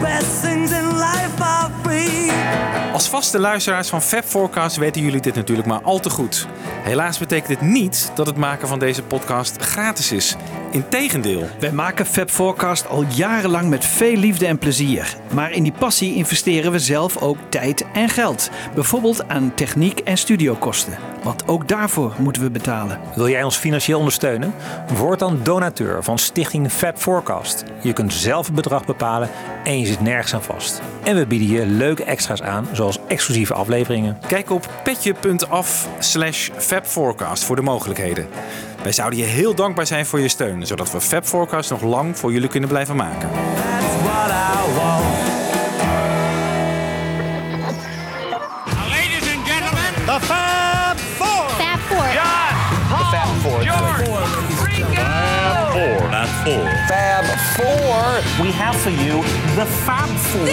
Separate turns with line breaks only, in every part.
best things in life are free.
Als vaste luisteraars van Fab Forecast weten jullie dit natuurlijk maar al te goed. Helaas betekent dit niet dat het maken van deze podcast gratis is. Integendeel.
Wij maken Fab Forecast al jarenlang met veel liefde en plezier. Maar in die passie investeren we zelf ook tijd en geld. Bijvoorbeeld aan techniek en studiokosten. Want ook daarvoor moeten we betalen.
Wil jij ons financieel ondersteunen? Word dan donateur van Stichting Fab Forecast. Je kunt zelf het bedrag bepalen en je zit nergens aan vast. En we bieden je leuke extra's aan, zoals exclusieve afleveringen.
Kijk op petje.af slash fabforecast voor de mogelijkheden. Wij zouden je heel dankbaar zijn voor je steun, zodat we Fab Forecast nog lang voor jullie kunnen blijven maken.
That's what I want.
Ladies and gentlemen,
The Fab Four.
Fab Four.
John, Paul, George, Ringo.
Fab Four. We have for you the Fab Four.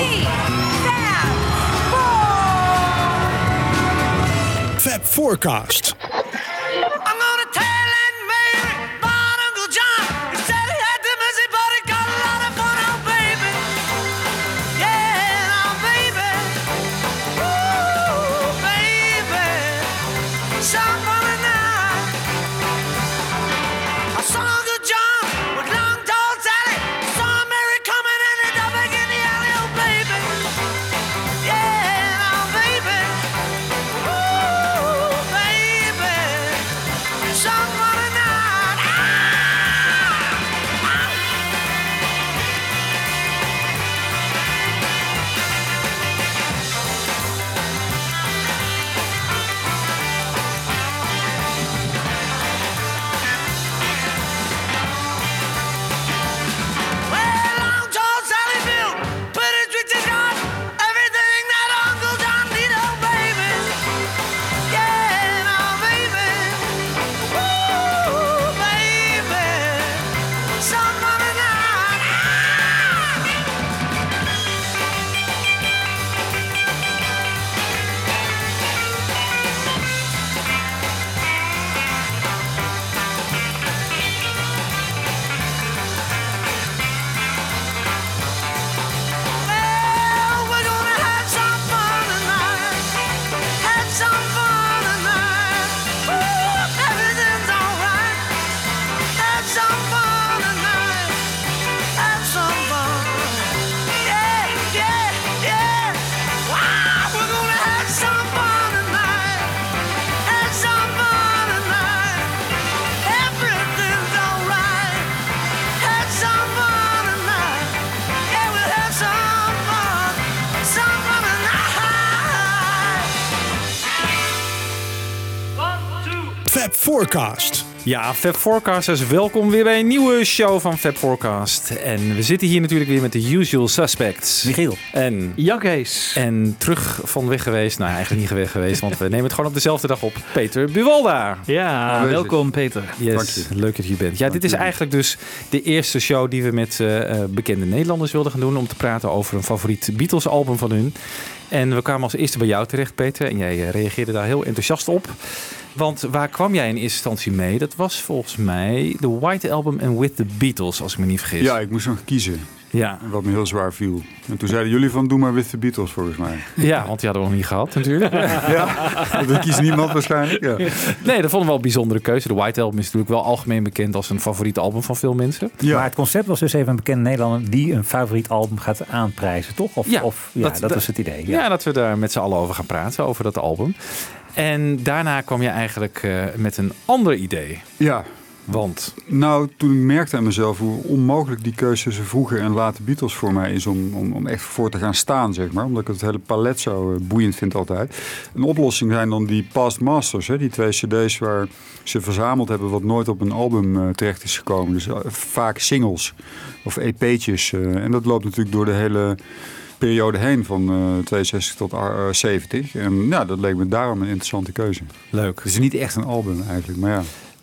Fab Forecast.
I'm gonna tell that Mary about Uncle John. He said he had the messy, but he got a lot of fun, oh baby. Yeah, oh baby. Ooh, baby. Some other night. I saw Uncle John with long tall Sally. Saw Mary coming in the door back in the alley, oh baby. Yeah, oh baby. Ooh, baby. Someone not. Well, Long John Sallyfield put his riches on everything that Uncle John did, oh baby. Yeah, oh baby. Ooh, baby. Someone not. Well, we're gonna have some fun tonight. Have some fun tonight. Ooh, everything's alright. Have some fun tonight. Have some fun. Yeah, yeah, yeah. Wow, we're gonna have some fun tonight. Have some fun tonight. Everything's alright. Have some fun tonight. Yeah, we'll have some fun. Some fun tonight.
Fab Forecast.
Ja, Fab Forecasters, welkom weer bij een nieuwe show van Fab Forecast. En we zitten hier natuurlijk weer met de usual suspects.
Michiel.
En,
Jakkees.
en terug van weg geweest, nou eigenlijk niet weg geweest, want we nemen het gewoon op dezelfde dag op. Peter Buwalda.
Ja,
Aanwezig.
welkom Peter.
Yes, leuk dat je hier bent. Ja, dit is eigenlijk dus de eerste show die we met eh, eh, bekende Nederlanders wilden gaan doen. Om te praten over een favoriet Beatles album van hun. En we kwamen als eerste bij jou terecht, Peter. En jij eh, reageerde daar heel enthousiast op. Want waar kwam jij in eerste instantie mee? Dat was volgens mij de White Album en With the Beatles, als ik me niet vergis.
Ja, ik moest nog kiezen.
ja.
Wat me heel zwaar viel. En toen zeiden jullie van, doe maar With the Beatles volgens mij.
Ja, want die hadden we nog niet gehad natuurlijk.
Want dat kiest niemand waarschijnlijk. Ja.
Nee, dat vonden we wel een bijzondere keuze. De White Album is natuurlijk wel algemeen bekend als een favoriet album van veel mensen.
Ja.
Maar het concept was dus even een bekende Nederlander die een favoriet album gaat aanprijzen, toch? Of,
Ja,
of, ja
dat-
dat,
dat-
was het idee.
Ja.
Ja.
dat we daar met z'n allen over gaan praten, over dat album. En daarna kwam je eigenlijk eh, met een ander idee.
ja,
Want,
nou toen ik merkte aan mezelf hoe onmogelijk die keuze tussen vroeger en later Beatles voor mij is om, om, om echt voor te gaan staan, zeg maar. Omdat ik het hele palet zo eh, boeiend vind altijd. Een oplossing zijn dan die Past Masters, hè, die twee cd's waar ze verzameld hebben wat nooit op een album eh, terecht is gekomen. Dus eh, vaak singles of EP'tjes. eh, en dat loopt natuurlijk door de hele periode heen van eh 62 tot eh, 70. En ja, dat leek me daarom een interessante keuze.
leuk.
Het is niet echt een album eigenlijk, maar ja.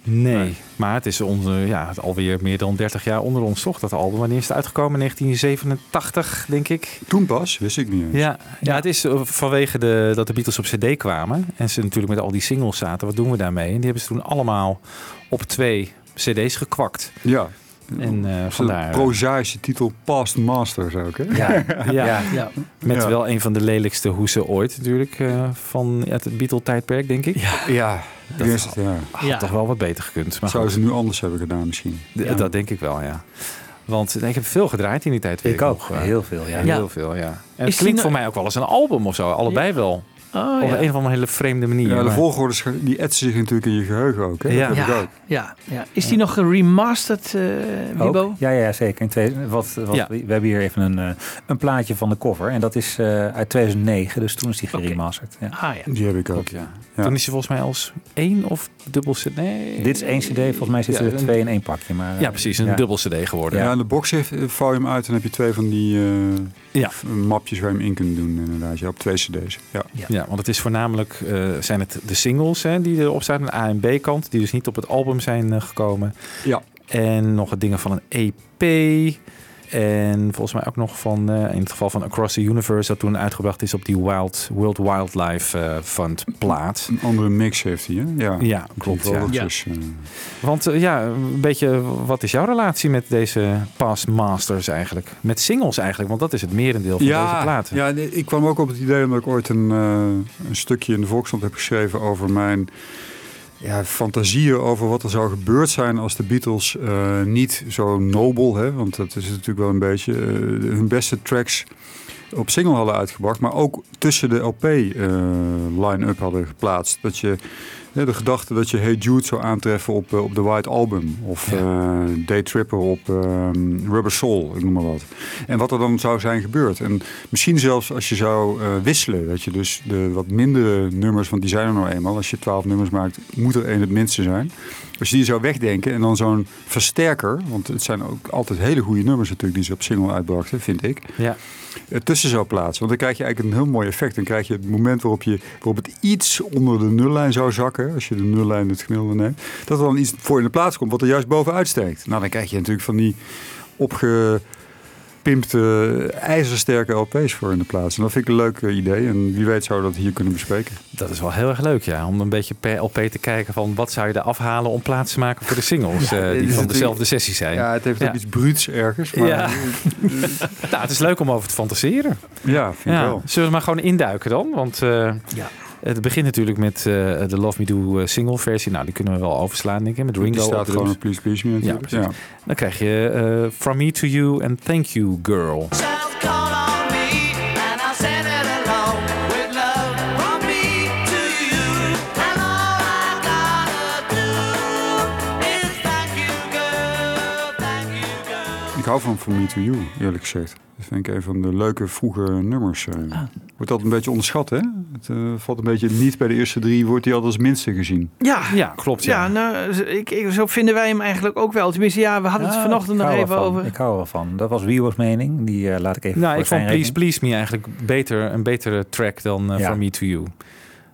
Nee. eh, Maar het is onze, ja, het alweer meer dan 30 jaar onder ons, toch, dat album. Wanneer is het uitgekomen? 1987, denk ik.
Toen pas, wist ik niet. eens.
Ja, ja het is eh, vanwege de, dat de Beatles op cd kwamen. En ze natuurlijk met al die singles zaten. Wat doen we daarmee? En die hebben ze toen allemaal op twee cd's gekwakt.
Ja.
En eh,
Vandaar.
vandaar.
prozaïsche titel Past Masters ook, hè?
Ja,
Ja.
Ja.
Met
Ja.
wel een van de lelijkste hoesen ooit natuurlijk eh, van uit het Beatle-tijdperk, denk ik. Ja.
Ja, dat is het, ja.
Ah,
Had
Ja.
toch wel wat beter gekund. Maar
Zou
goed,
ze nu anders hebben gedaan misschien?
d- dat denk ik wel, ja. Want ik heb veel gedraaid in die tijd. weet
ik ook.
nog, eh,
Heel veel, ja.
Ja,
Ja.
Heel veel, ja. En
die
het klinkt
nou-
voor mij ook wel als een album of zo. Allebei wel.
Oh,
Op
ja.
een of andere hele vreemde manier.
Ja, de
maar-
volgorde is ge- die etsen zich natuurlijk in je geheugen ook, hè?
Ja.
Dat heb ik
Ja,
ook.
ja, ja. Is die nog geremasterd, eh
Ook?
Wibo?
Ja, ja, zeker. In twee, wat, wat,
Ja.
We hebben hier even een, eh, een plaatje van de cover. En dat is eh, uit 2009, dus toen is die
Oké.
geremasterd. Ja.
Ah ja.
Die heb ik ook.
Klopt, ja.
Ja.
Toen is je volgens mij als één of dubbel cd. Nee.
Dit is één cd, volgens mij zitten
Ja,
er
een-
twee in één pakje. Maar, eh,
Ja, precies. Een dubbel cd geworden.
Ja,
Ja.
en de box heeft eh, vouw je hem uit en heb je twee van die eh,
Ja.
f- mapjes waar je hem in kunt doen inderdaad. Ja, op twee cd's. Ja.
want het is voornamelijk eh, zijn het de singles hè, die erop staan. Een A en B kant. Die dus niet op het album zijn eh, gekomen.
Ja.
En nog wat dingen van een EP. En volgens mij ook nog van, eh, in het geval van Across the Universe, dat toen uitgebracht is op die Wild, World Wildlife eh, Fund plaat.
Een andere mix heeft hij, hè? Ja,
Ja, klopt.
Die
Ja.
rodeltjes, eh,
Want eh, ja, een beetje, wat is jouw relatie met deze Past Masters eigenlijk? Met singles eigenlijk, want dat is het merendeel van deze
Ja,
platen.
ja, nee, ik kwam ook op het idee omdat ik ooit een, eh, een stukje in de Volkskrant heb geschreven over mijn ja, fantasieën over wat er zou gebeurd zijn als de Beatles eh, niet zo nobel, hè, want dat is het natuurlijk wel een beetje, eh, hun beste tracks op single hadden uitgebracht, maar ook tussen de LP-line-up hadden geplaatst. Dat je hè, de gedachte dat je Hey Jude zou aantreffen op, eh, op The White Album of eh Day Tripper op ehm, Rubber Soul, ik noem maar wat. En wat er dan zou zijn gebeurd. En misschien zelfs als je zou eh, wisselen, dat je dus de wat mindere nummers, want die zijn er nou eenmaal, als je twaalf nummers maakt, moet er één het minste zijn. Als je die zou wegdenken en dan zo'n versterker, want het zijn ook altijd hele goede nummers natuurlijk die ze op single uitbrachten, vind ik
Ja.
ertussen eh, zou plaatsen. Want dan krijg je eigenlijk een heel mooi effect. Dan krijg je het moment waarop, je, waarop het iets onder de nullijn zou zakken. Als je de nullijn het gemiddelde neemt. Dat er dan iets voor in de plaats komt wat er juist bovenuit steekt. Nou, dan krijg je natuurlijk van die opgepimpte ijzersterke LP's voor in de plaats. En dat vind ik een leuk eh, idee. En wie weet zouden we dat hier kunnen bespreken.
Dat is wel heel erg leuk, ja. Om een beetje per LP te kijken van wat zou je er afhalen om plaats te maken voor de singles eh, die
dit is
van
natuurlijk-
dezelfde sessie zijn.
Ja, het heeft
Ja.
ook iets bruuts ergens. Maar
Ja.
ja,
Nou, het is leuk om over te fantaseren.
vind
Ja.
ik wel.
Zullen we maar gewoon induiken dan? Want eh,
Ja.
het begint natuurlijk met eh, de Love Me Do eh, single versie. Nou, die kunnen we wel overslaan, denk ik. Met Ringo
Die
op
staat
drums.
gewoon op Please Please Me natuurlijk.
precies. Dan krijg je eh, From Me To You and Thank You Girl.
Child called on me, and I said it alone with love from me to you. And all I gotta do is thank you, girl, thank you, girl.
Ik hou van From Me To You, eerlijk gezegd. Dat vind ik een van de leuke vroege nummers. eh. Wordt altijd een beetje onderschat, hè? Het eh, valt een beetje niet bij de eerste drie, wordt die altijd als minste gezien.
Ja,
Ja, klopt. Ja.
Ja, nou, z- ik, ik, zo vinden wij hem eigenlijk ook wel. Tenminste, ja, we hadden het
Ja,
vanochtend
Ah,
nog
ik hou
even
wel van.
over.
Ik hou er wel van. Dat was Wiewo's mening. Die eh, laat ik even
Nou,
voor
ik vond
zijn
Please
rekening.
Please Me eigenlijk beter, een betere track dan eh
Ja.
From Me To You.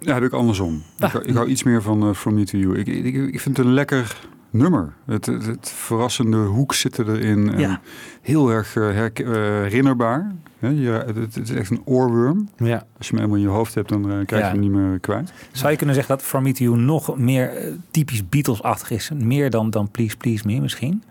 Ja, heb ik andersom. Ik, hou, ik hou iets meer van eh, From Me To You. Ik, ik, ik vind het een lekker nummer. Het, het, het verrassende hoek zit erin. En
Ja.
Heel erg eh, herk- eh, herinnerbaar. Hè, je- het, het is echt een oorworm.
Ja.
Als je hem helemaal in je hoofd hebt, dan eh, krijg je
Ja.
hem niet meer kwijt.
Zou je kunnen zeggen dat From Me To You nog meer eh, typisch Beatles-achtig is? Meer dan, dan Please Please Me misschien?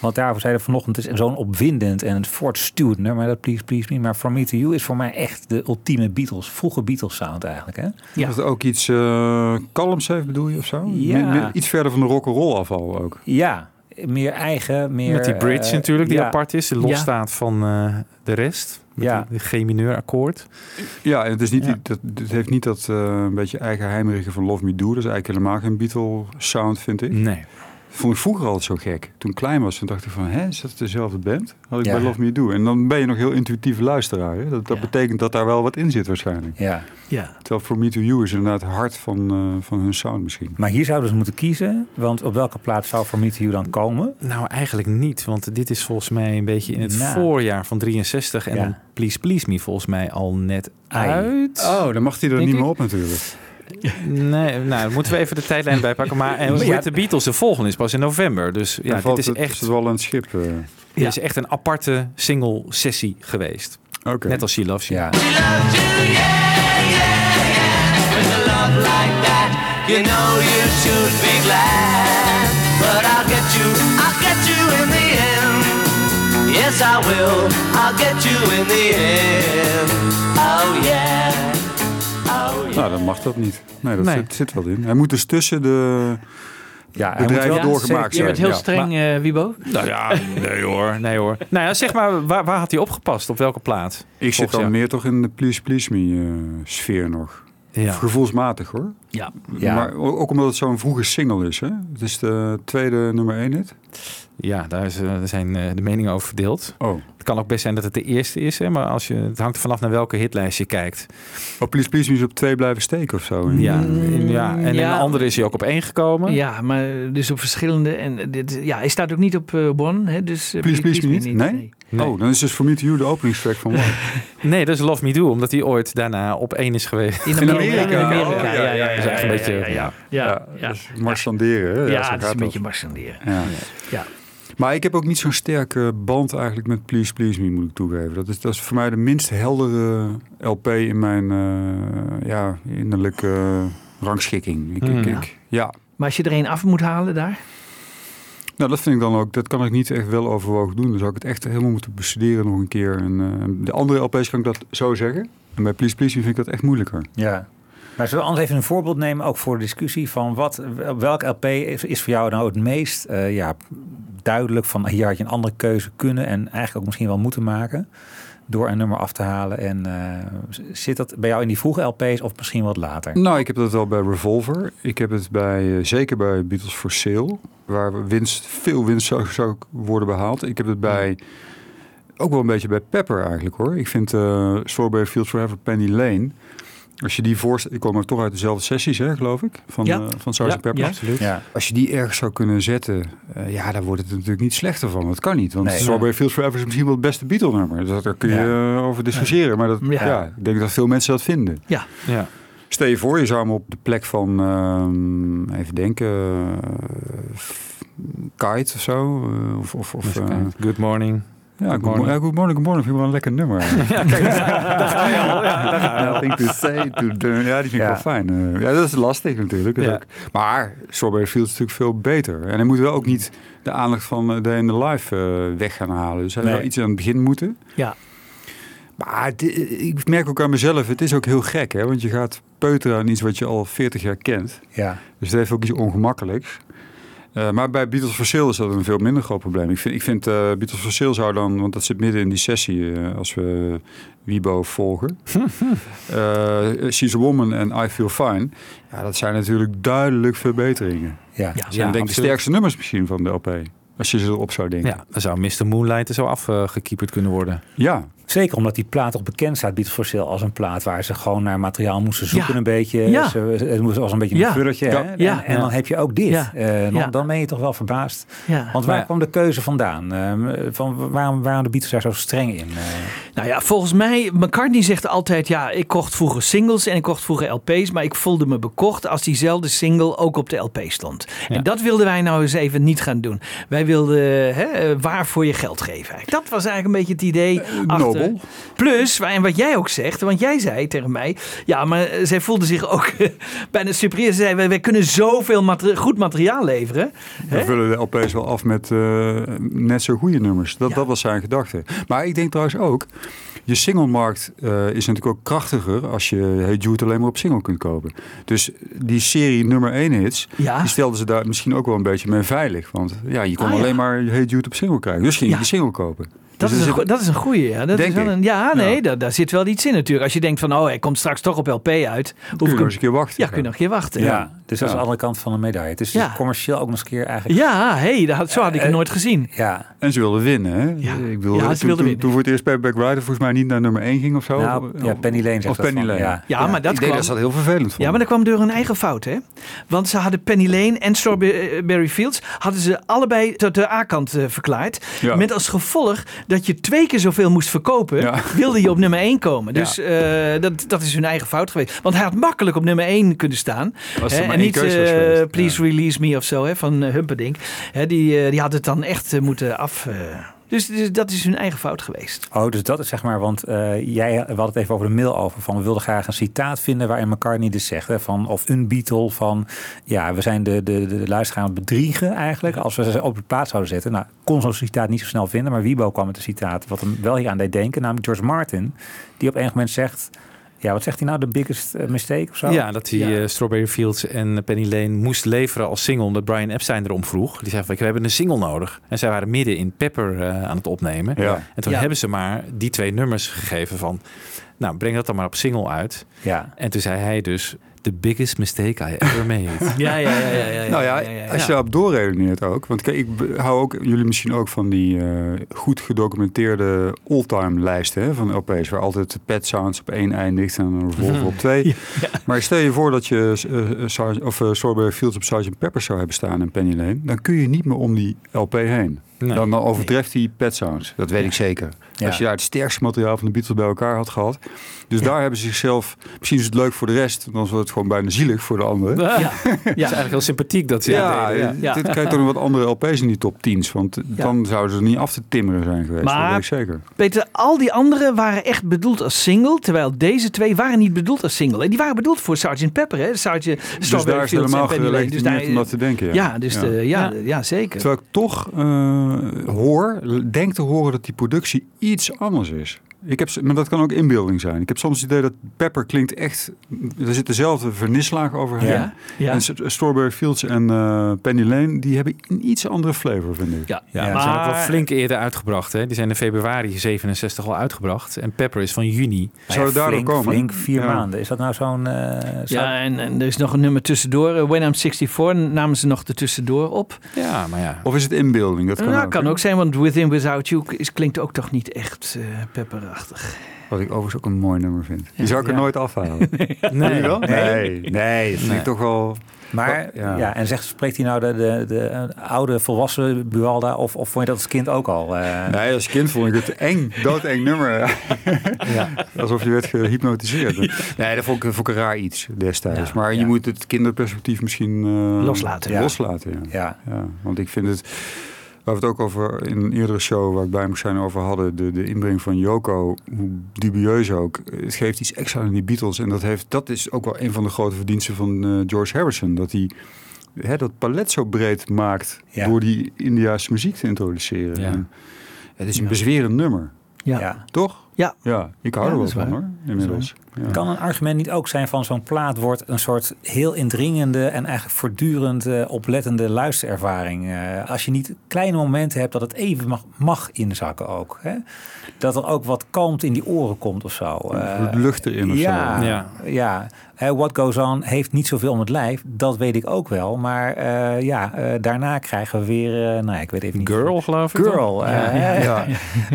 Want daarvoor zeiden we vanochtend, het is zo'n opwindend en het voortstuwend nummer, dat Please Please Me. Maar From Me To You is voor mij echt de ultieme Beatles, vroege Beatles-sound eigenlijk. Hè?
Ja.
Dat het ook iets eh, kalms heeft, bedoel je, of zo?
Ja.
Mi- mi- Iets verder van de rock'n'roll afval ook.
Ja, meer eigen, meer...
Met die bridge
eh,
natuurlijk, die
ja.
apart is. Die los
Ja.
staat van eh, de rest. Met
Ja.
die- die G-mineur akkoord.
Ja, en het, is niet,
Ja.
die- dat, het heeft niet dat eh, een beetje eigen heimerige van Love Me Do. Dat is eigenlijk helemaal geen Beatle-sound, vind ik.
Nee.
Vond ik vroeger altijd zo gek. Toen ik klein was, toen dacht ik van, hè, is dat dezelfde band? Had ik
Ja.
bij Love Me Do. En dan ben je nog heel intuïtief luisteraar. Hè? Dat, dat
Ja.
betekent dat daar wel wat in zit waarschijnlijk.
Ja,
Ja.
Terwijl For Me To You is inderdaad het hart van, eh, van hun sound misschien.
maar hier zouden ze moeten kiezen, want op welke plaats zou From Me To You dan komen?
Nou, eigenlijk niet. Want dit is volgens mij een beetje in het
Nou.
voorjaar van 63. En
Ja.
dan Please Please Me volgens mij al net
Ai.
uit.
Oh, dan mag hij er
Denk
niet
ik.
meer op natuurlijk.
Nee, nou, dan moeten we even de tijdlijn bijpakken. Maar en
Ja.
met de Beatles, de volgende is pas in november. Dus ja,
Dan
dit
valt
is
het-
echt,
het wel aan het schip. eh.
dit is echt een aparte single sessie geweest.
Oké.
Net als She Loves You.
Ja.
She loved you, yeah, yeah, yeah. With a love like that, you know you should be glad. But I'll get you, I'll get you in the Yes, I will. I'll get you in the end. Oh, yeah. Oh,
Nou, dan mag dat niet. Nee, dat
Nee.
Zit, zit wel in. Hij moet dus tussen de
Ja, hij moet
bedrijven
wel-
doorgemaakt
Je
zeker.
zijn.
bent heel
Ja.
streng, eh, Wibo.
Nou ja, nee hoor, nee hoor. Nou ja, zeg maar, waar, waar had hij opgepast? Op welke plaat?
Ik zit
Volgens
dan
jou.
meer toch in de Please Please Me eh, sfeer nog.
Ja.
Gevoelsmatig hoor.
Ja.
Ja.
Maar o- ook omdat het zo'n vroege single is. Hè? Het is de tweede nummer 1 hit.
Ja, daar is, eh, zijn eh, de meningen over verdeeld.
Oh.
Het kan ook best zijn dat het de eerste is, hè, maar als je, het hangt er vanaf naar welke hitlijst je kijkt.
oh, Please Please Me is op twee blijven steken of zo.
Mm.
Oh, hè?
Ja, en- ja. en in
ja.
de andere is hij ook op één gekomen.
ja, maar dus op verschillende. En dit, ja, hij staat ook niet op eh Bon. Hè, dus, eh,
Please Please Me niet? Nee?
Nee.
Oh, dan is dus voor Me To You de openingstrack van One.
Nee, dat is Love Me Do, omdat hij ooit daarna op één is geweest.
In Amerika.
Amerika.
In Amerika.
Oh, ja,
ja, ja, ja,
ja,
Dat is
ja,
echt
ja,
een beetje...
ja, ja. Ja, ja.
Dus marchanderen. Hè?
Ja,
zo
dat is
gaat
een beetje marchanderen.
Ja.
Ja.
Maar ik heb ook niet zo'n sterke band eigenlijk met Please Please Me, moet ik toegeven. Dat is, dat is voor mij de minst heldere LP in mijn eh, ja, innerlijke rangschikking. Ik,
Hmm,
ik-
Mm.
ik- ja.
Maar als je er één af moet halen daar.
Nou, dat vind ik dan ook, dat kan ik niet echt wel overwogen doen. Dan zou ik het echt helemaal moeten bestuderen nog een keer. En, eh, de andere LP's kan ik dat zo zeggen. En bij Please Please Me vind ik dat echt moeilijker.
Ja. Maar zullen we anders even een voorbeeld nemen, ook voor de discussie, van wat, welk LP is, is voor jou nou het meest eh, ja, duidelijk van hier had je een andere keuze kunnen en eigenlijk ook misschien wel moeten maken door een nummer af te halen. En eh, zit dat bij jou in die vroege LP's of misschien wat later?
Nou, ik heb dat wel bij Revolver. Ik heb het bij, eh, zeker bij Beatles for Sale, waar winst, veel winst zou, zou worden behaald. Ik heb het bij, ook wel een beetje bij Pepper eigenlijk hoor. Ik vind eh Strawberry Fields Forever, Penny Lane. Als je die voorstelt, ik kom er toch uit dezelfde sessies hè, geloof ik, van,
Ja.
eh, van Sgt. Pepper.
absoluut.
Ja.
Als je die ergens zou kunnen zetten, eh, ja, dan wordt het er natuurlijk niet slechter van. Dat kan niet, want
Nee.
Strawberry Fields Forever is misschien wel het beste Beatle-nummer. Dus daar kun je eh, over discussiëren, maar dat,
Ja.
ja, ik denk dat veel mensen dat vinden.
Ja.
Ja.
Stel je voor, je zou hem op de plek van, ehm, even denken, eh, Kite of zo. eh, of, of, of, eh,
Good morning.
ja, Good
Morning.
Morning, ja, Good Morning, Good Morning vind ik wel een lekker nummer. ja,
Ah,
kijk, daar ga je al. Ja, die vind ik
Ja.
wel fijn. eh. ja, dat is lastig natuurlijk. dat
Ja.
ook. Maar Strawberry Fields is natuurlijk veel beter. En hij moet wel ook niet de aandacht van eh, Day in the Life eh, weg gaan halen. Dus hij
Nee.
zou iets aan het begin moeten.
Ja.
Maar het- eh, ik merk ook aan mezelf, het is ook heel gek, hè? Want je gaat peuteren aan iets wat je al 40 jaar kent.
Ja.
Dus het heeft ook iets ongemakkelijks. Eh, maar bij Beatles for Sale is dat een veel minder groot probleem. Ik vind, ik vind eh, Beatles for Sale zou dan, want dat zit midden in die sessie eh, als we Wibo volgen. Eh, She's a Woman en I Feel Fine. Ja, dat zijn natuurlijk duidelijk verbeteringen.
Ja.
Ja.
Dat zijn denk ik de
absoluut.
sterkste nummers misschien van de LP. Als je ze erop zou denken.
Ja, dan zou Mr. Moonlight er zo afgekieperd kunnen worden.
ja.
Zeker omdat die plaat toch bekend staat, Beatles for Sale, als een plaat waar ze gewoon naar materiaal moesten zoeken
Ja.
een beetje.
Ja.
Ze, het moest als een beetje
Ja.
een vulletje. hè?
Ja.
Ja.
En, en dan heb je ook dit.
Ja.
Eh, dan,
Ja.
dan ben je toch wel verbaasd.
Ja.
Want waar
Maar-
kwam de keuze vandaan? Eh, van waarom waren de Beatles daar zo streng in? Eh,
Nou ja, volgens mij, McCartney zegt altijd, ja, ik kocht vroeger singles en ik kocht vroeger LP's, maar ik voelde me bekocht als diezelfde single ook op de LP stond. En dat wilden wij nou eens even niet gaan doen. Wij wilden hè, eh, waar voor je geld geven. eigenlijk. Dat was eigenlijk een beetje het idee. achter.
nobel.
Plus, en wat jij ook zegt, want jij zei tegen mij, ja, maar eh, zij voelde zich ook bijna superieur. Ze zei, wij, wij kunnen zoveel mater- goed materiaal leveren.
We vullen de LP's wel af met eh, net zo goede nummers. Dat,
Ja.
dat was zijn gedachte. Maar ik denk trouwens ook, je singlemarkt eh, is natuurlijk ook krachtiger als je Hey Jude alleen maar op single kunt kopen. Dus die serie nummer 1 hits,
Ja.
die stelden ze daar misschien ook wel een beetje mee veilig. Want ja, je kon
Ah, ja.
alleen maar Hey Jude op single krijgen. Dus ging
Ja.
je die single kopen.
Dat,
Dus
is,
er
een
zit-
goe- dat is een goeie, ja. Dat
Denk
is wel
ik.
een, ja, nee,
Ja.
Daar, daar zit wel iets in natuurlijk. Als je denkt van, oh, hij komt straks toch op LP uit.
Kun
Hoef
je
ik
nog
hem,
eens een keer wachten.
ja, kun je nog een keer wachten.
ja.
Ja,
dus dat is
Ja.
de andere kant van de medaille. Het is
Ja.
dus commercieel ook nog eens een keer eigenlijk.
ja hé, dat had- zo
Eh,
had ik het nooit gezien.
Ja,
En ze wilden winnen, hè?
Ja.
Ik bedoel,
Ja, ze wilden
toen, toen-
winnen.
toen voor het eerst Payback Rider volgens mij niet naar nummer 1 ging of
Oh,
zo.
Nou, ja, Penny Lane zegt
Of
dat
Penny
van,
Lane.
ja.
Ja, maar dat
ik denk
kwam...
dat ze dat heel vervelend vonden.
Ja, maar dat kwam door hun eigen fout, hè? Want ze hadden Penny Lane en Strawberry Fields... hadden ze allebei tot de A-kant eh, verklaard.
Ja.
Met als gevolg dat je twee keer zoveel moest verkopen...
Ja.
wilde je op nummer 1 komen.
Ja.
Dus eh, dat, dat is hun eigen fout geweest. Want hij had makkelijk op nummer 1 kunnen staan.
Als er
Hè,
maar
en
één
niet
keuze was
eh,
geweest.
Please Release Me of zo hè, van eh, Humperdinck. Hè, die, eh, die had het dan echt eh, moeten af... eh, Dus, dus dat is hun eigen fout geweest.
Oh, dus dat is zeg maar, want eh, jij we hadden het even over de mail over. Van we wilden graag een citaat vinden waarin McCartney dit zegt. Hè, van, of een Beatle van, ja, we zijn de, de, de luisteraar aan het bedriegen eigenlijk. Als we ze op de plaats zouden zetten. Nou, kon zo'n citaat niet zo snel vinden. Maar Wiebo kwam met een citaat wat hem wel hier aan deed denken. Namelijk George Martin. Die op een moment zegt, ja, wat zegt hij nou? The biggest eh, mistake of zo?
Ja, dat hij eh, Strawberry Fields en Penny Lane moest leveren als single. Omdat Brian Epstein erom vroeg. Die zei van, we hebben een single nodig. En zij waren midden in Pepper eh, aan het opnemen.
Ja.
En toen
Ja.
hebben ze maar die twee nummers gegeven van... Nou, breng dat dan maar op single uit.
ja.
En toen zei hij dus... The biggest mistake I ever made.
Ja, ja, ja. ja, ja
Nou ja, als je
ja.
daarop doorredeneert ook. Want kijk, ik be- hou ook, jullie misschien ook van die eh, goed gedocumenteerde all-time lijsten hè, van LP's. Waar altijd de Pet Sounds op één eindigt en een Revolver op twee. Maar stel je voor dat je eh, eh, Sarge- of, eh, Strawberry Fields op Sgt. Pepper zou hebben staan en Penny Lane. Dan kun je niet meer om die LP heen.
Nee.
Dan dan overtreft die Pet Sounds. Dat weet ik zeker.
Ja.
Als je daar het sterkste materiaal van de Beatles bij elkaar had gehad. Dus daar hebben ze zichzelf... Misschien is het leuk voor de rest. Dan wordt het gewoon bijna zielig voor de anderen.
Ja.
Ja.
Dat is eigenlijk heel sympathiek dat ze dat
Ja,
deden, ja.
ja.
dit krijgt dan wat andere LP's in die top 10's. Want dan zouden ze niet af te timmeren zijn geweest.
Maar-
Dat weet ik zeker.
Peter, al die anderen waren echt bedoeld als single. Terwijl deze twee waren niet bedoeld als single. En die waren bedoeld voor Sgt. Pepper. Hè? Sgt.
Dus daar is het helemaal
gelegen. Dus daar,
gelegitimeerd om dat te denken. Ja,
ja, dus de- ja, ja. zeker.
Terwijl ik toch eh, hoor, denk te horen dat die productie iets anders is. Ik heb, s- maar dat kan ook inbeelding zijn. Ik heb soms het idee dat Pepper klinkt echt... mm, Er zit dezelfde vernislaag overheen.
Ja, ja.
En S- Strawberry Fields en eh, Penny Lane, die hebben een iets andere flavor, vind ik.
Ja,
Ja, die zijn ook wel flink eerder uitgebracht. Hè? Die zijn in februari 67 al uitgebracht. En Pepper is van juni.
Zou het daardoor
flink,
komen?
Flink vier
Ja.
maanden. Is dat nou zo'n... eh, zo-
Ja, en, en er is nog een nummer tussendoor. Eh, When I'm 64 namen ze nog er tussendoor op.
Ja, maar ja.
Of is het inbeelding? Dat kan,
nou,
ook,
kan
hè?
ook zijn, want Within Without You is, klinkt ook toch niet echt eh, pepperachtig.
Wat ik overigens ook een mooi nummer vind. Die zou ik er
Ja.
nooit afhalen.
Nee, wel?
Nee, nee, dat vind ik toch wel...
Maar ja.
Ja.
en zegt, spreekt hij nou de, de, de eh, oude volwassen Bualda of, of vond je dat als kind ook al? eh?
Nee, als kind vond ik het eng, doodeng nummer.
ja.
Alsof je werd gehypnotiseerd. Nee, dat vond ik, vond ik een raar iets destijds. maar je
ja.
moet het kinderperspectief misschien... eh,
Loslaten.
Ja. Loslaten, ja.
ja.
Ja, Want ik vind het... Waar we het ook over in een eerdere show waar ik bij moest zijn over hadden. De, de inbreng van Joko, hoe dubieus ook. Het geeft iets extra aan die Beatles. En dat, heeft, dat is ook wel een van de grote verdiensten van eh, George Harrison. Dat hij hè, dat palet zo breed maakt
Ja.
door die Indiaanse muziek te introduceren.
Ja.
En het is een bezwerend nummer,
Ja.
Ja.
toch?
Ja.
Ja, ik hou
Ja,
er wel
dat is
van
waar.
hoor, inmiddels. Ja.
Kan een argument niet ook zijn van zo'n plaat wordt een soort heel indringende en eigenlijk voortdurend eh, oplettende luisterervaring. eh, als je niet kleine momenten hebt dat het even mag, mag inzakken ook. Hè? Dat er ook wat kalmte in die oren komt of zo. eh.
Lucht erin of
ja,
zo.
Ja.
ja. Hè, What Goes On heeft niet zoveel om het lijf. Dat weet ik ook wel. Maar eh, ja, eh, daarna krijgen we weer... eh, nou, ik weet even niet.
Girl, geloof ik. toch?
Girl. eh, hè?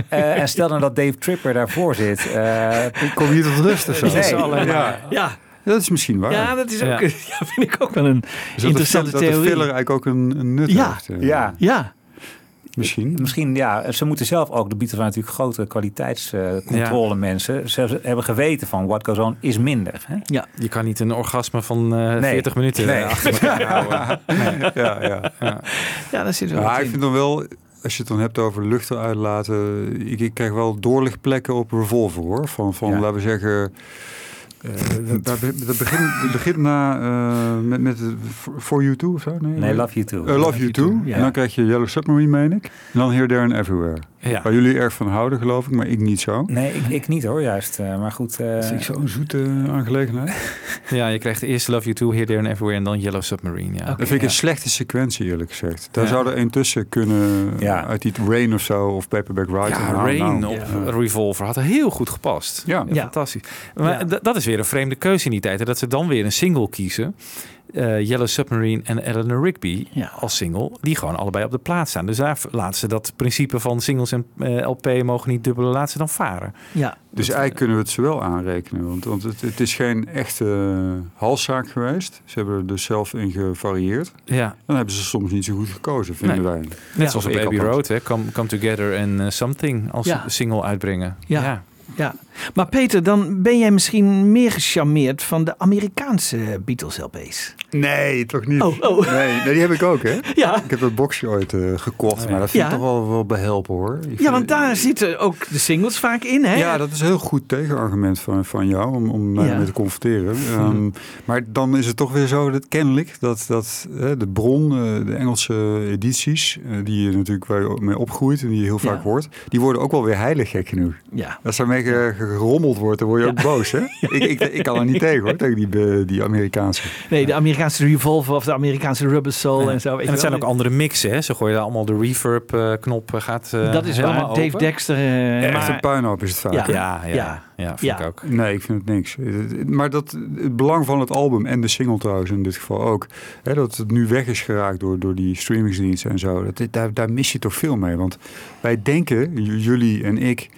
Eh, en stel nou dat Dave Tripper daarvoor zit. eh,
Ik kom hier tot rust of zo.
Nee. eh, Is alleen
Ja,
Ja,
dat is misschien waar.
ja, dat is ook,
Ja.
ja. vind ik ook wel een
Dus dat de fil-
interessante
dat de
theorie.
filler eigenlijk ook een, een nut
Ja.
heeft. eh,
ja.
ja,
Misschien.
Misschien, ja, ze moeten zelf ook, de Beatles waren natuurlijk grote kwaliteitscontrole mensen. Ze hebben geweten van What Goes On is minder. Hè?
ja.
Je kan niet een orgasme van eh,
Nee.
40 minuten
Nee.
eh, achter elkaar houden.
Ja, ja.
ja, daar zit wel
Maar
wat
ik
in.
vind dan wel, als je het dan hebt over lucht eruit laten. Ik, ik krijg wel doorlichtplekken op Revolver hoor. Van, van
Ja.
laten we zeggen. eh, dat, dat be- dat begint, dat begint na eh, met, met eh, For You Too of zo? Nee,
Nee, Love You Too.
Eh, love, You Too.
ja.
En dan krijg je Yellow Submarine, meen ik. En dan Here, There and Everywhere.
Ja.
Waar jullie erg van houden, geloof ik, maar ik niet zo.
Nee, ik, ik niet hoor, juist. Eh, maar goed, eh,
Dat vind ik zo'n zoete eh, aangelegenheid.
ja, je krijgt eerst Love You Too, Here, There and Everywhere en dan Yellow Submarine. Ja.
Dat vind ik een slechte sequentie, eerlijk gezegd. Daar zou er een tussen kunnen
Ja.
uit die Rain of zo, of Paperback Ride.
Ja,
Nou,
Rain
nou.
op Revolver had heel goed gepast.
Ja.
Ja, Fantastisch. Maar
Ja.
d- dat is weer een vreemde keuze in die tijd. hè, Dat ze dan weer een single kiezen. Eh, Yellow Submarine en Eleanor Rigby
Ja.
als single. Die gewoon allebei op de plaats staan. Dus daar laten ze dat principe van singles en eh, LP mogen niet dubbelen. Laten ze dan varen.
Ja.
Dus eigenlijk kunnen we het ze wel aanrekenen. Want, want het, het is geen echte eh, halszaak geweest. Ze hebben er dus zelf in gevarieerd.
Ja,
Dan hebben ze soms niet zo goed gekozen, vinden wij.
net zoals op
ik
Abbey
althans.
Road. Hè. Come, Come Together en eh, Something als
Ja.
single uitbrengen.
Ja. ja. Maar Peter, dan ben jij misschien meer gecharmeerd van de Amerikaanse Beatles LP's.
Nee, toch niet.
Oh, oh.
Nee, nee, die heb ik ook, hè?
Ja.
Ik heb dat boxje ooit eh, gekocht, maar dat vind ik
Ja.
toch wel, wel behelpen, hoor. Ik
Ja,
vind-
want daar zitten ook de singles vaak in, hè?
Ja, dat is een heel goed tegenargument van, van jou om, om mij
Ja. Hm.
mee te confronteren. Ehm, maar dan is het toch weer zo dat kennelijk dat, dat hè, de bron, eh, de Engelse edities, eh, die je natuurlijk waar je mee opgroeit en die je heel vaak
Ja.
hoort, die worden ook wel weer heilig gek genoeg.
Ja.
Als daarmee ge- gerommeld wordt, dan word je ook boos, hè? Ik, ik, ik kan er niet tegen, hoor, tegen die, be- die Amerikaanse.
Nee, de Amerikaanse Revolver of de Amerikaanse Rubber Soul en zo. weet
En
je
het zijn
wel.
ook andere mixen, hè? Zo gooi je daar allemaal de reverb-knop, gaat eh,
Dat is waar.
helemaal
Dave
open.
Dexter. eh,
Echt een puinhoop is het vaak.
Ja.
Ja, ja, ja.
Ja.
vind
Ja.
ik ook.
Nee, ik vind het niks. Maar dat, het belang van het album en de single trouwens in dit geval ook. Hè, dat het nu weg is geraakt door, door die streamingsdiensten en zo. Dat, daar, daar mis je toch veel mee. Want wij denken, j- jullie en ik,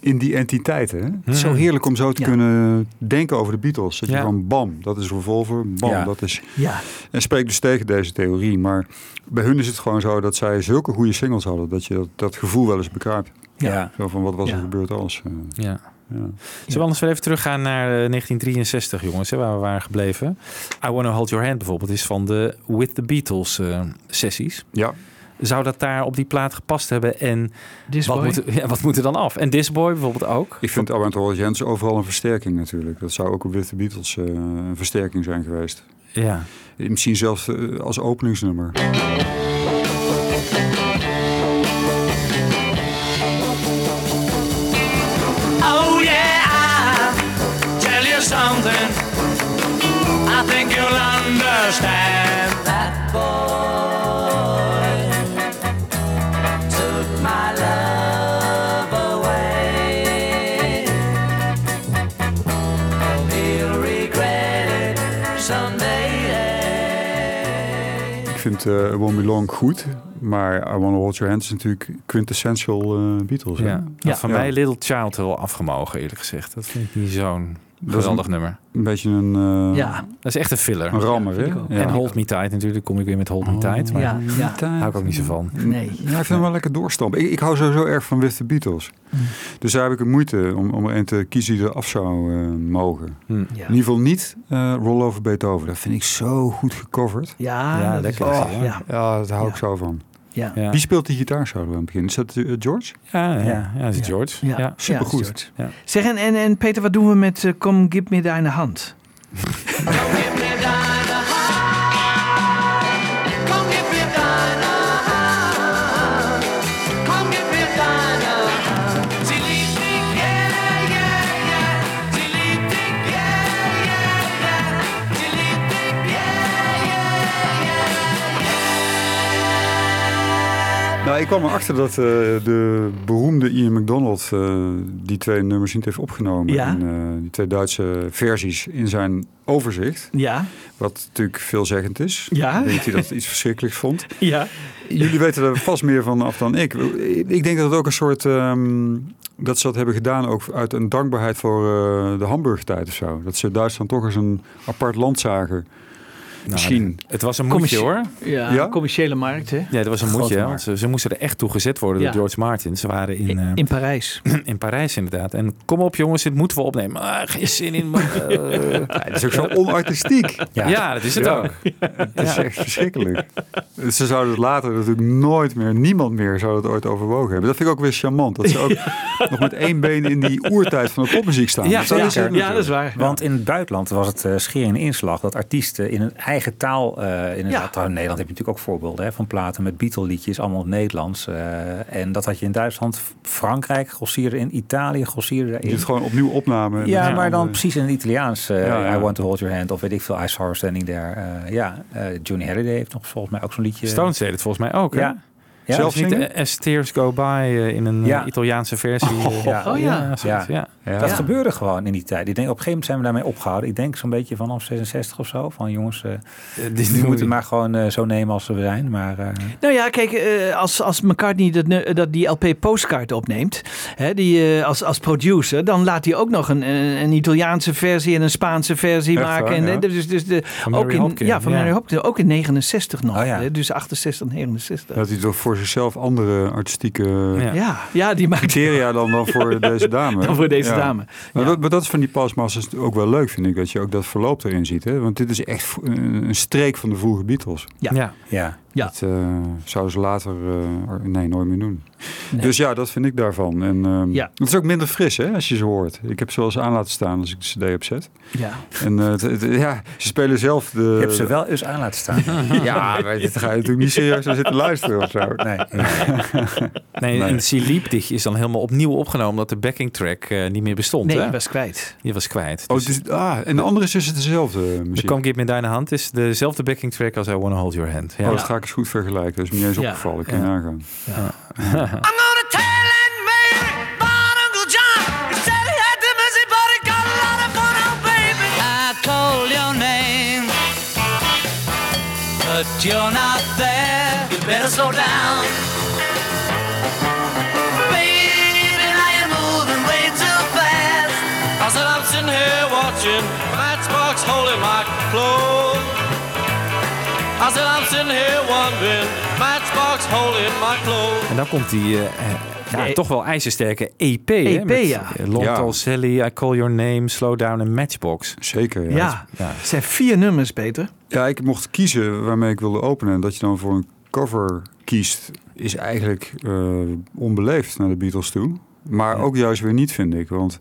in die entiteiten. hè. Het is zo heerlijk om zo te
Ja.
kunnen denken over de Beatles. Dat
Ja.
je gewoon bam, dat is Revolver. Bam,
Ja.
dat is...
ja.
En spreek dus tegen deze theorie. Maar bij hun is het gewoon zo dat zij zulke goede singles hadden. Dat je dat, dat gevoel wel eens bekruipt.
Ja.
Zo van, wat was er
Ja.
gebeurd als... eh,
Ja. Zullen we anders weer even teruggaan naar eh, 1963, jongens, hè, waar we waren gebleven? I Wanna Hold Your Hand bijvoorbeeld is van de With the Beatles eh, sessies.
ja.
Zou dat daar op die plaat gepast hebben en
This
wat
Boy.
moet, ja, wat moet er dan af? En This Boy bijvoorbeeld ook.
Ik vind Avant Royal Jens overal een versterking natuurlijk. Dat zou ook op With the Beatles eh, een versterking zijn geweest.
Ja.
Misschien zelfs eh, als openingsnummer.
Oh yeah, I tell you something. I think you'll understand that boy took my love away. He'll regret it someday.
Ik vind eh It Won't Be Long goed, maar I Wanna Hold Your Hand is natuurlijk quintessential eh, Beatles. hè?
Ja. Had van
Ja.
mij Little Child wel afgemogen, eerlijk gezegd. Dat vind ik niet zo'n
Dat is
geweldig
een,
nummer.
een beetje een, eh,
Ja,
Dat is echt een filler.
een rammer. hè? Oh, Ja.
En Hold Me Tight natuurlijk, kom ik weer met Hold Me Tight. Maar
Oh, ja, ja.
daar hou ik ook niet zo van.
Nee.
Ja, ik vind hem wel lekker doorstampen. Ik, ik hou sowieso erg van With the Beatles. Dus daar heb ik een moeite om, om er een te kiezen die eraf zou eh, mogen.
Hm.
Ja.
In ieder geval niet eh Roll Over Beethoven. Dat vind ik zo goed gecoverd.
Ja,
Ja,
dat is
lekker.
wel-
Oh,
ja,
Ja, daar hou ik
Ja.
zo van.
ja.
Ja,
Wie speelt die gitaarsolo aan het begin? Is dat eh, George?
ja, ja, ja, dat is
Ja.
George.
Ja.
Ja.
Supergoed.
Ja, George.
Ja.
Zeg, en, en, en Peter, wat doen we met eh, Come Give Me Thine Hand?
Give me thine hand. Come give me thine hand. Come give me thine hand. Sie liebt dich, yeah, yeah, yeah. Sie liebt dich, yeah, yeah, yeah. Sie liebt dich, yeah, yeah, yeah.
Nou, ik kwam erachter dat eh, de beroemde Ian McDonald eh, die twee nummers niet heeft opgenomen.
Ja.
En, eh, die twee Duitse versies in zijn overzicht.
Ja,
Wat natuurlijk veelzeggend is.
Ja.
Ik denk dat hij dat iets verschrikkelijks vond.
ja.
Jullie weten er vast meer van af dan ik. Ik denk dat het ook een soort... ehm, dat ze dat hebben gedaan ook uit een dankbaarheid voor eh, de Hamburg-tijd of zo. Dat ze Duitsland toch eens een apart land zagen. Misschien.
Nou, Het was een
Kom
moedje
eens-
hoor.
Ja,
Ja?
commerciële markt, hè?
Ja, dat was een
Grote
moedje. hè,
markt.
Want ze, ze moesten er echt toe gezet worden
Ja.
door George Martin. Ze waren in, eh,
In Parijs.
in Parijs inderdaad. En kom op jongens, dit moeten we opnemen. Ah, geen zin in. maar, eh.
Ja, dat is ook zo onartistiek.
ja. dat is het
Ja.
ook.
Het is echt verschrikkelijk. Ze zouden het later natuurlijk nooit meer, niemand meer zou dat ooit overwogen hebben. Dat vind ik ook weer charmant. Dat ze ook nog met één been in die oertijd van de popmuziek staan.
Ja,
Dus dat
ja.
is het
Ja,
natuurlijk.
dat is waar.
Want in het buitenland was het eh scheer in inslag dat artiesten in hun eigen taal, eh inderdaad,
Ja.
in Nederland heb je natuurlijk ook voorbeelden hè, van platen met Beatle-liedjes, allemaal in het Nederlands. eh, en dat had je in Duitsland, F- Frankrijk grossierde in, Italië grossierde
Je
daarin.
doet gewoon opnieuw opname. En
Ja,
dat-
maar dan
eh,
precies in het Italiaans. eh,
Ja, ja.
I want to hold your hand of weet ik veel. I saw her standing there. Eh, ja, eh, Johnny Hallyday heeft nog volgens mij ook zo'n liedje.
Stones deed het volgens mij ook. Hè?
Ja. Ja,
Zelfs
dat is
niet
niet-
eh, As Tears Go By eh, in een eh,
Ja.
Italiaanse versie. eh,
ja.
Oh ja.
zoiets, ja.
ja.
dus Dat gebeurde gewoon in die tijd. Ik denk, op een gegeven moment zijn we daarmee opgehouden. Ik denk zo'n beetje vanaf 66 of zo. Van jongens, eh
Eh, dit-
we moeten maar gewoon eh, zo nemen als we zijn. Maar eh,
Nou ja, kijk, eh, als, als McCartney dat, nu- dat die LP postcard opneemt, hè, die, eh, als, als producer, dan laat hij ook nog een, een, een Italiaanse versie en een Spaanse versie
Echt waar,
maken. en,
ja.
eh, dus, dus de,
Van
ook
Mary
in,
Hopkin,
Ja, van
ja.
Mary Hopkins. Ook in 69 nog.
Oh ja.
hè, dus 68, 69.
eh, Dat hij door voor voor zichzelf andere artistieke
Ja.
Ja, ja die maakt
criteria dan, dan voor deze dame.
dan voor deze
Ja.
dame.
Maar,
Ja.
dat, maar dat is van die pasma's ook wel leuk, vind ik. Dat je ook dat verloop erin ziet. Hè? Want dit is echt v- een een streek van de vroege Beatles.
Ja.
Ja.
Ja.
Ja.
Dat eh, zouden ze later... eh, or- nee, nooit meer doen. Dus ja, dat vind ik daarvan. En, ehm,
Ja.
Het is ook minder fris, hè, als je ze hoort. Ik heb ze wel eens aan laten staan als ik de cd opzet.
Ja.
En eh, het- het- ja, ze spelen zelf de...
Je hebt ze wel eens aan laten staan.
Ja, maar dit ga je natuurlijk niet serieus naar zitten luisteren of zo. Oh,
Nee.
Nee, en Sie liebt dich is dan helemaal opnieuw opgenomen... omdat de backing track eh, niet meer bestond.
Nee,
hè?
die was kwijt.
Die was kwijt.
Oh,
Dus
het is, ah, en de andere is dus dezelfde
de
muziek.
Come Get Me Deine Hand is dezelfde backing track als I Wanna Hold Your Hand. Ja.
Oh, dat ga ik eens goed vergelijken. Dat is me niet eens
Ja.
opgevallen. Ik kan je nagaan.
I'm gonna tell Aunt Mary about Uncle John. He said he had the messy, but he got a lot of fun, oh baby. I told your name, but you're not there. You better slow down. Baby, now you're moving way too fast. I said I'm sitting here watching matchbox holding my clothes. I said I'm sitting here wondering, matchbox holding my clothes.
En dan komt die eh, eh, ja,
Ja,
toch wel ijzersterke EP. hè,
EP,
met,
ja.
eh, Long
Ja.
Tall Sally, I Call Your Name, Slow Down en Matchbox.
Zeker, ja.
Ja. Het zijn vier nummers, Peter.
Ja, ik mocht kiezen waarmee ik wilde openen. En dat je dan voor een cover kiest, is eigenlijk eh, onbeleefd naar de Beatles toe. Maar ook juist weer niet, vind ik. Want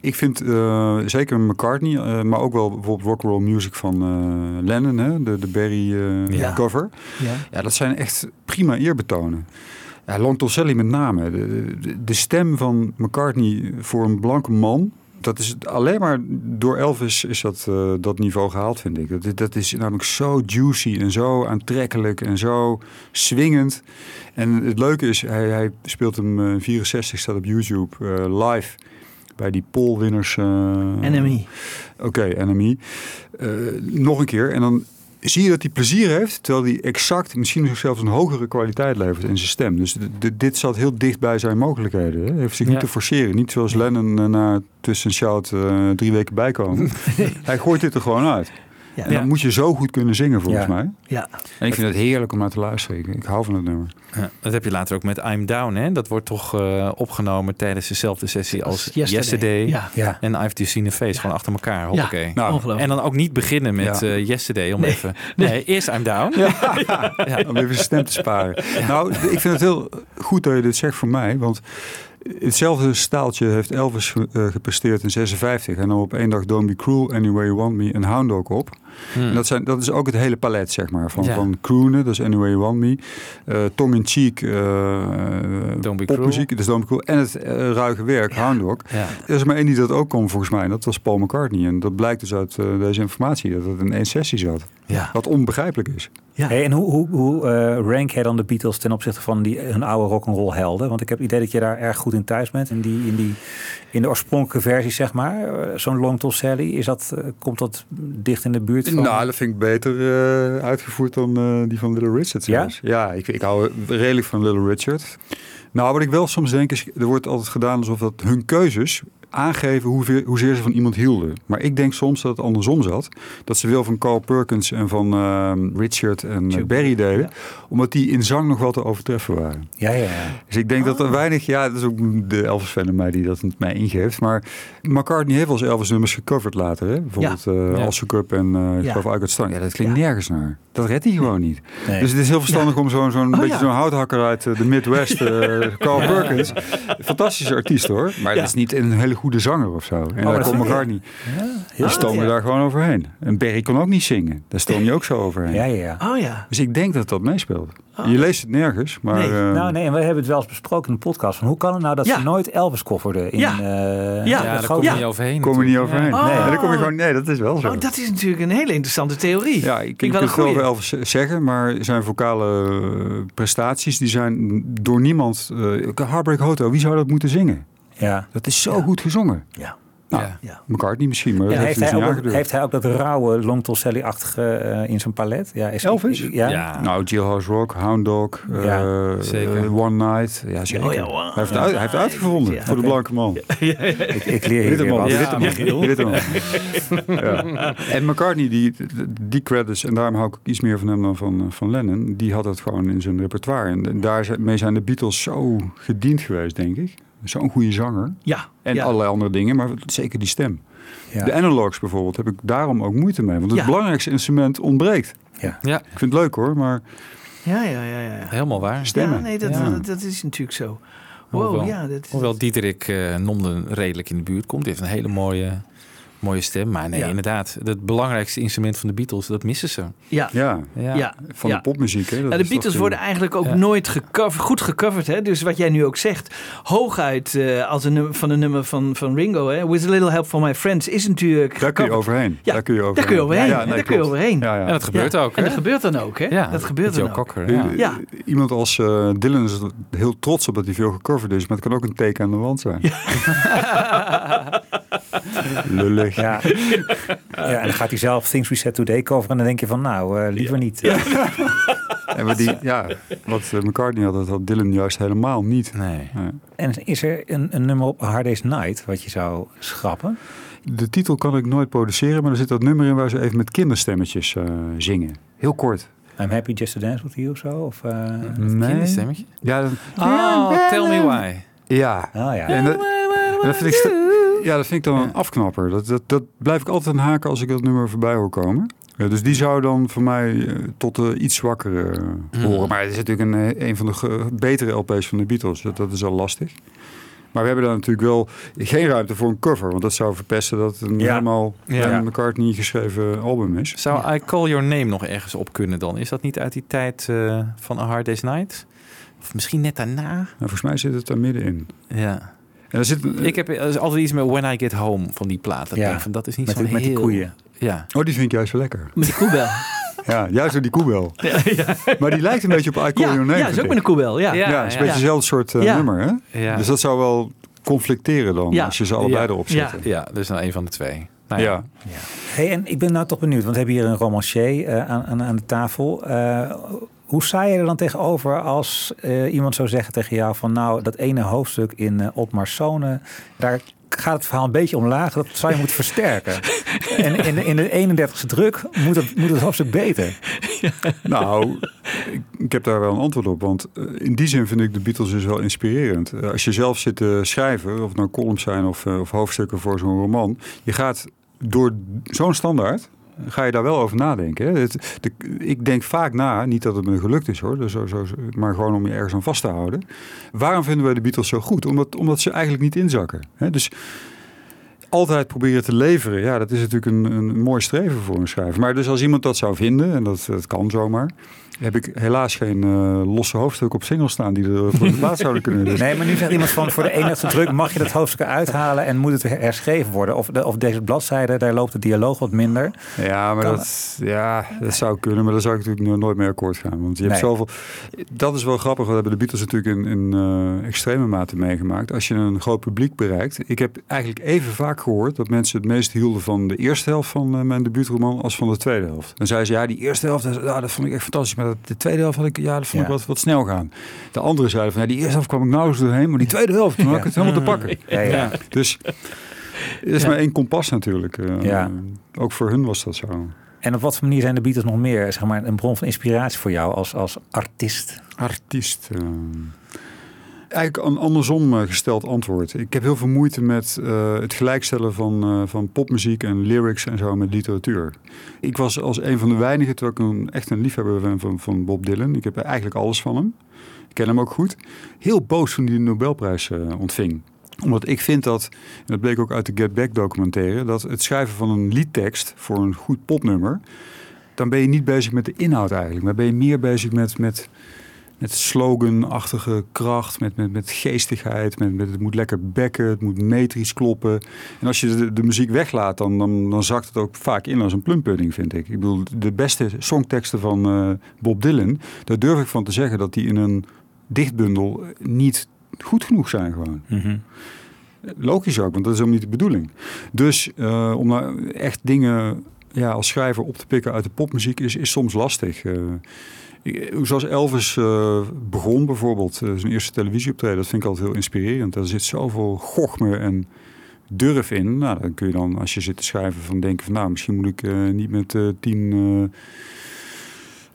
ik vind eh, zeker McCartney, eh, maar ook wel bijvoorbeeld rock'n'roll music van eh, Lennon, hè? De, de Barry eh,
Ja.
cover.
Ja.
Ja, dat zijn echt prima eerbetonen. Ja, Long Tall Sally met name. De, de, de stem van McCartney voor een blanke man. Dat is alleen maar door Elvis is dat, eh, dat niveau gehaald, vind ik. Dat, dat is namelijk zo juicy en zo aantrekkelijk en zo swingend. En het leuke is, hij, hij speelt hem eh, 64, staat op YouTube eh, live bij die polwinners. eh,
NME.
Oké, NMI. Eh, nog een keer. En dan zie je dat hij plezier heeft, terwijl hij exact misschien nog zelfs een hogere kwaliteit levert in zijn stem. Dus d- d- dit zat heel dicht bij zijn mogelijkheden. Hè? Hij heeft zich
Ja.
niet te forceren. Niet zoals Lennon eh, na tussen shout eh, drie weken bijkomen. hij gooit dit er gewoon uit.
Ja.
En dan moet je zo goed kunnen zingen volgens
Ja.
mij.
Ja.
En ik vind het heerlijk om naar te luisteren. Ik, ik hou van het nummer.
Ja, dat heb je later ook met I'm Down. Hè? Dat wordt toch eh, opgenomen tijdens dezelfde sessie als Yesterday.
Ja.
Ja.
En I've Just Seen a Face, gewoon achter elkaar. Hoppakee.
Nou, Ongelooflijk.
en dan ook niet beginnen met
Ja.
eh, Yesterday. Om even, nee. eerst I'm Down.
Om even zijn stem te sparen. Nou, d- ik vind het heel goed dat je dit zegt voor mij. Want hetzelfde staaltje heeft Elvis ge- eh, gepresteerd in 56. En dan op één dag Don't Be Cruel, Anyway You Want Me en Hound Dog op. En dat, zijn, dat is ook het hele palet, zeg maar. Van,
Hmm. Ja.
van croonen, dat is Anyway You Want Me. eh Tong-in-cheek, eh
Don't Be
popmuziek, dat is Don't Be Cruel. En het eh, ruige werk, Hound Dog.
Ja.
Er is maar één die dat ook kon, volgens mij. En dat was Paul McCartney. En dat blijkt dus uit eh, deze informatie, dat het in één sessie zat.
Ja.
Wat onbegrijpelijk is.
Hey, en hoe, hoe, hoe eh, rank jij dan de Beatles ten opzichte van die, hun oude rock'n'roll helden? Want ik heb het idee dat je daar erg goed in thuis bent. In, die, in, die, in de oorspronkelijke versie, zeg maar. Eh, Zo'n Long Tall Sally, is dat, eh, komt dat dicht in de buurt van...
Nou, dat vind ik beter eh, uitgevoerd dan eh, die van Little Richard. zelfs. ja ik, ik hou redelijk van Little Richard. Nou, wat ik wel soms denk is, er wordt altijd gedaan alsof dat hun keuzes aangeven hoeveel, hoezeer ze van iemand hielden. Maar ik denk soms dat het andersom zat. Dat ze veel van Carl Perkins en van eh, Richard en eh, Barry deden. Omdat die in zang nog wel te overtreffen waren.
ja, ja, ja.
Dus ik denk dat er weinig, ja, dat is ook de Elvis fan in mij die dat mij ingeeft. Maar McCartney heeft wel eens Elvis nummers gecoverd later. Hè? Bijvoorbeeld eh
Ja.
Also Cup en eh ik
Ja.
geloof I Got Stung. Ja, dat klinkt nergens naar. Dat redt hij gewoon niet. Dus het is heel verstandig om zo'n zo'n beetje
ja.
zo'n houthakker uit eh, de Midwest, eh, Carl Perkins. Fantastische artiest hoor. Maar dat is niet een hele goede zanger of zo. En daar
dat
komt
vind ik-
McCartney. Dan stoom je
ja.
daar gewoon overheen. En Berry kon ook niet zingen. Daar stoom je ook zo overheen.
ja, ja, ja.
Oh ja.
Dus ik denk dat dat meespeelt. Je leest het nergens, maar...
Nee.
eh,
Nou nee, en we hebben het wel eens besproken in de podcast. Van hoe kan het nou dat
Ja.
ze nooit Elvis kofferde? In,
Ja.
eh,
Ja,
Ja,
dat
daar
grote-
kom je
ja.
niet overheen.
kom je niet overheen.
Ja.
Nee,
Oh.
dan kom je gewoon. Nee, dat is wel zo.
Oh, dat is natuurlijk een hele interessante theorie.
ja, ik,
Vind
ik
ik
kan
wel
het
een
wel
goeie.
wel z- zeggen, maar zijn vocale eh, prestaties die zijn door niemand. eh Heartbreak Hotel, wie zou dat moeten zingen?
Ja.
Dat is zo goed gezongen.
Ja.
Nou,
Ja.
Ja.
McCartney misschien, maar dat
En
heeft
heeft,
hij dus
hij
niet
ook, dat-
aangedurfd.
heeft hij ook dat rauwe Long Tall Sally-achtige eh, in zijn palet? Ja, is
Elvis?
Ja.
Ja.
Nou, Jailhouse Rock, Hound Dog, eh,
Ja,
zeker.
eh, One Night. Ja, zeker.
ja, One
hij, heeft het uit- hij heeft het uitgevonden voor de blanke man.
Ik, ik leer hier weer
Ritterman.
wat.
Ja,
Ritterman. Ritterman. Ja. En McCartney, die, die credits, en daarom hou ik ook iets meer van hem dan van, eh, van Lennon, die had dat gewoon in zijn repertoire. En, en daarmee zijn de Beatles zo gediend geweest, denk ik. Zo'n goede zanger.
Ja.
En
ja.
allerlei andere dingen, maar zeker die stem.
Ja.
De analogs bijvoorbeeld heb ik daarom ook moeite mee. Want het
Ja.
belangrijkste instrument ontbreekt.
Ja,
Ik vind het leuk hoor, maar
ja, ja, ja, ja.
helemaal waar.
stemmen.
Ja, nee, dat,
Ja.
Dat, dat is natuurlijk zo. Wow,
Hoewel-
ja, dat is...
Hoewel Diederik eh Nomden redelijk in de buurt komt. Die heeft een hele mooie, mooie stem. Maar nee,
Ja.
inderdaad. Het belangrijkste instrument van de Beatles, dat missen ze.
Ja, ja.
Ja,
Ja.
ja.
van de popmuziek. Hè, dat
Ja,
is
de
toch,
Beatles
eh,
worden eigenlijk ook
Ja.
nooit gecoverd, goed gecoverd. Hè? Dus wat jij nu ook zegt, hooguit eh, als een nummer, van een nummer van, van Ringo, hè? With a Little Help from My Friends, is natuurlijk
Daar kun je
gecoverd.
overheen.
Ja,
daar kun je overheen.
daar kun je overheen.
Ja, nee,
Daar kun je
klopt.
overheen.
Ja,
En
ja.
dat gebeurt ook. hè?
En dat gebeurt dan ook, hè?
ja,
dat gebeurt
Joe
dan ook.
Cocker, ja.
Ja.
Iemand als eh, Dylan is er heel trots op dat hij veel gecoverd is, maar het kan ook een teken aan de wand zijn. Lullig.
Ja. ja, en dan gaat hij zelf Things We Said Today coveren en dan denk je van nou, eh, liever niet.
En wat, die, ja, wat eh, McCartney had, dat had Dylan juist helemaal niet.
Nee.
En is er een, een nummer op A Hard Day's Night wat je zou schrappen?
De titel kan ik nooit produceren, maar er zit dat nummer in waar ze even met kinderstemmetjes eh, zingen. Heel kort.
I'm Happy Just to Dance With You of zo? Of, eh,
Kinderstemmetje?
Ja, dat-
Oh, tell me why.
ja.
Oh ja.
En dat, en dat vind ik sta- ja, dat vind ik dan een afknapper. Dat, dat, dat blijf ik altijd aan haken als ik dat nummer voorbij hoor komen. Ja, dus die zou dan voor mij eh, tot de iets zwakkere eh,
Mhm.
horen. Maar het is natuurlijk een, eh, een van de ge- betere LP's van de Beatles. Dat, dat is al lastig. Maar we hebben daar natuurlijk wel geen ruimte voor een cover. Want dat zou verpesten dat het een
Ja.
helemaal
Ja.
door McCartney geschreven album is.
Zou I Call Your Name nog ergens op kunnen dan? Is dat niet uit die tijd eh, van A Hard Day's Night? Of misschien net daarna?
Nou, volgens mij zit het daar middenin.
Ja.
En er zit, een-
Ik heb eh, altijd iets met When I Get Home van die plaat. Dat
Ja.
ik denk van, dat is niet
Met,
zo'n
die- met die
heel-
koeien.
Ja.
oh, die vind ik juist wel lekker.
Met de koebel.
Ja, juist door die koebel. Maar die lijkt een beetje op I
ja,
Call Your Name.
ja,
vind
is ook
ik.
met een koebel, ja.
Ja, het is een beetje hetzelfde soort eh,
Ja.
nummer, hè?
Ja.
Dus dat zou wel conflicteren dan,
Ja.
als je ze allebei
Ja.
erop zet.
ja, dus dan een van de twee.
Ja.
Nou ja.
Hey, en ik ben nou toch benieuwd, want we hebben hier een romancier eh, aan, aan, aan de tafel. Eh, hoe sta je er dan tegenover als eh, iemand zou zeggen tegen jou van nou, dat ene hoofdstuk in eh Otmar Sone, daar gaat het verhaal een beetje omlaag, dat zou je moeten versterken. En in, de- in de 31ste druk moet het, moet het hoofdstuk beter.
Nou, ik, ik heb daar wel een antwoord op. Want eh, in die zin vind ik de Beatles dus wel inspirerend. Eh, als je zelf zit te schrijven, of het nou columns zijn of, eh, of hoofdstukken voor zo'n roman. Je gaat door zo'n standaard, ga je daar wel over nadenken. Hè? Het, de, ik denk vaak na, niet dat het me gelukt is hoor, dus zo, zo, zo- maar gewoon om je ergens aan vast te houden. Waarom vinden wij de Beatles zo goed? Omdat, omdat ze eigenlijk niet inzakken. Hè? Dus altijd proberen te leveren, ja, dat is natuurlijk een, een mooi streven voor een schrijver. Maar dus als iemand dat zou vinden, en dat, dat kan zomaar, heb ik helaas geen eh, losse hoofdstuk op singles staan die er voor de plaats zouden kunnen. Dus
Nee, maar nu zegt iemand van voor de 31ste druk mag je dat hoofdstuk uithalen en moet het her- herschreven worden. Of, de, of deze bladzijde, daar loopt de dialoog wat minder.
Ja, maar
Kan-
dat, ja, dat zou kunnen, maar daar zou ik natuurlijk no- nooit mee akkoord gaan. Want je hebt
Nee.
zoveel. Dat is wel grappig. Wat hebben de Beatles natuurlijk in, in eh, extreme mate meegemaakt. Als je een groot publiek bereikt. Ik heb eigenlijk even vaak gehoord dat mensen het meest hielden van de eerste helft van eh, mijn debuutroman als van de tweede helft. Dan zeiden ze ja, die eerste helft, dat, ja, dat vond ik echt fantastisch. Maar dat, de tweede helft had ik, ja, dat vond ik
Ja.
wat, wat snel gaan. De andere zeiden van ja, die eerste helft kwam ik nauwelijks doorheen, maar die tweede helft, toen had ik het helemaal te pakken.
Ja, ja.
Dus er is maar één kompas natuurlijk. eh,
Ja.
Ook voor hun was dat zo.
En op wat voor manier zijn de Beatles nog meer zeg maar, een bron van inspiratie voor jou als, als artiest?
Artiest. eh. Eigenlijk een andersom eh, gesteld antwoord. Ik heb heel veel moeite met eh, het gelijkstellen van, eh, van popmuziek en lyrics en zo met literatuur. Ik was als een van de weinigen, terwijl ik een, echt een liefhebber ben van, van Bob Dylan. Ik heb eigenlijk alles van hem. Ik ken hem ook goed. Heel boos toen hij de Nobelprijs eh, ontving omdat ik vind dat, en dat bleek ook uit de Get Back documentaire, dat het schrijven van een liedtekst voor een goed popnummer, dan ben je niet bezig met de inhoud eigenlijk, maar ben je meer bezig met, met, met sloganachtige kracht, met, met, met geestigheid, met, met het moet lekker bekken, het moet metrisch kloppen. En als je de, de muziek weglaat, dan, dan, dan zakt het ook vaak in als een plumpudding, vind ik. Ik bedoel, de beste songteksten van eh, Bob Dylan, daar durf ik van te zeggen dat die in een dichtbundel niet goed genoeg zijn gewoon. Logisch ook, want dat is helemaal niet de bedoeling. Dus eh, om nou echt dingen ja, als schrijver op te pikken uit de popmuziek is, is soms lastig. Eh, ik- zoals Elvis eh, begon bijvoorbeeld, eh, zijn eerste televisieoptreden, dat vind ik altijd heel inspirerend. Daar zit zoveel gochme en durf in. Nou, dan kun je dan, als je zit te schrijven, van denken van nou, misschien moet ik eh, niet met eh, tien eh,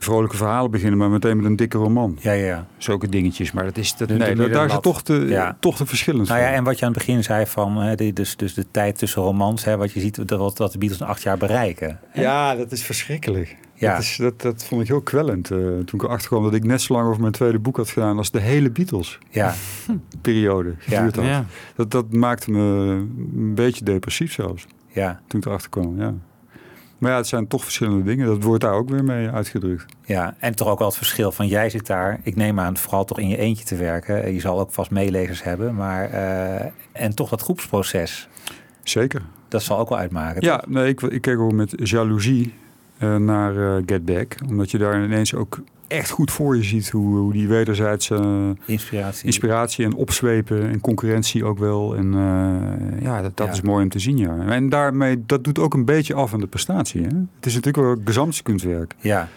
vrolijke verhalen beginnen, maar meteen met een dikke roman.
Ja, ja, ja.
Zulke dingetjes, maar dat is... Dat,
Nee,
nee,
nee,
daar- daar
dat-
zit toch de,
ja.
toch de verschillend
Nou ja,
van.
en wat je aan het begin zei van hè, de- dus, dus de tijd tussen romans, hè, wat je ziet dat, wat- dat de Beatles in acht jaar bereiken.
Ja, dat is verschrikkelijk.
Ja.
Dat, is, dat, dat vond ik heel kwellend eh, toen ik erachter kwam dat ik net zo lang over mijn tweede boek had gedaan als de hele
Ja,
Beatles-periode geduurd had.
Ja.
Dat, dat maakte me een beetje depressief zelfs
ja,
toen ik erachter kwam. Ja. Maar ja, het zijn toch verschillende dingen. Dat wordt daar ook weer mee uitgedrukt.
ja. En toch ook wel het verschil van jij zit daar, ik neem aan, vooral toch in je eentje te werken. Eh, Je zal ook vast meelezers hebben, maar eh, en toch dat groepsproces,
Zeker.
dat zal ook wel uitmaken.
Ja, nee, ik, ik keek ook met jaloezie eh, naar eh, Get Back. Omdat je daar ineens ook echt goed voor je ziet hoe, hoe die wederzijdse eh,
toch? Inspiratie.
inspiratie en opzwepen en concurrentie ook wel. En eh, ja, dat, dat
Ja.
is mooi om te zien, ja. En daarmee, dat doet ook een beetje af aan de prestatie, hè? Het is natuurlijk wel gezamtskunstwerk.
ja,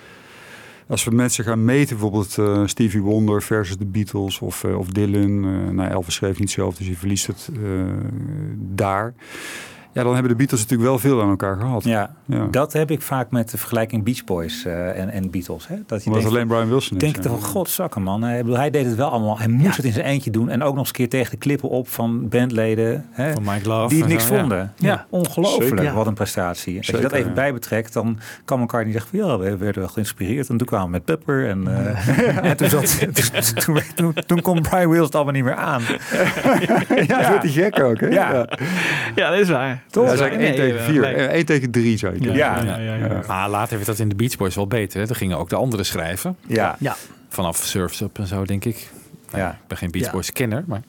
Als we mensen gaan meten, bijvoorbeeld eh, Stevie Wonder versus de Beatles of, eh, of Dylan. eh nou, Elvis schreef niet zelf, dus je verliest het eh, daar. Ja, dan hebben de Beatles natuurlijk wel veel aan elkaar gehad.
ja.
Ja.
Dat heb ik vaak met de vergelijking Beach Boys eh, en, en Beatles. Hè? Dat je
Omdat
denkt-
alleen Brian Wilson is.
denk ik
ja.
toch van, godzakken man. Hij, bedoel, hij deed het wel allemaal. Hij moest het in zijn eentje doen. En ook nog eens een keer tegen de klippen op van bandleden. Hè,
Van Mike Love.
die het
en
niks
zo, ja.
vonden. Ja, ongelooflijk.
Zeker.
Wat een prestatie. Als je
Zeker,
dat even
ja.
bij betrekt, dan kan elkaar niet zeggen van ja, we werden wel geïnspireerd. En toen kwamen we met Pepper. En, eh, en toen, zat, toen, toen, toen kon Brian Wills het allemaal niet meer aan.
Ja, dat wordt die gek ook, hè?
Ja.
Ja, dat is waar.
Toch? Ja,
Dat is waar.
dat is eigenlijk 1
Nee,
tegen
eh,
4.
nee.
1 tegen 3 zou je kunnen
Ja.
zeggen.
Maar later werd dat in de Beach Boys wel beter. Hè? Toen gingen ook de anderen schrijven.
Ja,
Ja,
Vanaf Surf's Up en zo, denk ik.
ja.
Ik ben geen Beach
Ja.
Boys kenner, maar...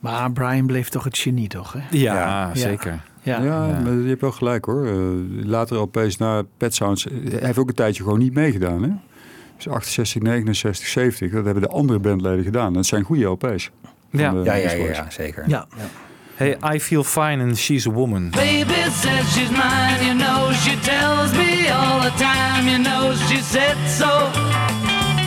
maar Brian bleef toch het genie, toch? Hè?
Ja,
Ja.
zeker.
Ja.
Ja,
Ja.
maar je hebt wel gelijk hoor. Eh, Later LP's na Pet Sounds eh, hij heeft ook een tijdje gewoon niet meegedaan. Hè? Dus 68, 69, 70. Dat hebben de andere bandleden gedaan. Dat zijn goede LP's. van
Ja.
de
Ja, ja,
Beach
ja,
Boys.
ja, zeker.
Ja.
Hey, I Feel Fine and She's a Woman.
Baby says she's mine, you know she tells me all the time, you know she said so.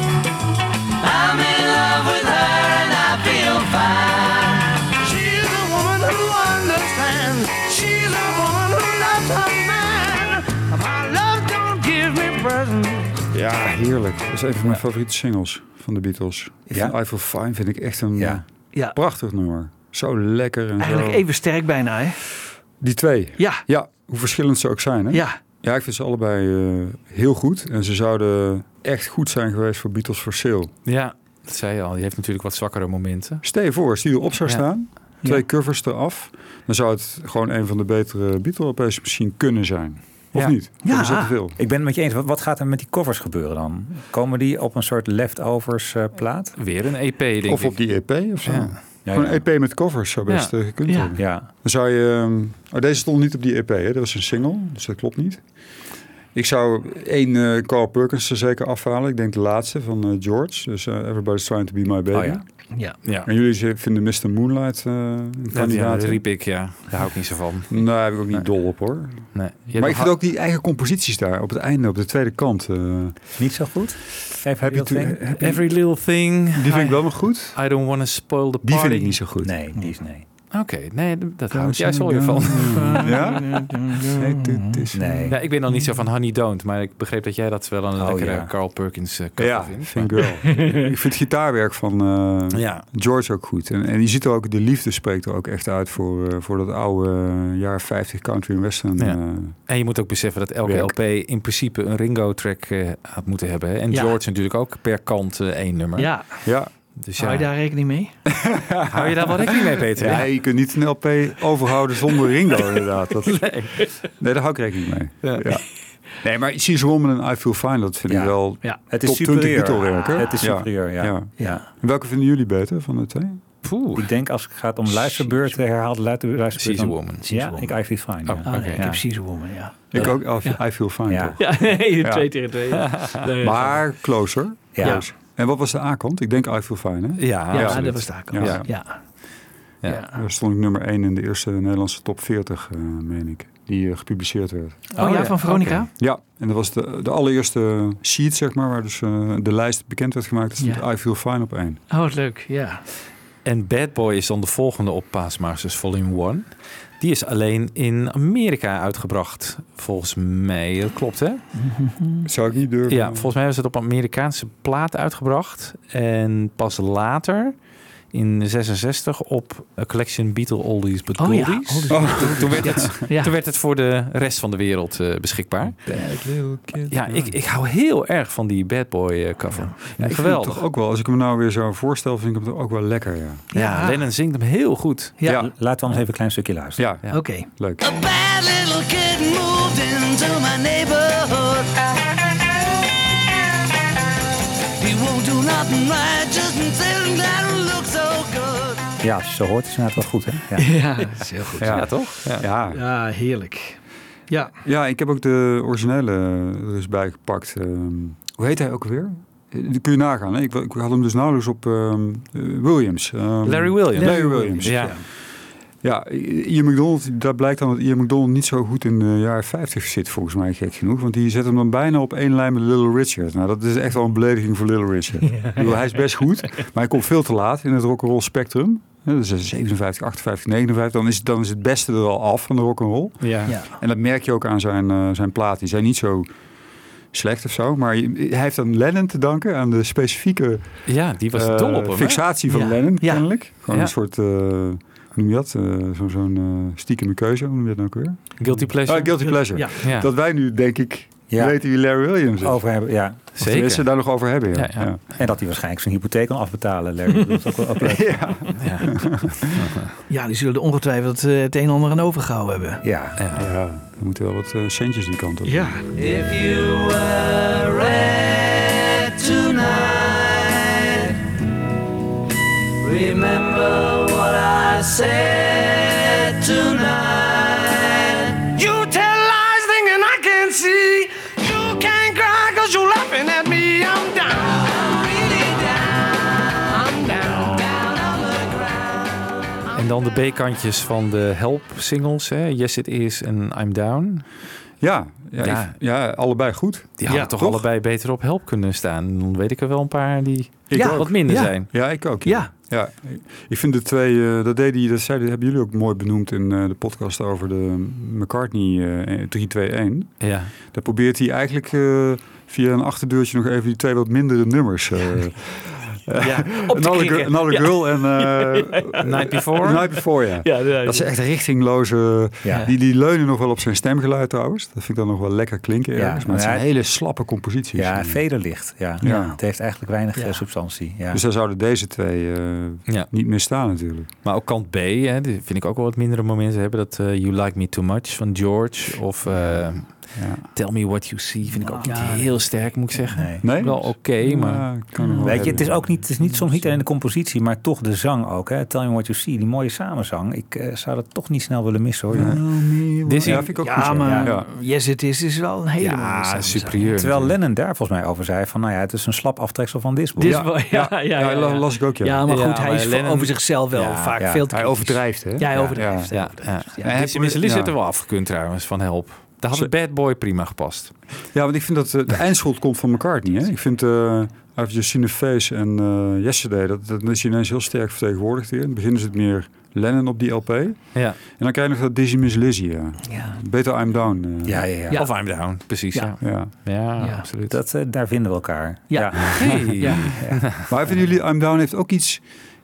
I'm in love with her and I feel fine.
She's a woman who understands. She's a woman who loves her man.
My love don't give me presents.
Ja, heerlijk. Dat is een van mijn favoriete singles van de Beatles. Ik
Ja?
vind I Feel Fine vind ik echt een
Ja.
Ja.
prachtig nummer. Zo lekker en
Eigenlijk
zo.
even sterk bijna, hè?
Die twee.
Ja,
Ja, hoe verschillend ze ook zijn. Hè?
ja.
Ja, ik vind ze allebei eh, heel goed. En ze zouden echt goed zijn geweest voor Beatles for Sale.
Ja, dat zei je al. Die heeft natuurlijk wat zwakkere momenten.
Stel je voor, als die erop zou
Ja.
staan, twee covers eraf, dan zou het gewoon een van de betere Beatle-LP's misschien kunnen zijn. Of
Ja.
niet?
Ja.
Ja. Is dat te veel?
Ik ben het met je eens. Wat- Wat gaat er met die covers gebeuren dan? Komen die op een soort leftovers eh, plaat?
Weer een EP, denk
Of
ik.
op die EP of zo.
Ja.
Ja,
Gewoon
ja.
een EP met covers zou best
Ja.
eh, gekund
Ja.
hebben.
Ja,
Dan zou je... ehm, Oh, deze stond niet op die EP, hè? dat was een single, dus dat klopt niet. Ik zou één eh Carl Perkins er zeker afhalen. Ik denk de laatste van eh, George. Dus eh, Everybody's Trying to Be My Baby.
Oh ja.
ja.
Ja.
En jullie ze- vinden Mr. Moonlight eh een
Ja, die- ja,
kandidaat?
dat riep ik, ja. Daar hou ik niet zo van.
Nee, daar heb ik ook niet dol op hoor.
Nee.
maar ik vind ook die eigen composities daar op het einde, op de tweede kant. eh,
niet zo goed. Even
heb je
heel
toen-
flink.
heb je-
Every little thing.
die vind ik wel nog goed.
I don't want to spoil the party.
Die vind ik niet zo goed.
Nee, die is nee.
Oké, nee, d- dat hou ik juist alweer van.
Ja?
Nee.
Ja, ik ben dan niet zo van Honey Don't, maar ik begreep dat jij dat wel een
Oh,
lekkere
ja.
Carl Perkins eh cover
Ja,
vindt.
vind ik wel. ik vind het gitaarwerk van eh,
Ja.
George ook goed. En, en je ziet er ook, de liefde spreekt er ook echt uit voor, eh, voor dat oude eh, jaren 50 country en western.
Ja.
eh,
En je moet ook beseffen dat elke
Werk.
LP in principe een Ringo-track eh, had moeten hebben. Hè? En
Ja.
George natuurlijk ook per kant eh, één nummer.
ja. Oh,
ja.
Dus ja,
Hou je daar rekening mee?
hou je daar wel rekening mee, Peter?
Ja, je kunt niet een LP overhouden zonder Ringo, inderdaad. Dat, nee. daar hou ik rekening mee.
Ja.
Ja. Nee, maar She's a Woman en I Feel Fine, dat vind
Ja.
ik wel
Ja.
Het is
top 20
superieur.
Beatle-werk. hè?
Het is
Ja.
superieur, ja. Ja.
Ja. En Welke vinden jullie beter van de twee?
Poeh.
Ik denk als het gaat om luisterbeurten, herhaald luisterbeurten.
She's a woman. She's
Ja,
a
ik
woman.
eigenlijk fine. ja.
Oh,
Ah, nee,
Oké,
ik
ja.
heb precies woman, ja.
Ik ook, I Feel- I Feel Fine
Ja.
toch?
Ja, nee,
Ja.
twee tegen twee.
Maar closer.
Ja.
En wat was de A-kant? Ik denk I Feel Fine, hè?
Ja,
Ja,
absoluut.
dat was daar.
Ja.
Ja.
Ja.
Daar stond ik nummer 1 in de eerste Nederlandse top 40, eh, meen ik. Die eh, gepubliceerd werd.
Oh, ja, van Veronica?
Ja, en dat was de, de allereerste sheet, zeg maar, waar dus eh, de lijst bekend werd gemaakt. Dat stond
Ja.
I Feel Fine op 1.
Oh, wat leuk, ja.
En Bad Boy is dan de volgende op Paasmasters Volume 1. Die is alleen in Amerika uitgebracht, volgens mij. Dat klopt, hè?
Zou ik niet durven. eh,
Ja, volgens mij was het op Amerikaanse plaat uitgebracht. En pas later, in 66, op A Collection Beatle Oldies But
Oh
Goldies.
ja, Oldies
Oh,
Toen werd, het,
Ja.
toen werd het voor de rest van de wereld eh, beschikbaar.
Bad little kid.
Ja, ik, ik hou heel erg van die Bad Boy eh, cover. Ja,
ik vind hem
geweldig.
toch ook wel, als ik hem nou weer zo voorstel, vind ik hem toch ook wel lekker, ja.
ja. Lennon zingt hem heel goed.
Ja.
Ja.
Laten we anders even een klein stukje luisteren.
Ja,
Oké.
leuk.
A bad little kid moved into my neighborhood. He won't do nothing right, just sitting there and look so good.
Ja, als je zo hoort is het inderdaad wel goed, hè? Ja.
Ja, dat is heel goed.
Ja, toch? Ja.
Ja,
Ja, heerlijk. Ja,
Ja, ik heb ook de originele eh, er dus bijgepakt. Ehm, hoe heet hij ook weer? Dat kun je nagaan. Hè? Ik, wa- ik had hem dus nauwelijks op ehm, eh, Williams. Ehm,
Larry Williams.
Larry Williams.
Ja.
Ja, Ian McDonald, daar blijkt dan dat Ian McDonald niet zo goed in de jaren 50 zit, volgens mij gek genoeg. Want die zet hem dan bijna op één lijn met Little Richard. Nou, dat is echt wel een belediging voor Little Richard. Ik bedoel, hij is best goed, maar hij komt veel te laat in het rock'n'roll spectrum. Ja, Dus 57, 58, 59, dan is, dan is het beste er al af van de rock'n'roll.
Ja.
ja.
En dat merk je ook aan zijn, eh, zijn plaat. Die zijn niet zo slecht of zo. Maar je- hij heeft aan Lennon te danken. Aan de specifieke
Ja, die was
eh,
dol op hem. hè?
fixatie van
Ja.
Lennon,
Ja.
kennelijk. Gewoon
Ja.
een soort... eh, hoe noem je dat? Eh, Zo'n zo'n, eh, stiekeme keuze, hoe noem je dat nou ook weer?
Guilty Pleasure.
Ah, guilty pleasure.
Ja.
Ja.
Dat wij nu, denk ik,
Ja.
weten wie Larry Williams is.
Over hebben, ja.
Of tenminste, daar nog over hebben, ja.
Ja, ja.
Ja.
En dat hij waarschijnlijk zijn hypotheek kan afbetalen, Larry. Dat is ook wel ook leuk.
ja, die zullen er ongetwijfeld eh, het een en ander aan overgehouden hebben.
Ja.
Ja, er moeten wel wat eh, centjes die kant op.
Ja.
If you were red tonight, remember what I said tonight.
You tell lies thinking I can see. You can't cry cause you're laughing at me. I'm down.
Really down,
I'm down.
down on the ground.
En dan de B-kantjes van de Help-singles. hè? Yes It Is en I'm Down.
Ja, ja, ik-
Ja.
ja. allebei goed.
Die hadden toch,
toch?
allebei beter op Help kunnen staan. Dan weet ik er wel een paar die
Ik
ja,
ook.
wat minder
Ja.
zijn.
Ja, ik ook.
Ja.
Ja, ik vind de twee, eh, dat deden die, dat zeiden, hebben jullie ook mooi benoemd in eh, de podcast over de McCartney eh 321.
Ja.
Daar probeert hij eigenlijk eh, via een achterdeurtje nog even die twee wat mindere nummers. eh Another, Girl- Another Girl en eh,
Night Before.
Night Before, ja. Dat is echt richtingloze.
Ja.
Die, die leunen nog wel op zijn stemgeluid trouwens. Dat vind ik dan nog wel lekker klinken.
Ja,
ergens, maar het
maar
zijn
hij-
hele slappe composities. Mm.
Ja, vederlicht. Ja.
Ja.
Het heeft eigenlijk weinig
Ja.
eh, substantie. Ja.
Dus daar zouden deze twee eh,
Ja.
niet meer staan natuurlijk.
Maar ook kant B, hè, die vind ik ook wel wat mindere momenten hebben. Dat eh, You Like Me Too Much van George. Of eh, Tell Me What You See vind ik ook niet heel sterk, moet ik zeggen.
Nee.
Nee?
Wel oké, maar...
Ja, kan er wel
Weet je, het
hebben.
is ook niet, het is niet, soms niet alleen de compositie, maar toch de zang ook. Hè. Tell me what you see, die mooie samenzang. Ik eh, zou dat toch niet snel willen missen hoor. Mm. jongen.
Dizzy.
Ja, vind ik ook goed,
Ja,
ja.
maar
Ja.
Yes It Is is wel een hele mooie
Ja,
samenstelling.
superieur.
Terwijl Lennon daar volgens mij over zei van, nou ja, het is een slap aftreksel van Disney.
Dit is wel- ja, ja, ja,
Ja, la-
ja.
las ik ook, ja.
Ja, maar
Ja,
goed, hij
maar
is
Lennon-
over zichzelf wel
Ja,
vaak
ja.
veel te
Hij
kritisch.
overdrijft, hè?
Ja, hij overdrijft.
Ja, ja.
En hij
ja. Dizzy
probeert-
Mizzelli
ja.
zit er wel afgekund trouwens, van Help. Daar had
Ze-
het Bad Boy prima gepast.
Ja, want ik vind dat eh, de eindschot komt van McCartney. Hè? Ik vind eh I've Just Seen a Face en eh, Yesterday, dat, dat is ineens heel sterk vertegenwoordigd hier. In het begin is het meer Lennon op die LP. En
Ja.
dan krijg je nog dat Dizzy Miss Lizzy, ja.
Ja.
Better I'm Down. eh.
Ja, ja, ja.
Ja.
Of I'm Down, precies. Ja,
Ja.
ja.
ja.
Ja.
absoluut.
Dat, eh, daar vinden we elkaar.
Ja.
Hey.
Ja.
Maar vinden jullie, I'm Down heeft ook iets,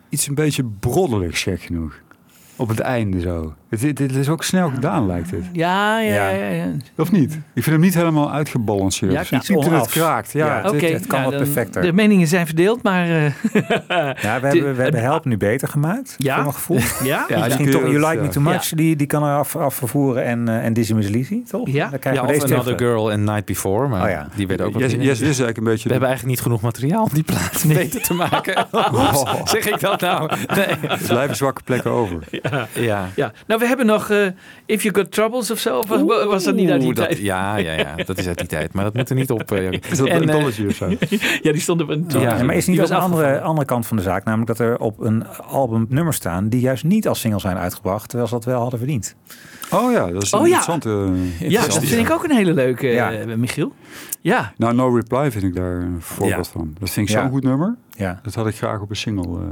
iets een beetje broddeligs, gek genoeg. Op het einde zo. Het, het, het is ook snel gedaan, lijkt het.
Ja, ja,
Ja.
ja. ja.
Of niet? Ik vind hem niet helemaal uitgebalanceerd.
Ja,
Of
iets
dat het
onaf.
kraakt. Ja,
Ja.
het-
Oké,
het- het kan
ja,
wat
dan-
perfecter.
De meningen zijn verdeeld, maar eh,
Ja, we hebben, we hebben Help nu beter gemaakt,
Ja.
voor mijn gevoel.
ja. eh,
Ja,
Misschien
die
toch
kun je
You
ook,
Like Me
ja.
Too Much, die, die kan er af, afvervoeren en, eh, en Dizzy Miss Lizzy, toch?
Ja.
Dan
Ja,
krijgen we
of
deze twee
Another
terug.
Girl en Night Before. Maar
Oh ja.
die werden ook wat
Yes,
minder.
yes, is eigenlijk een beetje...
We hebben eigenlijk niet genoeg materiaal om die plaat beter te
Oh,
maken. Oeps, Zeg ik dat nou? Nee.
Er blijven zwakke plekken over.
Ja.
Ja, nou, we hebben nog eh, If You Got Troubles of zo. Of was- was dat niet uit die
Oeh, dat-
tijd?
Ja, ja, ja, dat is uit die tijd. Maar dat moet er niet op. eh, Jacob.
Is dat
En,
een
eh,
dolletje of zo?
Ja, die stonden we
Ja,
Ja, maar is
die
niet
was
ook een andere,
afgevallen.
andere kant van de zaak, namelijk dat er op een album nummers staan die juist niet als single zijn uitgebracht, terwijl ze dat wel hadden verdiend.
Oh ja, dat is een
Oh ja.
interessante... eh,
Ja, dat vind ik ook een hele leuke, eh,
Ja.
Michiel. Ja,
Nou, No Reply vind ik daar een voorbeeld
Ja.
van. Dat vind ik
Ja.
zo'n goed nummer.
Ja.
Dat had ik graag op een single. eh.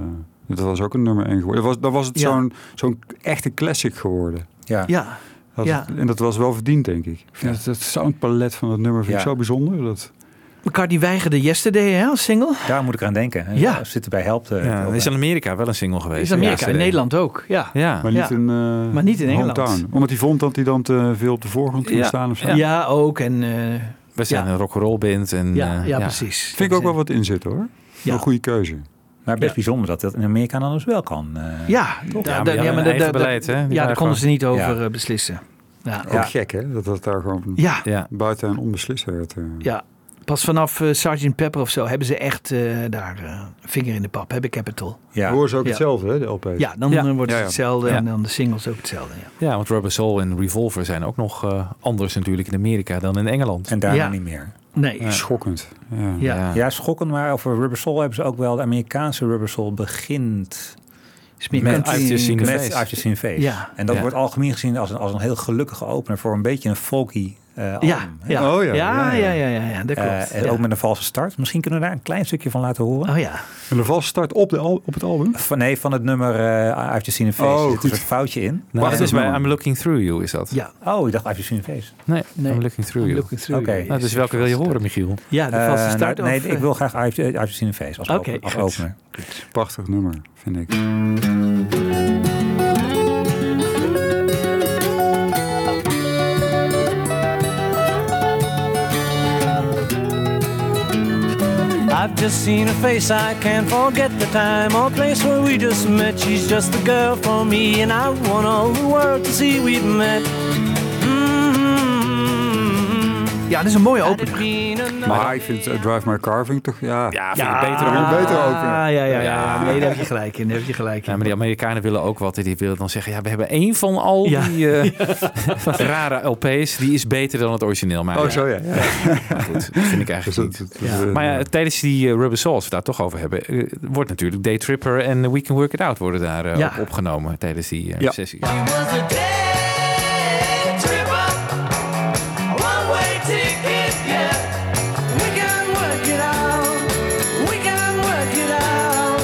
dat was ook een nummer 1 geworden. Dat was, dat was het
Ja.
zo'n, zo'n echte classic geworden.
Ja.
ja.
Dat
Ja.
het- en dat was wel verdiend, denk ik. ik vind het, het soundpalet van dat nummer vind ik
Ja.
zo bijzonder. Dat,
McCartney weigerde Yesterday hè, als single.
Daar moet ik aan denken.
Ja.
We Zitten bij Help. eh,
Ja,
ook
dat is
bij.
in Amerika wel een single geweest.
Is Amerika,
Ja,
in Nederland ook. Ja.
Ja.
maar, niet
Ja.
in, eh,
Maar niet in Engeland.
Hometown. Omdat hij vond dat hij dan te veel op de voorgrond ging
Ja.
staan of zo.
Ja, ook. En, eh,
We zijn
Ja.
een rock'n'roll band. En,
ja, ja,
eh,
precies.
Vind ik ook wel wat in zitten hoor. Wel een goede keuze.
Maar best
Ja.
bijzonder dat dat in Amerika dan dus wel kan. eh.
Ja,
Ja,
da-
maar
da-
die hadden een
da-
eigen
da-
beleid, hè? Die
ja, daar
waren
konden ze niet over
Ja.
eh, beslissen. Ja.
Ook gek hè, dat dat daar gewoon
Ja.
Ja.
buiten en onbeslist werd. eh.
Ja, pas vanaf eh, Sgt. Pepper of zo hebben ze echt eh, daar eh, vinger in de pap, hebben Capital.
We
ja.
horen ze ook
Ja.
hetzelfde hè, de LP's.
Ja, dan
Ja.
eh, wordt
Ja,
het
ja.
hetzelfde en
Ja.
dan de singles ook hetzelfde. Ja.
Ja, want Rubber Soul en Revolver zijn ook nog eh, anders natuurlijk in Amerika dan in Engeland.
En daarna
Ja.
niet meer.
Nee, ja.
Schokkend. Ja.
Ja.
Ja, schokkend, maar over Rubber Soul hebben ze ook wel. De Amerikaanse Rubber Soul begint
is meer
Met
country.
I've Just Seen In the
met
Face.
I've Just Seen Face.
Ja.
En dat
Ja.
wordt algemeen gezien als een, als een heel gelukkige opener voor een beetje een folky eh album.
ja,
hè.
ja.
Oh,
ja,
ja,
ja,
ja,
ja, ja, ja, dat klopt.
Eh, en
ja.
ook met een valse start. Misschien kunnen we daar een klein stukje van laten horen.
Oh ja,
En de valse start op, de al- op het album.
Van, nee, van het nummer eh I've Just Seen a Face.
Oh,
Er zit
goed.
een soort foutje in.
Nou,
Wacht
dat is
even,
bij
man.
I'm Looking Through You, is dat?
ja.
Oh, ik dacht I've Just Seen a Face.
Nee,
Nee.
I'm Looking Through You.
Looking through.
Oké.
you.
Nou, dus welke wil je horen, Michiel?
Ja, de valse
Eh,
start.
nou, nee,
of,
ik wil graag I've, I've Just Seen a Face als,
Oké,
open- als
goed.
opener.
Prachtig nummer, vind ik.
I've just seen her face, I can't forget the time or place where we just met. She's just the girl for me, and I want all the world to see we've met.
eh, Ja, dat is een mooie opener.
Maar ik vind eh, Drive My Carving toch, ja.
Ja, vind ik beter dan...
een betere opener.
Ah, ja, ja, ja, ja.
Ja.
Nee, daar heb je gelijk in. Daar heb je gelijk in.
Ja, maar die Amerikanen willen ook wat. En die willen dan zeggen, ja, we hebben één van al
Ja.
die eh, rare LP's. Die is beter dan het origineel. Maar
Oh,
ja,
zo ja. ja.
maar goed, dat vind ik
Dus
eigenlijk niet.
dat- dat- dat-
Maar ja, tijdens die eh, Rubber Soul, als we het daar toch over hebben... eh, wordt natuurlijk Day Tripper en We Can Work It Out worden daar eh,
Ja.
op opgenomen tijdens die eh,
Ja.
sessies.
was a day trip up, a one-way ticket, yeah. We can work it out. We can work it out.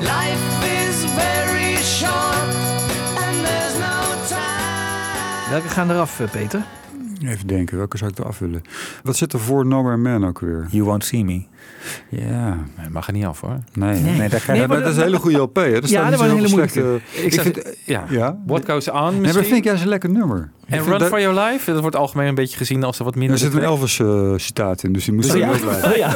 Life is very short, and there's no time.
Welke gaan eraf, eh, Peter?
Even denken, welke zou ik eraf willen? Wat zit er voor No Man Man ook weer?
You Won't See Me.
Ja,
Nee, mag er niet af, hoor.
nee.
Nee, daar krijg
Ja,
je
maar dat is een hele goede LP. Hè? Er
dat
staat niet
was een
zo'n
hele
slechte...
Ik,
ik
zag- eh,
vind,
ja.
ja.
What Goes On
Nee, maar
misschien?
dat vind ik juist een lekker nummer.
en Run For Your Life? Dat wordt algemeen een beetje gezien als er wat
Er
minder...
zit een Elvis eh, citaat in, dus die moest er ook blijven.
ja.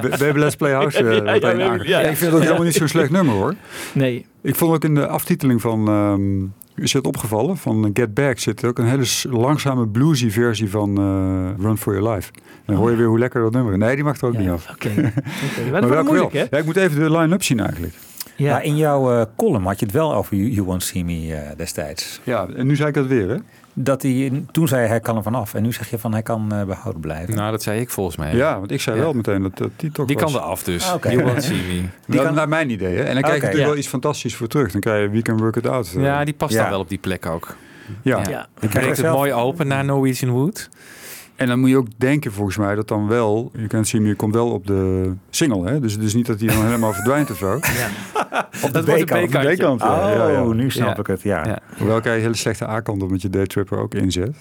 We we hebben Let's Play House eh, meteen aange- Ik vind dat helemaal niet zo'n slecht nummer hoor.
Nee.
Ik vond ook in de aftiteling van, ehm, is het opgevallen, van eh, Get Back zit ook een hele s- langzame bluesy versie van eh, Run For Your Life. Dan hoor je weer hoe lekker dat nummer is. Nee, die mag er ook
Ja,
niet
ja,
af.
Oké. Oké, Maar dat
welke
wordt moeilijk,
wel?
hè?
Ja, ik moet even de line-up zien eigenlijk.
Ja.
Maar in jouw eh, column had je het wel over You, You Won't See Me eh, destijds.
Ja, en nu zei ik dat weer hè?
Dat hij, toen zei hij, hij kan er vanaf. En nu zeg je van hij kan eh, behouden blijven.
Nou, dat zei ik volgens mij.
Ja, want ik zei
Ja.
wel meteen dat, dat die toch
Die
was.
kan eraf dus.
Ah, oké.
You won't see me.
Die kan... naar mijn idee hè? En dan krijg je
Oké.
natuurlijk
Ja.
wel iets fantastisch voor terug. Dan krijg je We Can Work It Out. eh.
Ja, die past
Ja.
dan wel op die plek ook.
ja.
Ja.
Die breekt het
zelf-
mooi open naar Norwegian Wood.
En dan moet je ook denken volgens mij dat dan wel... You Can't See Me komt wel op de single hè? Dus het is niet dat die dan helemaal verdwijnt of zo.
Op de
wordt een
B-kant.
B-kantje.
B-kant, ja,
Oh,
ja, ja.
nu snap
Ja.
ik het. Ja.
Ja.
Ja.
Hoewel ik een hele slechte A-kant op met je Daytripper ook inzet.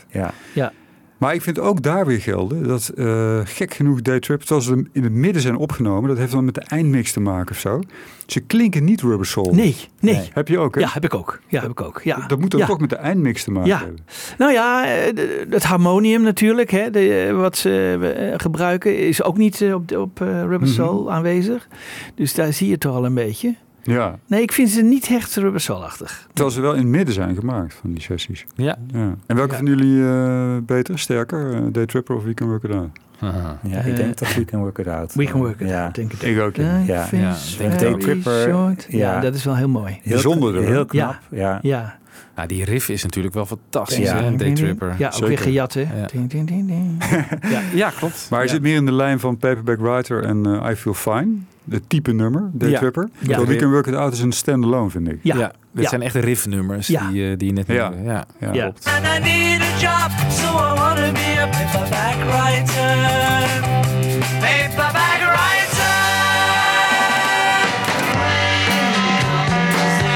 Ja.
Maar ik vind ook daar weer gelden dat eh, gek genoeg Daytripper, zoals ze in het midden zijn opgenomen, dat heeft dan met de eindmix te maken of zo. Ze klinken niet Rubber Soul.
Nee, nee.
Heb je ook, hè?
Ja, heb ik ook. Ja, heb ik ook. Ja.
Dat moet dan
ja.
toch met de eindmix te maken
Ja.
hebben.
Nou ja, eh, de- het harmonium natuurlijk, hè, de, eh, wat ze eh, gebruiken, is ook niet eh, op, de- op eh, Rubber Soul aanwezig. Dus daar zie je toch al een beetje.
Ja.
Nee, ik vind ze niet hecht Rubber Soul-achtig.
Terwijl ze wel in het midden zijn gemaakt van die sessies.
Ja.
Ja. En welke
Ja.
van jullie eh, beter, sterker, eh, Daytripper of Weekend Worker Down?
Ja, ik denk dat We Can Work It Out.
We can work it
ja.
out, denk ik.
Ik ook. ja.
Life
Ja,
ja,
is
denk het
very
ook. Tripper,
short. Ja.
ja.
dat is wel heel mooi.
Heel-
Bijzonder, hoor.
Heel knap,
Ja.
ja.
Ja,
Nou, die riff is natuurlijk wel fantastisch,
Ja.
hè? Daytripper.
ja ook weer
Zeker.
gejat, hè?
Ja.
Ding, ding, ding, ding.
ja, ja, klopt.
Maar hij
Ja.
zit meer in de lijn van Paperback Writer en eh, I Feel Fine. Het type nummer, de
Ja.
Tripper.
Ja.
Terwijl We Can Work It Out is een standalone, vind ik.
Ja.
Ja,
Ja.
dit zijn echt riffnummers
Ja.
die, eh, die je net
Ja.
noemde. Ja.
Ja.
klopt.
And I need a job, so I wanna be a paperback writer. Paperback writer. They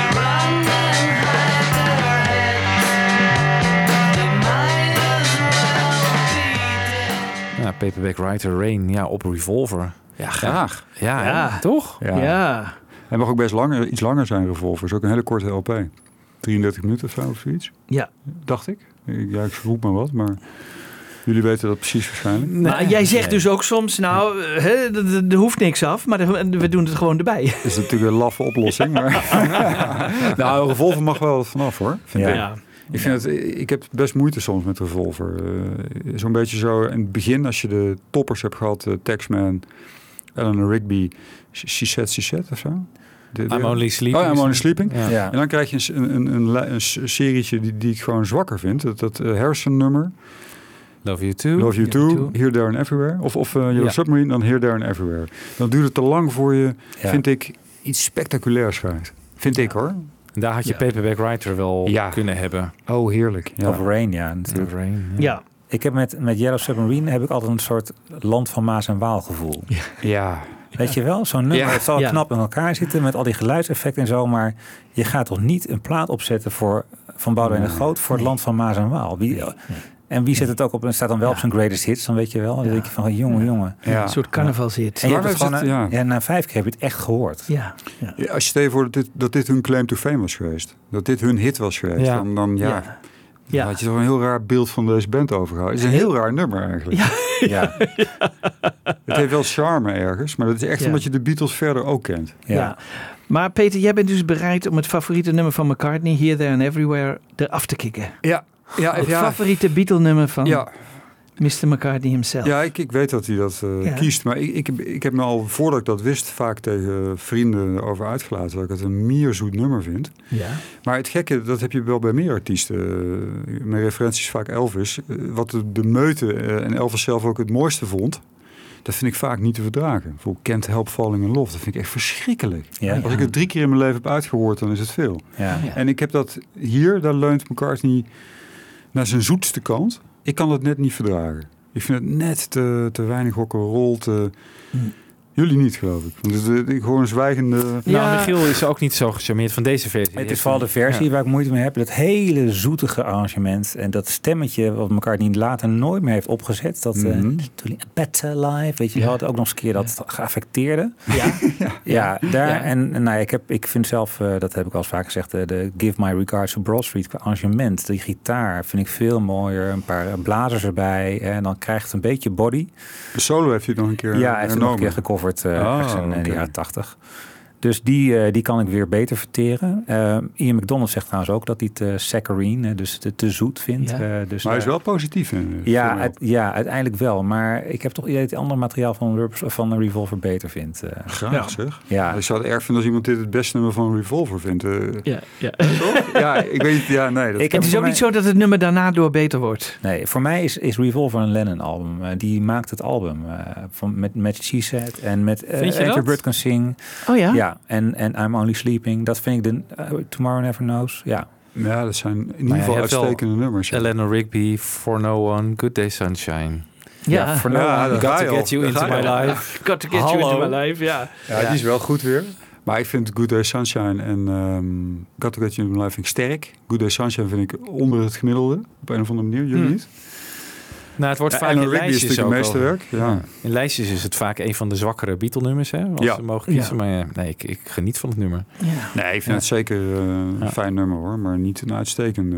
run and hide their heads. They might as well be dead.
Ja, paperback Writer Rain, ja, op Revolver. Ja,
Graag.
Ja,
Ja.
toch?
Ja.
Ja.
Hij mag ook best langer, iets langer zijn, Revolver. Is ook een hele korte LP. 33 minuten of zo, of zoiets.
Ja.
Dacht ik. Ik- Ja, ik verroep maar wat, maar jullie weten dat precies waarschijnlijk.
Maar jij zegt
Nee.
dus ook soms, nou, hè, d- d- er hoeft niks af, maar er- we doen het gewoon erbij.
Is natuurlijk een laffe oplossing, maar... nou, Revolver mag wel wat vanaf, hoor. Vind ik.
Ja.
Ik, vind het, ik heb best moeite soms met Revolver. Eh, Zo'n beetje zo in het begin, als je de toppers hebt gehad, eh, Taxman, Eleanor Rigby, Shishet Shishet of zo. De- de-
I'm only sleeping.
Oh, I'm only sleeping.
Ja.
Ja.
En dan krijg je een, een, een, li- een s- serietje die, die ik gewoon zwakker vind. Dat, dat eh, Harrison-nummer,
Love You Too.
Love You Too,
Too.
Here, There and Everywhere. Of, of eh, Yellow
Ja.
Submarine, dan Here, There and Everywhere. Dan duurt het te lang voor je,
Ja.
vind ik, iets spectaculairs schrijft. Vind ik hoor.
Daar had je
Ja.
Paperback Writer wel
Ja.
kunnen hebben.
Oh, heerlijk. Ja.
Of Rain, ja. natuurlijk.
Rain, ja.
Ja.
Ik heb met, met Yellow Submarine heb ik altijd een soort land van Maas en Waal gevoel.
ja.
Weet je wel, zo'n nummer
Ja.
het zal
Ja.
knap in elkaar zitten met al die geluidseffecten en zo, maar je gaat toch niet een plaat opzetten voor van Boudewijn de Groot voor het land van Maas en Waal. Wie, En wie zet het ook op en staat dan wel op zijn greatest hits, dan weet je wel. Dan denk je van jongen, jongen.
Ja.
Een soort carnavalshit.
En je hebt
Waarom
het gewoon,
is het-
na-
ja.
ja, na vijf keer heb je het echt gehoord.
Ja. ja.
Ja, Als je stel je voor dat dit, dat dit hun claim to fame was geweest. Dat dit hun hit was geweest.
Ja.
Dan, dan, ja,
Ja.
dan had je toch een heel raar beeld van deze band overgehouden. Het is een heel raar nummer eigenlijk.
Ja, ja.
Het heeft wel charme ergens. Maar dat is echt
Ja.
omdat je de Beatles verder ook kent.
Ja. Maar Peter, jij bent dus bereid om het favoriete nummer van McCartney, Here, There and Everywhere, eraf te kicken.
Ja, Ah, ja,
Het favoriete Beatle-nummer van
ja,
Mr. McCartney himself.
Ja, ik, ik weet dat hij dat eh,
Ja.
kiest. Maar ik, ik, heb- ik heb me al, voordat ik dat wist, vaak tegen vrienden over uitgelaten. Dat ik het een mierzoet nummer vind.
Ja.
Maar het gekke, dat heb je wel bij meer artiesten. Eh, Mijn referentie is vaak Elvis. Eh, Wat de, de meute eh, en Elvis zelf ook het mooiste vond... Dat vind ik vaak niet te verdragen. Bijvoorbeeld Can't Help Falling in Love. Dat vind ik echt verschrikkelijk.
Ja.
Als ik het drie keer in mijn leven heb uitgehoord, dan is het veel.
Ja.
En ik heb dat hier, daar leunt McCartney naar zijn zoetste kant. Ik kan dat net niet verdragen. Ik vind het net te, te weinig rock'n'roll, te...
Mm.
Jullie niet, geloof ik. Want het- ik hoor een zwijgende...
Nou, Michiel is ook niet zo gecharmeerd van deze versie.
Het is vooral de versie waar ik moeite mee heb. Dat hele zoetige arrangement en dat stemmetje wat elkaar niet later nooit meer heeft opgezet. Dat eh,
Mhm.
toen- Better Life, weet je wel. Dat ook nog eens een keer dat geaffecteerde.
Ja.
Ja, daar.
Ja.
En nou, ja, ik, heb, ik vind zelf, eh, dat heb ik al eens vaak gezegd, eh, de Give My Regards to Broad Street qua arrangement. Die gitaar vind ik veel mooier. Een paar eh, blazers erbij. En dan krijgt het een beetje body.
De solo heeft hij nog een keer
Ja, hij heeft het nog een
hernomen.
keer gecoverd eh
Oh,
ergens in eh,
oké.
de jaren tachtig. Dus die, eh, die kan ik weer beter verteren. Eh, Ian McDonald zegt trouwens ook dat hij het eh, saccharine, eh, dus te, te zoet vindt.
Ja.
Eh, dus
Maar hij is
daar-
wel positief. In, eh,
Ja, uit- ja, uiteindelijk wel. Maar ik heb toch idee dat hij ander materiaal van, Rubber- van Revolver beter vindt. eh.
graag zeg.
ja.
Ik zou het erg vinden als iemand dit het beste nummer van Revolver vindt. eh.
Ja, ja.
Toch? ja, ik weet niet. Ja, nee. Dat...
Ik heb
Het is
voor
ook
mij-
niet zo dat het nummer daarna door beter wordt.
Nee, voor mij is, is Revolver een Lennon-album. Eh, die maakt het album eh, van, met, met She Said en met eh,
Vind je
Enter
dat?
Bird Can Sing.
Oh ja?
Ja, en, en I'm Only Sleeping. Dat vind ik de eh, Tomorrow Never Knows. Ja,
Ja, dat zijn in ieder
je
geval
hebt wel
uitstekende nummers. ja.
Eleanor Rigby, For No One, Good Day Sunshine.
Ja.
voor
Ja, dat
Got
ga je
to
al.
get you
Dat
into
ga
my
je al.
life.
Got to get you
Hallo.
into my life, ja.
Ja, die is wel goed weer. Maar ik vind Good Day Sunshine en ehm Got to Get You in My Life vind ik sterk. Good Day Sunshine vind ik onder het gemiddelde. Op een of andere manier. Jullie
Hmm.
niet?
Nou, het wordt
Ja,
vaak
Eleanor
in
Rigby is
lijstjes
natuurlijk
ook
een
wel-
meesterwerk. Ja.
In lijstjes is het vaak een van de zwakkere Beatle-nummers, hè? Als
Ja.
ze mogen kiezen. Maar eh, nee, ik, ik geniet van het nummer.
Nee, ik vind het zeker eh, een
Ja.
fijn nummer hoor. Maar niet een uitstekende.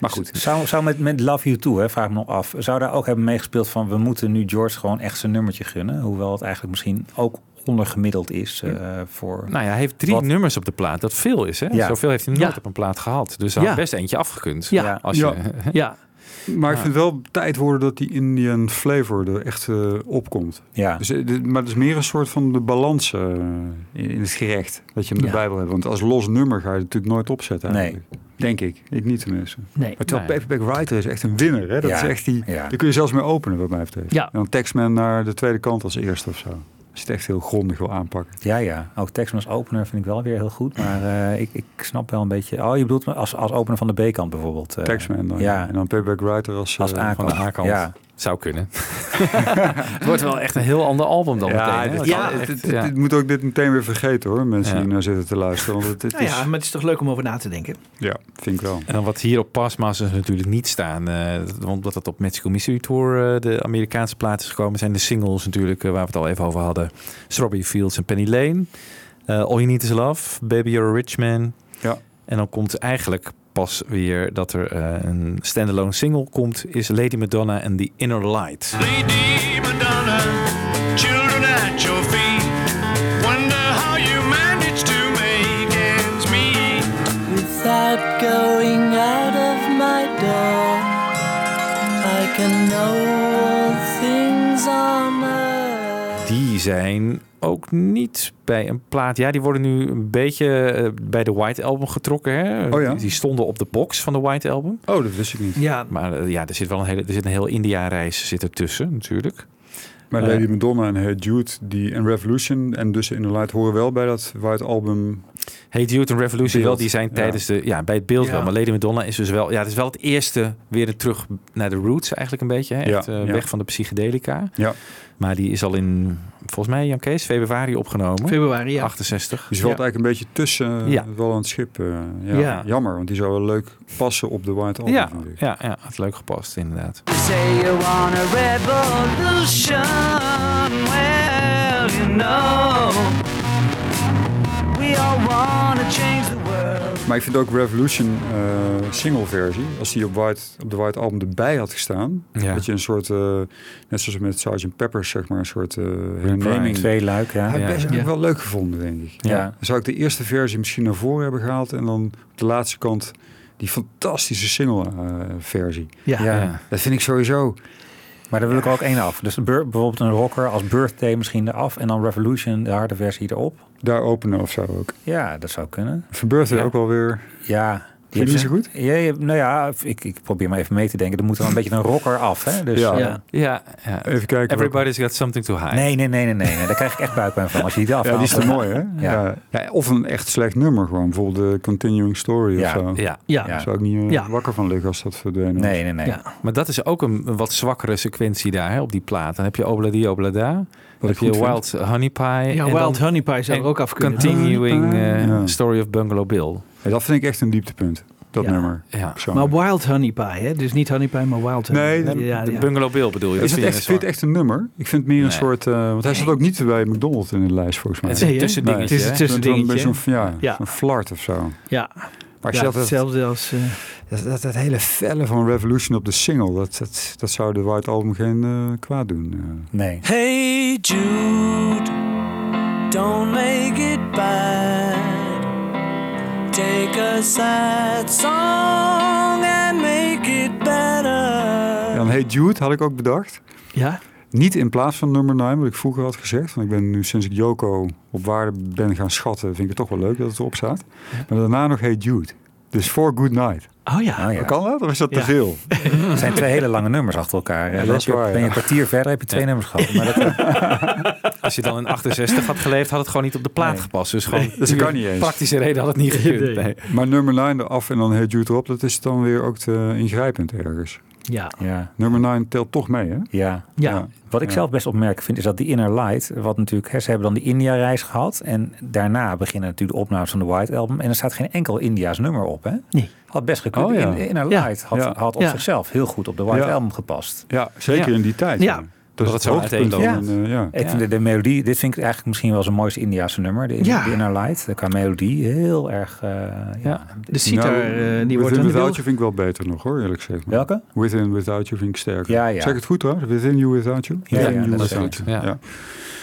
Maar goed.
Zou, zou met, met Love You Too, hè, vraag me nog af. Zou daar ook hebben meegespeeld van we moeten nu George gewoon echt zijn nummertje gunnen? Hoewel het eigenlijk misschien ook ondergemiddeld is eh, voor...
Nou ja, hij heeft drie
Wat-
nummers op de plaat. Dat veel is, hè?
Ja.
Zoveel heeft hij nooit
Ja.
op een plaat gehad. Dus hij
Ja.
had best eentje afgekund.
Ja.
Als je,
Ja.
Ja,
Maar ik vind wel tijd worden dat die Indian flavor er echt eh, opkomt.
Ja.
Dus, eh, dit- maar het is meer een soort van de balans eh, in, in het gerecht dat je hem erbij wil hebben. Want als los nummer ga je het natuurlijk nooit opzetten
Nee.
eigenlijk. Denk ik. Ik niet tenminste.
Nee.
Maar terwijl
Nee.
Paperback Writer is echt een winnaar. Hè? Dat
Ja,
is echt die,
ja.
Daar kun je zelfs mee openen wat mij betreft.
Ja.
En dan Taxman naar de tweede kant als eerste of zo. Als je het echt heel grondig wil aanpakken.
Ja, ja. Ook Texman als opener vind ik wel weer heel goed. Maar eh, ik, ik snap wel een beetje... Oh, je bedoelt als, als opener van de B-kant bijvoorbeeld. eh,
Taxman dan.
Ja.
En dan Paperback Writer als,
Als
eh,
aankant.
van de aankant.
Ja.
Zou kunnen. het wordt wel echt een heel ander album dan
Ja,
meteen. hè?
dit,
Want
ja,
dan
het,
echt,
het-
ja.
het moet ook dit meteen weer vergeten hoor, mensen
Ja.
die naar zitten te luisteren. Want het, het
Nou
is,
ja, maar het is toch leuk om over na te denken.
ja, vind ik wel.
En dan wat hier op Passmasters natuurlijk niet staan. eh, omdat dat op Magical Mystery Tour eh, de Amerikaanse plaat is gekomen. Zijn de singles natuurlijk eh, waar we het al even over hadden. Strawberry Fields en Penny Lane. Eh, All You Need Is Love. Baby You're a Rich Man.
Ja.
En dan komt eigenlijk pas weer dat er eh, een standalone single komt. Is Lady Madonna en The Inner Light.
Lady Madonna, children at your feet. Wonder how you manage to make ends meet.
Without going out of my door, I can know all things on earth.
Die zijn ook niet bij een plaat. Ja, die worden nu een beetje eh, bij de White Album getrokken. Hè?
Oh ja.
Die- Die stonden op de box van de White Album.
Oh, dat wist ik niet.
Ja,
Maar eh, ja, er zit wel een hele, er zit een heel India-reis zit ertussen natuurlijk.
Maar
Eh.
Lady Madonna en Hey Jude die, en Revolution en dus inderdaad horen wel bij dat White Album.
Hey Jude en Revolution
Beeld,
wel, die zijn
ja.
tijdens de, ja, bij het beeld
Ja.
wel. Maar Lady Madonna is dus wel, ja, het is wel het eerste weer terug naar de roots eigenlijk een beetje. Hè?
Ja,
Echt eh,
ja.
weg van de psychedelica.
Ja.
Maar die is al in, volgens mij, Jan Kees, februari opgenomen.
februari, ja.
68.
Die valt
Ja.
eigenlijk een beetje tussen eh,
Ja.
wel aan het schip. eh, ja.
Ja.
Jammer, want die zou wel leuk passen op de White Album.
Ja,
vind ik.
ja, ja, had leuk gepast inderdaad.
Say you want a revolution. Well, you know, we all want to change the world.
Maar ik vind ook Revolution eh, single versie, als die op, White, op de White Album erbij had gestaan,
Ja.
dat je een soort, eh, net zoals met Sgt. Pepper, zeg maar, een soort eh
Framing.
herneming.
Twee luik, ja.
Had ik
Ja.
best eigenlijk wel leuk gevonden, denk ik.
Ja.
Dan zou ik de eerste versie misschien naar voren hebben gehaald en dan op de laatste kant die fantastische single-versie.
Ja.
Ja.
Ja.
dat vind ik sowieso.
Maar daar wil ik er ook één af. Dus bir- bijvoorbeeld een rocker als Birthday misschien eraf. En dan Revolution, de harde versie erop.
Daar openen of zo ook.
Ja, dat zou kunnen.
Verbeurt er
Ja.
ook wel weer.
Ja.
je het niet zo goed?
Ja, je- nou ja, ik, ik probeer maar even mee te denken. Er moet wel een beetje een rocker af, hè? Dus,
Ja.
eh,
Ja.
Ja, ja.
Even kijken.
Everybody's got something to hide.
Nee, nee, nee, nee, nee. nee. Daar krijg ik echt buikpijn van als je die eraf
Ja, die is
haalt.
te mooi, hè? Ja. Ja. Of een echt slecht nummer gewoon. Bijvoorbeeld de Continuing Story
Ja.
of zo.
Ja,
Ja.
Ja.
Daar zou ik niet eh,
Ja.
wakker van liggen als dat verdwenen was.
Nee, nee, nee.
Ja.
maar dat is ook een, een wat zwakkere sequentie daar hè, op die plaat. Dan heb je Obladi Oblada,
Wat ik
heb je
goed vind.
Wild Honey Pie.
Ja,
en dan-
Wild Honey Pie zou
en
er ook af kunnen.
Continuing eh,
Ja.
Story of Bungalow Bill.
Ja, dat vind ik echt een dieptepunt. Dat
Ja.
nummer.
Ja.
Maar
Persoonlijk.
Wild Honey Pie, hè? Dus niet Honey Pie, maar Wild Honey
Nee,
Pie.
de-
ja,
de
ja.
Bungalow Bill bedoel je.
is het
vind je
echt,
een
vind je het echt een nummer? Ik vind het meer een
Nee.
soort... eh, want hij staat ook niet bij McDonald's in de lijst, volgens mij.
Het is
Nee,
een
hè?
Nee, het
tussendingetje.
is een
hè?
tussen- dingetje.
Zo'n, zo'n- ja,
Ja.
zo'n flart of zo.
ja.
Maar als
Ja,
je dat, dat,
hetzelfde als... eh,
dat- dat hele felle van Revolution op de single, dat, dat, dat zou de White Album geen eh, kwaad doen. eh.
Nee.
Hey Jude, don't make it bad. Take a sad song and make it better.
En dan Hey Jude had ik ook bedacht.
ja?
Niet in plaats van nummer 9, wat ik vroeger had gezegd. Want ik ben nu sinds ik Yoko op waarde ben gaan schatten, vind ik het toch wel leuk dat het erop staat. Maar daarna nog Hey Jude. Dus For Good Night.
Oh ja.
Ah, ja.
Kan dat? Of is dat
Ja.
te veel?
Het zijn twee hele lange nummers achter elkaar.
dat
Dan
is
heb je-
waar,
Ben je
ja.
een kwartier verder, heb je twee nummers gehad. Maar dat, eh,
Als je dan in 68 had geleefd, had het gewoon niet op de plaat
Nee.
gepast. Dus gewoon
dat
puur
kan niet eens.
praktische reden had het niet gekund. Nee.
Maar nummer 9 eraf en dan Hey Jude erop, dat is dan weer ook te ingrijpend ergens.
Ja.
ja,
Nummer 9 telt toch mee, hè?
ja.
Ja.
Wat ik
Ja.
zelf best opmerkelijk vind, is dat die Inner Light... Wat natuurlijk, hè, ze hebben dan die India-reis gehad. En daarna beginnen natuurlijk de opnames van de White Album. En er staat geen enkel India's nummer op, hè?
Nee.
Had best gekund.
Oh, ja.
In- Inner
Ja.
Light had,
Ja.
had op
Ja.
zichzelf heel goed op de White
Ja.
Album gepast.
Ja, zeker
Ja.
in die tijd.
Ja.
Dat
Dat
is
het
het
zo
hoogtepunt.
uiteenloopt.
van, eh, ja.
Ik vind de, de melodie, dit vind ik eigenlijk misschien wel zijn mooiste Indiaanse nummer. De,
Ja.
de Inner Light, de qua melodie, heel erg... eh, ja.
De sitar,
Nou,
eh, die wordt aan
Within
de wil-
Without You vind ik wel beter nog hoor, eerlijk gezegd. Maar
Welke?
Within Without You vind ik sterker.
Ja, ja.
Zeg ik het goed hoor? Within You Without You?
Ja,
Within
ja,
you,
dat is
without
goed,
you.
ja.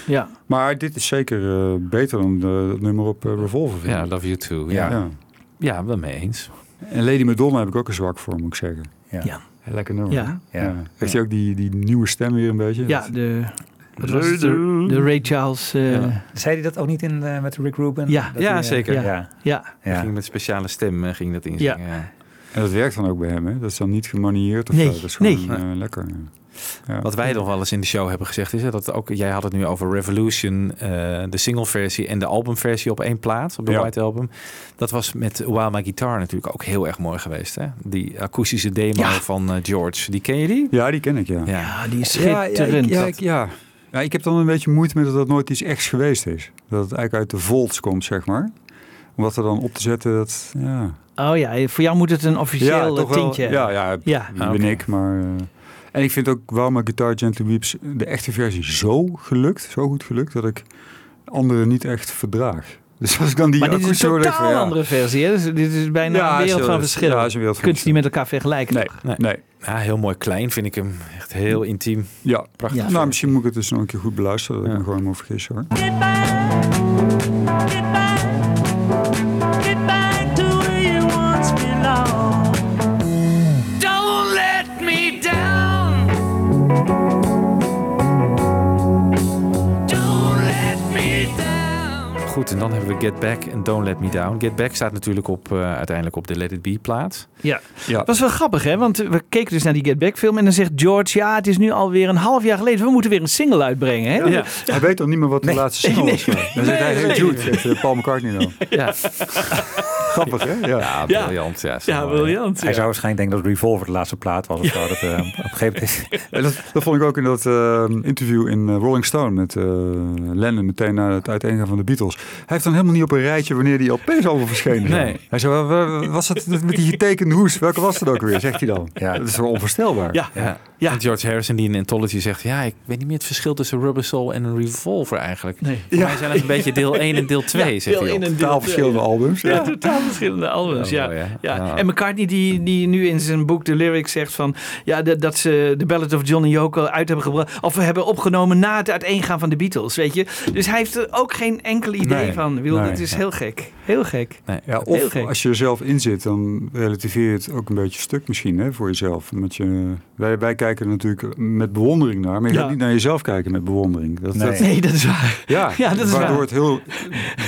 Ja.
Maar dit is zeker eh, beter dan de, dat nummer op eh, Revolver. vind
Ja,
ik.
love you too. Ja,
Ja.
ja wel mee eens.
En Lady Madonna heb ik ook een zwak voor, moet ik zeggen.
Ja.
Ja.
Lekker nummer.
Ja.
hè? ja. Heeft hij ook die, die nieuwe stem weer een beetje?
Ja,
Dat-
de, wat was het? de, de Ray Charles. eh, ja.
Zei hij dat ook niet in, eh, met Rick Rubin?
Ja.
Dat
Ja,
hij, eh,
zeker.
Ja.
Ja.
Ja.
Ging met speciale stem eh, ging dat inzingen. Ja.
En dat werkt dan ook bij hem, hè? Dat is dan niet gemanieerd of
Nee,
zo. Dat is gewoon
nee.
eh, lekker. Ja.
Wat wij nog wel eens in de show hebben gezegd is hè, dat ook jij had het nu over Revolution, eh, de singleversie en de albumversie op één plaat op de
Ja.
White Album. Dat was met Wild My Guitar natuurlijk ook heel erg mooi geweest. Hè? Die akoestische demo
Ja.
van eh, George, die ken je die?
ja, die ken ik, ja.
die is schitterend.
Ja, ja, ik, ja, ik, ja. Ja, ik heb dan een beetje moeite met dat dat nooit iets echts geweest is. Dat het eigenlijk uit de volts komt, zeg maar. Om dat er dan op te zetten, dat... Ja,
Oh ja, voor jou moet het een
ja
officieel eh, tintje.
Ja, ja,
Ja.
die ben ik, maar... eh, en ik vind ook wel mijn Guitar Gently Weeps, de echte versie, zo gelukt, zo goed gelukt, dat ik anderen niet echt verdraag. Dus als ik dan die
Maar dit is
akoestische
een
hoor, denk ik van,
totaal
ja.
andere versie. Hè? Dus dit is bijna
Ja,
een
is
wereld
wel-
van
is-
verschil.
ja, is een wereld van
Kun je ze niet met elkaar vergelijken.
Nee,
toch?
nee.
Ja, heel mooi klein vind ik hem. Echt heel intiem.
Ja,
Prachtig.
Ja.
nou misschien moet ik het dus nog een keer goed beluisteren, dat ik me gewoon moet vergissen hoor.
Don't let me down. Don't let me down.
Goed, en dan hebben we Get Back en Don't Let Me Down. Get Back staat natuurlijk op, eh, uiteindelijk op de Let It Be plaat.
Ja.
Ja.
Dat was wel grappig, hè? Want we keken dus naar die Get Back film en dan zegt George... ja, het is nu alweer een half jaar geleden. We moeten weer een single uitbrengen, hè?
Ja.
Hij weet dan niet meer wat de laatste single was. Dan zegt hij, hey Jude, zegt, eh, Paul McCartney dan.
Ja,
Grappig, hè? Ja.
ja briljant. Ja, is mooi.
briljant.
Hij zou waarschijnlijk denken dat Revolver de laatste plaat was. Of zo. Dat, eh, op een gegeven moment
En dat, dat vond ik ook in dat eh, interview in eh, Rolling Stone met eh, Lennon, meteen na het uiteengaan van de Beatles. Hij heeft dan helemaal niet op een rijtje wanneer die LP's allemaal verschenen zijn.
Nee.
Hij zei, "Wa- wa- was dat met die getekende hoes? Welke was dat ook weer? Zegt hij dan.
Ja.
Dat is wel onvoorstelbair.
Ja.
Ja.
Ja.
En George Harrison die in Anthology zegt... ja, ik weet niet meer het verschil tussen Rubber Soul en een Revolver eigenlijk.
Nee.
Voor mij zijn het een beetje deel 1 en deel 2, zegt
Heel
hij
in
op.
een
Totaal verschillende albums.
Ja, totaal verschillende albums,
Ja,
ja.
mooi, hè?
ja.
Ja.
En McCartney die, die nu in zijn boek de lyrics zegt van... Ja, dat, dat ze de Ballad of John en Yoko uit hebben gebracht... of we hebben opgenomen na het uiteengaan van de Beatles, weet je. Dus hij heeft er ook geen enkel idee
Nee,
van. Ik bedoel,
nee.
dit is heel gek. Heel gek.
Ja,
Heel
of
gek.
als je er zelf in zit, dan relativeer je het ook een beetje stuk misschien hè, voor jezelf. Omdat je, wij, wij kijken er natuurlijk met bewondering naar, maar je
Ja.
gaat niet naar jezelf kijken met bewondering. Dat,
Nee.
dat,
Nee, dat is waar.
ja,
Ja, dat is
waardoor
waar.
het heel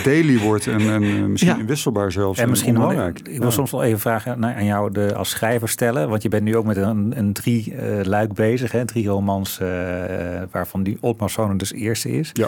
daily wordt en, en eh, misschien
Ja.
wisselbaar zelfs.
En misschien wel,
belangrijk.
ik wil soms wel even vragen naar- aan jou de, als schrijver stellen. Want je bent nu ook met een, een drie eh, luik bezig. Hè? Drie romans eh, eh, waarvan die Oldman Sonen dus de eerste is.
Ja.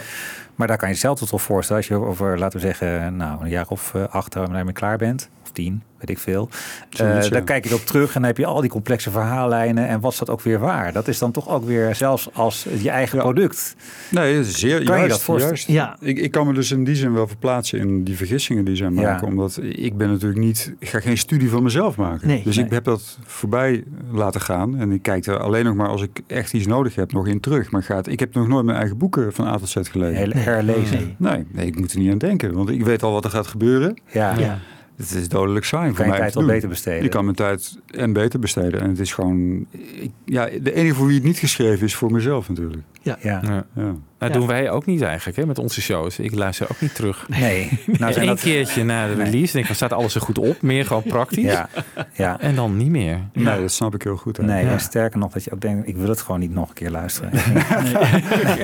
Maar daar kan je jezelf tot wel voorstellen. Als je over, laten we zeggen, nou, een jaar of eh, acht daarmee klaar bent. Of tien, weet ik veel.
Zoiets,
Eh, dan
ja.
kijk je erop terug en dan heb je al die complexe verhaallijnen. En wat is dat ook weer waar? Dat is dan toch ook weer zelfs als je eigen product.
Nee, zeer
Kan je
juist,
dat voorstellen?
juist.
Ja.
Ik, ik kan me dus in die zin wel verplaatsen in die vergissingen die zij
Ja.
maken. Omdat ik ben natuurlijk niet, ik ga geen studie van mezelf maken.
Nee.
dus
Nee.
ik heb dat voorbij laten gaan. En ik kijk er alleen nog maar als ik echt iets nodig heb nog in terug. Maar gaat, ik heb nog nooit mijn eigen boeken van A tot Z gelezen.
Hele herlezen.
Nee, nee, ik moet er niet aan denken. Want ik weet al wat er gaat gebeuren.
Ja.
Ja.
Het is dodelijk saai voor
Kan je
mij. om
tijd
te
wel
doen.
beter besteden.
Ik kan mijn tijd en beter besteden. En het is gewoon... ik- ja, de enige voor wie het niet geschreven is voor mezelf natuurlijk.
Ja.
Ja.
Ja.
Dat
Ja.
doen wij ook niet eigenlijk, hè, met onze shows. Ik luister ook niet terug.
Nee. Nou
Eén
zijn dat...
keertje na de release denk ik, van, staat alles er goed op? Meer gewoon praktisch.
Ja. Ja.
En dan niet meer.
Nee, dat snap ik heel goed. hè.
Nee,
Ja.
en sterker nog dat je ook denkt, ik wil het gewoon niet nog een keer luisteren. Nee.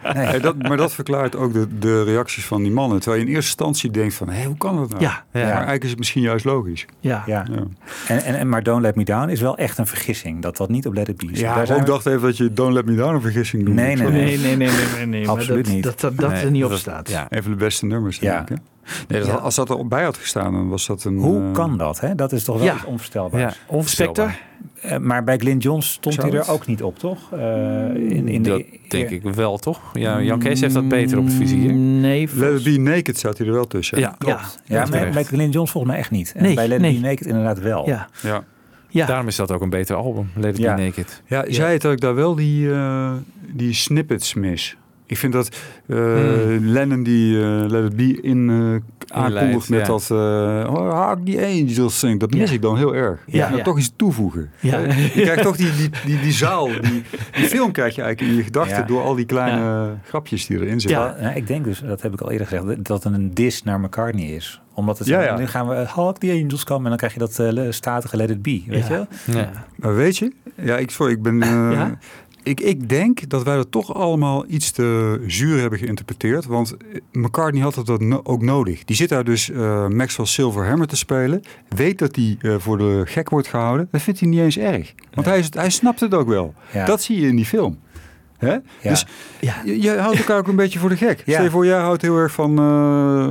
Hey, dat, maar dat verklaart ook de, de reacties van die mannen. Terwijl je in eerste instantie denkt van, hé, hoe kan dat nou?
Ja.
Maar
Ja.
eigenlijk is het misschien juist logisch.
Ja.
Ja.
Ja,
En, en, en, maar Don't Let Me Down is wel echt een vergissing, dat dat niet op Let It Be is.
ja
Daar
ik
zijn we-
dacht even dat je Don't Let Me Down een vergissing doet.
Nee, nee,
Nee, nee, nee, nee, nee. nee. maar
Absoluut
dat,
niet.
Dat, dat, dat
Nee,
er niet op
dat-
staat.
Ja.
Een van de beste nummers,
Ja.
denk ik. Hè? Nee, dat-
Ja.
Als dat er bij had gestaan, dan was dat een...
Hoe
eh,
kan dat? Hè? Dat is toch wel
Ja.
iets onvoorstelbaars.
Ja, onvoorstelbaar.
Eh, maar bij Glyn Johns stond
Zou
hij er
het?
ook niet op, toch? Eh, in, in
Dat
de,
denk ik wel, toch? Ja, Jan Kees heeft dat beter op het vizier.
Mm, Nee,
Let It Be Naked zat hij er wel tussen. hè?
mm, Ja,
ja.
Ja,
Ja,
maar
terecht.
bij Glyn Johns volgens mij echt niet. En
Nee,
bij Let It
nee.
Be Naked inderdaad wel.
Ja.
ja.
Ja.
Daarom is dat ook een beter album, Let It
Ja.
Be Naked.
Ja, zij het ook daar wel die, eh, die snippets mis. Ik vind dat eh, Lennon die eh Let It Be in eh, aankondigt met
ja.
dat eh oh, Hark die Angels sing. Dat mis ik dan heel erg. Ja,
ja.
toch iets toevoegen. Eh,
Ja.
Je krijgt toch die, die, die, die zaal, die, die film krijg je eigenlijk in je gedachten
Ja.
door al die kleine grapjes die erin zitten.
Ja, nou, ik denk dus, dat heb ik al eerder gezegd, dat het een dis naar McCartney is. Omdat het,
Ja, ja.
nu gaan we eh, Hulk the Angels komen en dan krijg je dat eh, le- statige Let It Be, weet je wel?
Maar weet je, ja, ik, sorry, ik ben. eh,
Ja?
ik, ik denk dat wij dat toch allemaal iets te zuur hebben geïnterpreteerd. Want eh, McCartney had dat no- ook nodig. Die zit daar dus eh, Maxwell Silverhammer te spelen. Weet dat hij eh, voor de gek wordt gehouden. Dat vindt hij niet eens erg. Want hij, is- hij snapt het ook wel.
Ja.
Dat zie je in die film. Hè?
Ja.
Dus je, je houdt elkaar ook een beetje voor de gek. Stel je voor, jij houdt heel erg van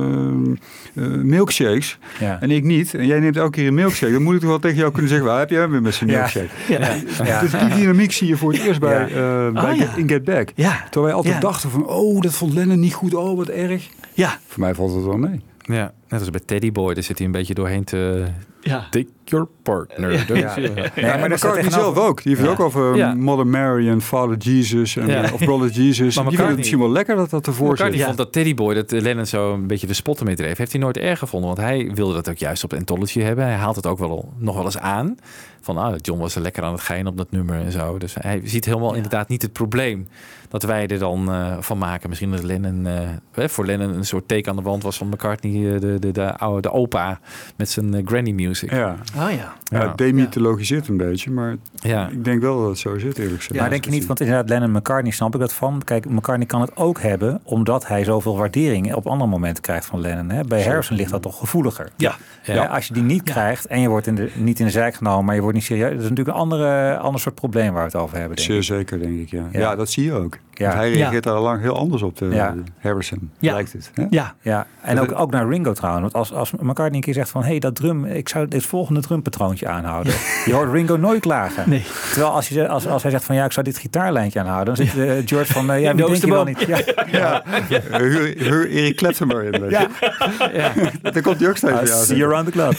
eh, eh, milkshakes.
Ja.
En ik niet. En jij neemt elke keer een milkshake. Dan moet ik toch wel tegen jou kunnen zeggen... waar heb jij weer met zijn
Ja.
milkshake?
Ja.
Dus die dynamiek zie je voor het eerst bij,
Ja.
eh, bij
Ah, ja.
Get- in Get Back.
Ja,
Terwijl wij altijd
Ja.
dachten van... oh, dat vond Lennon niet goed. Oh, wat erg.
ja,
Voor mij valt het wel mee.
Ja, net als bij Teddy Boy, daar zit hij een beetje doorheen te...
ja.
Take your partner.
Ja.
Ja.
Nee,
maar
daar
dat
staat
kan
tegenover-
zelf ook. Die heeft het ook over um,
Ja.
Mother Mary en Father Jesus en,
Ja.
eh, of Brother Jesus.
Maar
die vinden
McCartney-
het misschien wel lekker dat dat ervoor zit.
McCartney vond dat Teddy Boy, dat eh, Lennon zo een beetje de spot ermee dreef, heeft hij nooit erg gevonden. Want hij wilde dat ook juist op Anthology hebben. Hij haalt het ook wel nog wel eens aan. Van ah, John was er lekker aan het gein op dat nummer en zo. Dus hij ziet helemaal inderdaad niet het probleem dat wij er dan eh, van maken. Misschien dat Lennon, eh, hè, voor Lennon een soort teken aan de wand was van McCartney, eh, de, de, de, oude, de opa met zijn eh, granny music. Ja.
Ja,
Oh ja.
ja. het demythologiseert een beetje, maar ik denk wel dat het zo zit eerlijk gezegd.
maar denk je niet, want inderdaad, Lennon en McCartney snap ik dat van. Kijk, McCartney kan het ook hebben, omdat hij zoveel waardering op andere momenten krijgt van Lennon. Hè? Bij Harrison ligt dat toch gevoeliger.
Ja.
Hè, Als je die niet krijgt en je wordt in de, niet in de zijk genomen, maar je wordt niet serieus. Dat is natuurlijk een andere, ander soort probleem waar we het over hebben. Denk ik.
Zeer zeker, denk ik, ja.
Ja.
Ja, dat zie je ook.
Ja.
Want hij
Ja.
reageert daar lang heel anders op, de,
Ja.
Harrison,
Ja.
lijkt het. hè?
Ja,
Ja, en
Dat
ook, ook naar Ringo trouwens. Want als, als McCartney een keer zegt van... hé, hey, dat drum, ik zou dit volgende drumpatroontje aanhouden. Je hoort Ringo nooit klagen.
Nee.
Terwijl als, je, als, als hij zegt van... ja, ik zou dit gitaarlijntje aanhouden... dan zit eh, George van... eh, ja,
In
wie
de
denk je wel
Oosterboom.
niet? Ja,
Heur, heur Erik Clapton maar in. Ja. ja. Daar komt hij ook
Ah,
steeds
I
weer aan.
see you around the club.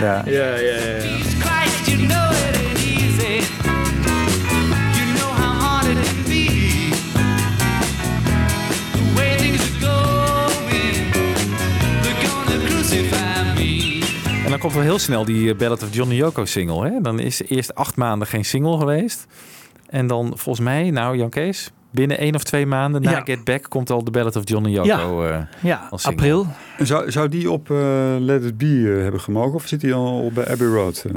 Ja. Ja.
Jesus Christ, you know it ain't easy. You know how hard it can be. The way things are going, they're gonna crucify me.
En dan komt wel heel snel die eh, Ballad of Johnny Yoko single. Hè? Dan is er eerst acht maanden geen single geweest. En dan volgens mij, nou Jan Kees, binnen één of twee maanden na
Ja.
Get Back komt al de Ballad of Johnny Yoko. eh,
ja.
Als single.
april.
Zou, zou die op eh, Let It Be eh, hebben gemogen? Of zit hij al bij Abbey Road? eh,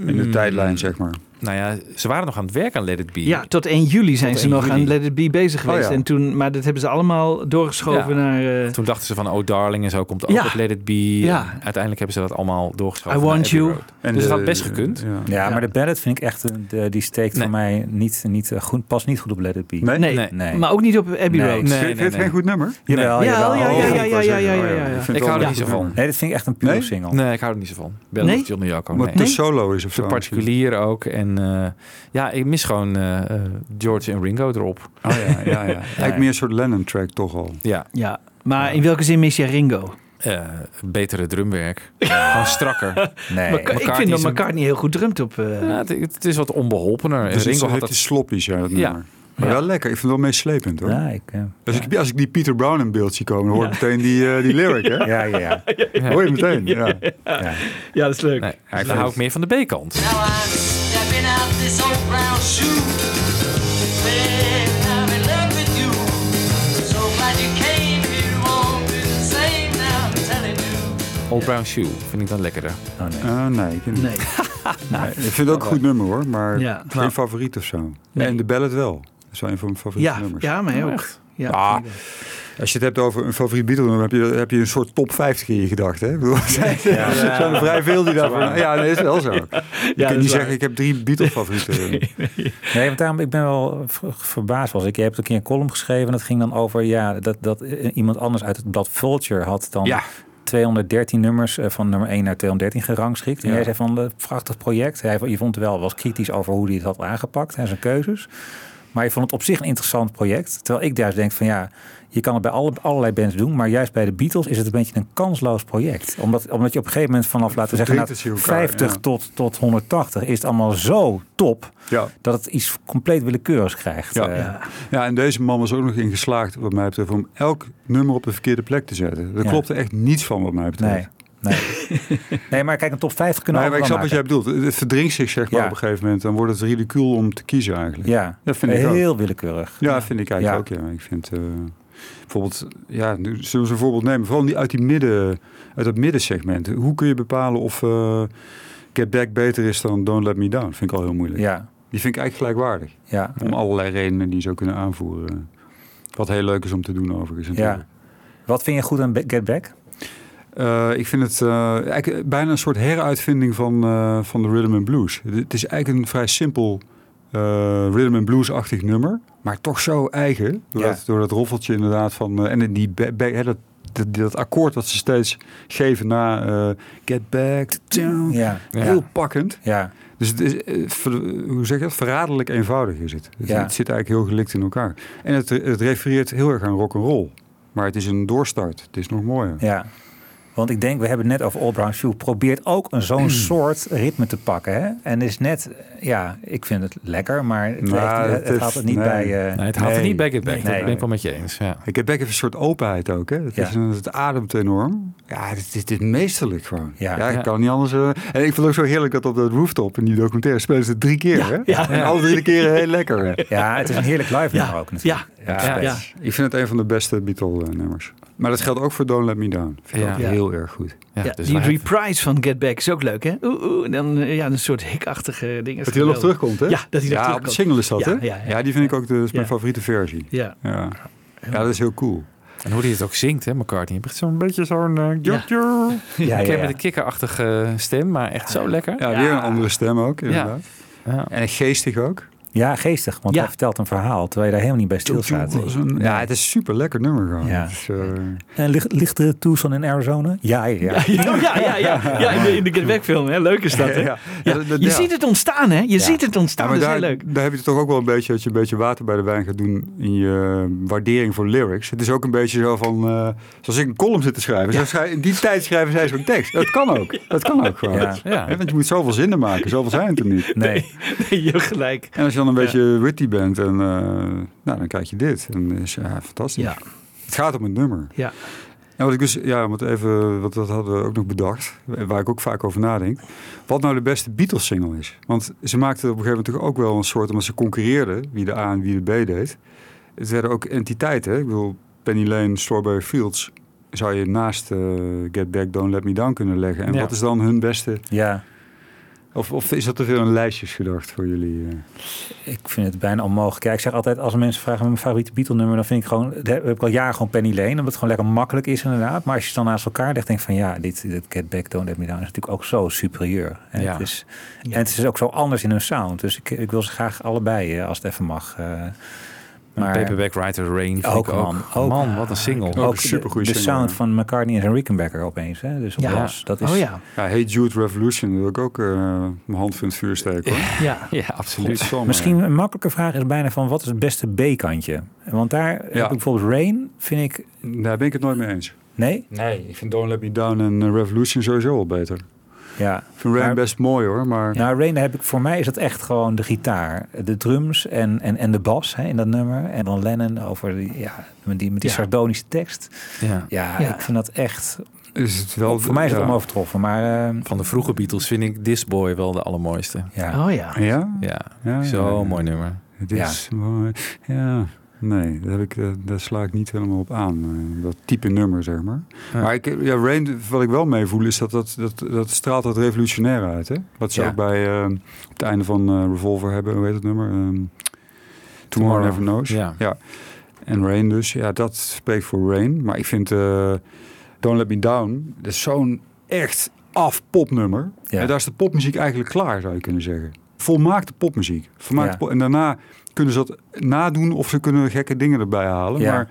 in
Hmm.
de tijdlijn, zeg maar.
eh, mm, nou ja, ze waren nog aan het werk aan Let It Be.
Ja, tot 1 juli zijn
Tot
ze
1
nog
juli. Oh,
aan Let It Be bezig geweest.
ja.
en toen, maar dat hebben ze allemaal doorgeschoven
Ja.
naar... eh,
Toen dachten ze van Oh Darling en zo komt ook
Ja.
op Let It Be.
Ja.
En uiteindelijk hebben ze dat allemaal doorgeschoven.
I
naar
want
Abbey
you.
Road.
En
dus het
de-
had best gekund.
Ja.
maar de ballad vind ik echt... een- de- die steekt
Nee.
voor mij niet, niet eh, goed, past niet goed op Let It Be.
Nee?
nee,
nee.
Nee. Nou,
maar ook niet op Abbey
Nee.
Road.
Vind-
nee,
Vind je
nee,
het
nee.
geen goed nummer?
Jawel,
Ja,
jawel.
Oh, ja, ja, ja, ja, ja, ja, ja, ja.
vind het
Ik
wel
hou er
een
niet zo
goed
van.
nummer.
Nee, dat vind ik echt een pure
Nee?
single.
Nee, ik hou er niet zo van. Ballad
Nee?
of Johnny Yoko.
Omdat
nee.
het te solo is of
Te
zo.
particulier ook. En eh, ja, ik mis gewoon eh, eh, George en Ringo erop.
misschien. Oh ja, ja, ja. Lijkt meer een soort Lennon-track toch al.
Ja.
Ja, maar in welke zin mis je Ringo?
eh, betere drumwerk. Gewoon strakker.
Nee.
Maar ik
McCartney
vind dat
is een-
McCartney heel goed drumt op... eh,
Ja, het, het is wat onbeholpener. En
Dus
Ringo
Ringo
had
heeft
dat...
die sloppies, ja, dat
Ja.
nummer. Maar wel lekker. Ik vind het wel meeslepend, hoor.
Ja, ik, eh,
Als, ik, als ik die Peter Brown in beeld zie komen, dan hoor ik meteen die, eh, die lyric, hè?
ja, ja, ja.
Hoor je meteen, ja.
Ja, dat is leuk.
Nee, hij houdt meer van de B-kant.
Now I'm stepping out this old brown shoe. Man, I'm in love with you. So glad you came here. Won't do the same now. I'm telling you.
Old Brown Shoe vind ik dan lekkerder.
Oh, nee.
Eh, nee, ik vind-
Nee.
Nee, ik vind het ook een goed nummer hoor, maar
Ja.
geen favoriet of zo. En de ballet wel. Dat is wel een van mijn favoriete
Ja,
nummers.
ja, maar ook. Ja.
Ah, als je het hebt over een favoriet Beatle nummer, heb je, heb je een soort top 50 in je gedachten. hè? Ik bedoel, Er zijn er zijn er vrij veel die daarvan... Ja, nee, is wel zo. Je
dat
kunt
is
niet
waar.
zeggen, ik heb drie Beatle favorieten.
Nee, want daarom, ik ben wel ver- verbaasd was ik. Je hebt een keer een column geschreven en dat ging dan over... ja, dat, dat eh, iemand anders uit het blad Vulture had dan... 213 nummers eh, van nummer 1 naar 213 gerangschikt. En jij zei van, eh, prachtig project. Hij, je vond wel, was kritisch over hoe hij het had aangepakt en zijn keuzes. Maar je vond het op zich een interessant project. Terwijl ik juist denk van ja, je kan het bij alle, allerlei bands doen. Maar juist bij de Beatles is het een beetje een kansloos project. Omdat, omdat je op een gegeven moment vanaf, laten we zeggen,
Verdringt het
nou,
je elkaar,
50
ja.
tot, tot 180 is het allemaal zo top.
Ja.
Dat het iets compleet willekeurigs krijgt.
Ja.
Eh,
ja. en deze man was ook nog in geslaagd, wat mij betreft, om elk nummer op de verkeerde plek te zetten. Daar
Ja.
klopte echt niets van, wat mij betreft.
Nee. Nee. nee, maar kijk, een top 50 kunnen
Maar,
we
maar ik snap wat jij
allemaal
bedoelt. Het het verdringt zich zeg maar
Ja.
op een gegeven moment. Dan wordt het ridicuul om te kiezen eigenlijk.
maken. Ja,
Ja, vind ik ook.
heel willekeurig.
Ja, vind ik eigenlijk
Ja.
ook. Ja. Ik vind eh, bijvoorbeeld, ja, nu zullen we een voorbeeld nemen. Vooral die uit die midden, uit dat middensegment. Hoe kun je bepalen of eh, Get Back beter is dan Don't Let Me Down? Vind ik al heel moeilijk.
Ja,
Die vind ik eigenlijk gelijkwaardig.
ja.
Om allerlei redenen die je zou kunnen aanvoeren. Wat heel leuk is om te doen overigens. natuurlijk.
ja. Wat vind je goed aan Be- Get Back?
Eh, ik vind het eh, eigenlijk bijna een soort heruitvinding van, eh, van de rhythm and blues. Het, het is eigenlijk een vrij simpel eh, rhythm and blues-achtig nummer, maar toch zo eigen. Door,
Ja.
dat, door dat roffeltje inderdaad van. eh, en die, ba- ba- hè, dat, dat, dat akkoord dat ze steeds geven na eh, Get Back to Town.
Ja,
Heel
ja.
pakkend.
ja.
Dus het is, eh, ver- hoe zeg je dat? Verraderlijk eenvoudig is het. Het,
Ja.
het zit eigenlijk heel gelikt in elkaar. En het, het refereert heel erg aan rock and roll. Maar het is een doorstart. Het is nog mooier.
Ja, want ik denk, we hebben het net over All Brown Shoe. Probeert ook een
Mm.
zo'n soort ritme te pakken. Hè? En is net, ja, ik vind het lekker, maar het,
Nou,
heeft-
het
het,
is-
haalt het niet
nee.
bij... eh,
Nee, het haalt er
Nee.
niet bij Get Back.
Nee.
dat
Nee.
ben ik wel met je eens. Ja.
Ik heb echt even een soort openheid ook. Hè? Het,
Ja.
is een- het ademt enorm. Ja, dit dit is meesterlijk gewoon. Ja,
Ja.
ik
Ja.
kan niet anders. eh, en ik vond het ook zo heerlijk dat op dat rooftop in die documentaire spelen ze het drie keer. hè? En alle drie de keren heel lekker. hè?
Ja, het is een heerlijk live nummer ook
Ja,
natuurlijk.
Ja,
Ja.
Ik vind het een van de beste Beatle-nummers. Maar dat geldt ook voor Don't Let Me Down. Vind ik
Ja.
ook heel erg goed.
Ja,
ja,
dus
die
live.
reprise van Get Back is ook leuk, hè? Oeh, oeh, dan eh, ja, een soort hikachtige ding.
Dat hij er nog terugkomt, hè?
Ja, dat hij nog
ja, op de
terugkomt.
single is dat,
Ja,
hè?
ja, ja.
die vind ik ook de, is mijn
Ja.
favoriete versie.
Ja,
Ja. ja, dat is heel cool.
En hoe die het ook zingt, hè, McCartney. Je hebt echt zo'n beetje zo'n... eh,
Ja.
jojo.
Ja,
Ik
ja,
heb
ja.
met een kikkerachtige stem, maar echt zo lekker.
Ja, weer een andere stem ook, inderdaad.
Ja.
En geestig ook.
Ja, geestig, want
Ja.
hij vertelt een verhaal terwijl je daar helemaal niet bij stilstaat.
Joe was een- ja, het is een super lekker nummer gewoon.
Ja.
Dus, eh,
En ligt, ligt de Tucson in Arizona? Ja, ja. ja.
ja, ja, ja, ja, ja in, de, in de Get Back film, hè? Leuk is dat, hè?
ja.
Ja,
dat- dat-
je
ja.
ziet het ontstaan, hè? Je ziet het
Ja,
ontstaan,
maar
dat is heel
daar,
leuk.
daar heb je toch ook wel een beetje dat je een beetje water bij de wijn gaat doen in je eh, waardering voor lyrics. Het is ook een beetje zo van, eh, zoals ik een column zit te schrijven. Zo schrij- in die tijd schrijven zij zo'n tekst. Dat kan ook. Dat kan ook gewoon.
Ja.
Ja.
Hè, Want je moet zoveel zinnen maken. Zoveel zijn het er niet.
Nee,
Nee, je hebt gelijk.
En als je dan een beetje witty bent, en, eh, nou, dan krijg je dit. En is ja, fantastisch.
Ja.
Het gaat om het nummer.
Ja.
En wat ik dus, ja, want even, want dat hadden we ook nog bedacht, waar ik ook vaak over nadenk. Wat nou de beste Beatles-single is? Want ze maakten op een gegeven moment toch ook wel een soort, omdat ze concurreerden, wie de A en wie de B deed. Het werden ook entiteiten. hè? Ik bedoel, Penny Lane, Strawberry Fields zou je naast eh, Get Back, Don't Let Me Down kunnen leggen. En
Ja.
wat is dan hun beste?
ja.
Of, of is dat te veel in lijstjes gedacht voor jullie? eh?
Ik vind het bijna onmogelijk. Kijk, ik zeg altijd, als mensen vragen mijn favoriete Beatle-nummer, dan vind ik gewoon, daar heb ik al jaren gewoon Penny Lane, omdat het gewoon lekker makkelijk is inderdaad. Maar als je het dan naast elkaar legt, denk ik van ja, dit, dit Get Back, Don't Let Me Down is natuurlijk ook zo superieur. En,
Ja.
het, is, en het is ook zo anders in hun sound. Dus ik, ik wil ze graag allebei, eh, als het even mag. eh, maar
Paperback Writer Rain vind
Ook,
ik ook.
man. Ook.
man, wat een single.
Ook een
ook de,
supergoeie
de
single,
sound
ja.
van McCartney en zijn Rickenbacker opeens. Hè? Dus op
Ja.
bas, dat is
Oh ja,
Ja, Hey Jude Revolution wil ik ook eh, mijn hand in het vuur steken. Hoor.
ja.
Ja, absoluut.
Godsamme.
Misschien een makkelijke vraag is bijna van wat is het beste B-kantje? Want daar heb ik bijvoorbeeld Rain, vind ik.
Daar ben ik het nooit mee eens.
Nee?
Nee, ik vind Don't Let Me Down en eh, Revolution sowieso wel beter.
Ja.
Ik vind Rain
Maar-
best mooi hoor, maar...
Nou, Rain daar heb ik, voor mij is dat echt gewoon de gitaar, de drums en, en, en de bas hè, in dat nummer. En dan Lennon over die, ja, met die, met die
Ja.
sardonische tekst.
Ja.
Ja,
Ja.
ik vind dat echt,
Is het wel,
voor mij is het
ja.
onovertroffen. Maar eh,
Van de vroege Beatles vind ik This Boy wel de allermooiste.
ja,
Oh ja.
Ja?
Ja,
ja
zo'n
ja.
mooi nummer.
Het is mooi. Ja, nee, daar, heb ik, eh, daar sla ik niet helemaal op aan. eh, Dat type nummer, zeg maar.
Ja.
Maar ik, eh, ja, Rain, wat ik wel mee voel, is dat dat, dat, dat straalt dat revolutionaire uit. Hè? Wat ze
Ja.
ook bij eh, het einde van eh, Revolver hebben, hoe heet het nummer? Ehm, Tomorrow, Never Knows.
Ja.
En Rain dus. Ja, dat spreekt voor Rain. Maar ik vind eh, Don't Let Me Down, dat is zo'n echt af popnummer.
Ja.
En daar is de popmuziek eigenlijk klaar, zou je kunnen zeggen. Volmaakte popmuziek. Volmaakte
Ja.
pop- en daarna kunnen ze dat nadoen of ze kunnen gekke dingen erbij halen.
Ja.
Maar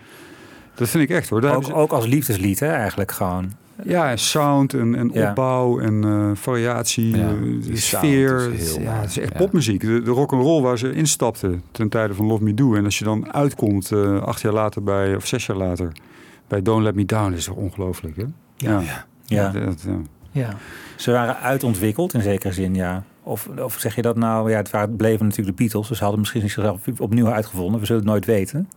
dat vind ik echt hoor. Daar
ook,
hebben
ook als liefdeslied hè, eigenlijk gewoon.
ze- Ja, en sound en, en
Ja.
opbouw en eh, variatie,
Ja,
eh,
die
sfeer.
sound is heel
ja,
mooi.
het is echt
Ja.
popmuziek. De, de rock and roll waar ze instapten ten tijde van Love Me Do. En als je dan uitkomt eh, acht jaar later bij, of zes jaar later bij Don't Let Me Down, is toch ongelooflijk, hè? Ja.
Ja.
dat, ja.
Ja.
Ze waren uitontwikkeld in zekere zin, ja. Of, of zeg je dat nou? Ja, het waren, bleven natuurlijk de Beatles. Dus ze hadden misschien zichzelf opnieuw uitgevonden. We zullen het nooit weten.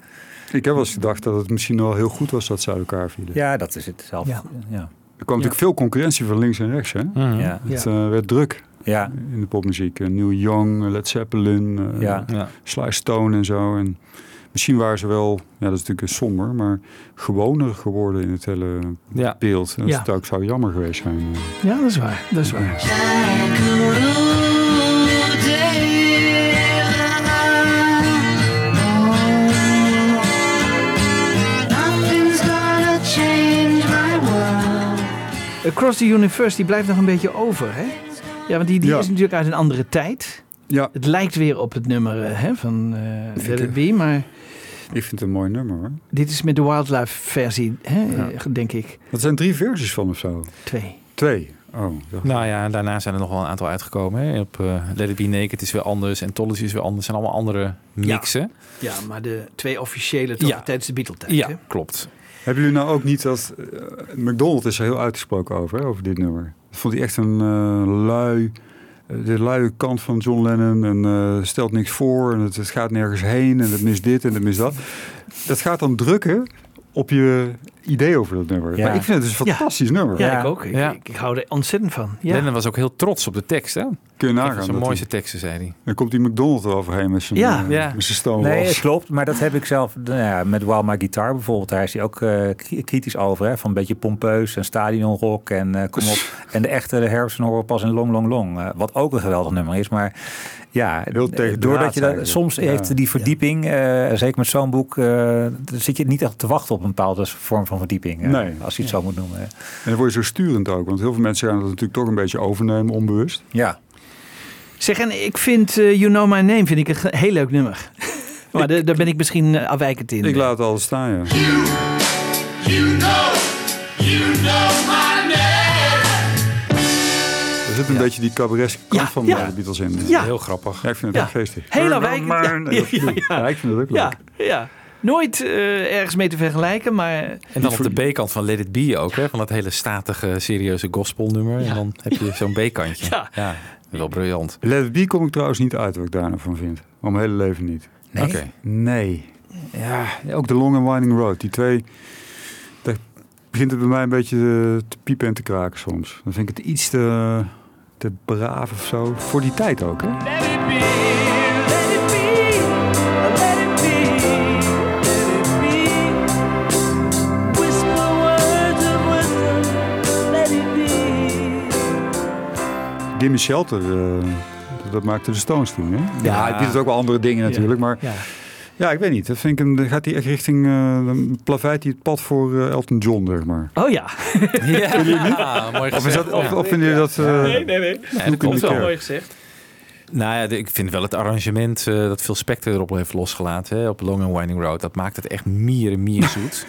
Ik heb wel eens gedacht dat het misschien wel heel goed was dat ze uit elkaar vielen.
Ja, dat is het zelf.
Ja.
Ja, ja.
Er kwam natuurlijk veel concurrentie van links en rechts, hè?
Ja.
ja.
Het eh, werd druk
ja.
in de popmuziek. Eh, Neil Young, Led Zeppelin, eh,
Ja.
Ja.
Sly Stone en zo. En misschien waren ze wel, ja, dat is natuurlijk somber, maar gewoner geworden in het hele
Ja.
beeld. En
Ja.
Dat zou- zou jammer geweest zijn.
ja, dat is waar. Dat is waar. Across the Universe die blijft nog een beetje over, hè? Ja, want die, die
Ja.
is natuurlijk uit een andere tijd.
Ja,
Het lijkt weer op het nummer eh, hè, van eh Let It Be, maar
ik vind het een mooi nummer hoor.
dit is met de wildlife versie, hè, eh, denk ik.
Dat zijn drie versies van of zo.
Twee.
Twee. Oh, ik dacht-
Nou ja, en daarna zijn er nog wel een aantal uitgekomen. Hè. Op eh Let It Be Naked is weer anders. En Tollis is weer anders. Het zijn allemaal andere mixen.
Ja, maar de twee officiële toch
Ja.
tijdens de Beatle-tijd.
Ja,
hè?
klopt.
Hebben jullie nou ook niet dat... eh, McDonald is er heel uitgesproken over, hè, over dit nummer. Dat vond hij echt een eh, lui... eh, De luie kant van John Lennon en eh, stelt niks voor en het, het gaat nergens heen en het mist dit en het mist dat. Dat gaat dan drukken op je idee over dat nummer.
Ja.
Maar ik vind het dus een
Ja.
fantastisch nummer.
Ja,
Ja.
ik ook. Ik,
Ja.
ik, ik hou er ontzettend van. Ja.
Lennon was ook heel trots op de tekst. Hè?
Kun
Dat
je nagaan.
was
dat
een
hij-
mooiste teksten, zei hij.
Dan komt die McDonald er overheen met zijn,
Ja.
ja.
Ja.
met zijn stone
Nee,
walls.
het klopt. Maar dat heb ik zelf nou ja, met Wild My Guitar bijvoorbeeld. Daar is hij ook eh, k- kritisch over. Hè? Van een beetje pompeus en stadionrock en eh, kom op. En de echte Harrison horen we pas in Long Long Long. eh, wat ook een geweldig nummer is. Maar ja, eh,
Heel tegendraads
doordat je dat,
eigenlijk.
soms
Ja.
heeft die verdieping, eh, zeker met zo'n boek, eh, dan zit je niet echt te wachten op een bepaalde vorm van verdieping. eh,
Nee.
Als je het zo moet noemen. hè.
En dan word je zo sturend ook. Want heel veel mensen gaan dat natuurlijk toch een beetje overnemen, onbewust.
Ja.
Zeg, en ik vind eh, You Know My Name vind ik een ge- heel leuk nummer. maar da- daar ben ik misschien eh, afwijkend in.
Ik laat het altijd staan, ja.
You know, you know my name.
Er zit een beetje die cabaretske kant
Ja,
van eh,
ja.
de Beatles in.
Ja.
Heel grappig.
Ja, ik vind het
Ja.
ook geestig.
Heel afwijkend. Ja,
Ja,
ja, ja,
ja, ik vind het ook leuk.
ja, ja. Nooit eh, ergens mee te vergelijken, maar
En dan op de B-kant van Let It Be ook. Hè? Van dat hele statige, serieuze gospelnummer. En dan heb je zo'n B-kantje.
Ja.
Wel briljant.
Let It Be kom ik trouwens niet uit wat ik daar nou van vind. Al mijn hele leven niet.
Oké.
Nee. Ja, ook de Long and Winding Road. Die twee, daar begint het bij mij een beetje eh, te piepen en te kraken soms. Dan vind ik het iets te, te braaf of zo. Voor die tijd ook, hè?
Let it be, let it be, let it be, let it be. Whisper words of wisdom, let it be.
Gimme Shelter, eh, dat maakte de Stones toen, hè? Ja, die doet ook wel andere dingen natuurlijk, maar...
ja.
Ja. ik weet niet. Dat vind ik een, dan gaat hij echt richting... eh, dan plaveit hij het pad voor eh, Elton John, zeg maar.
oh ja.
Ja, mooi
Of, is
gezegd.
dat, of, of vinden jullie dat... eh,
nee.
Ja, dat klopt
in de
wel.
kerk?
gezegd.
Nou ja, de- ik vind wel het arrangement eh, dat Phil Spector erop heeft losgelaten hè, op Long and Winding Road. Dat maakt het echt mieren, mier zoet.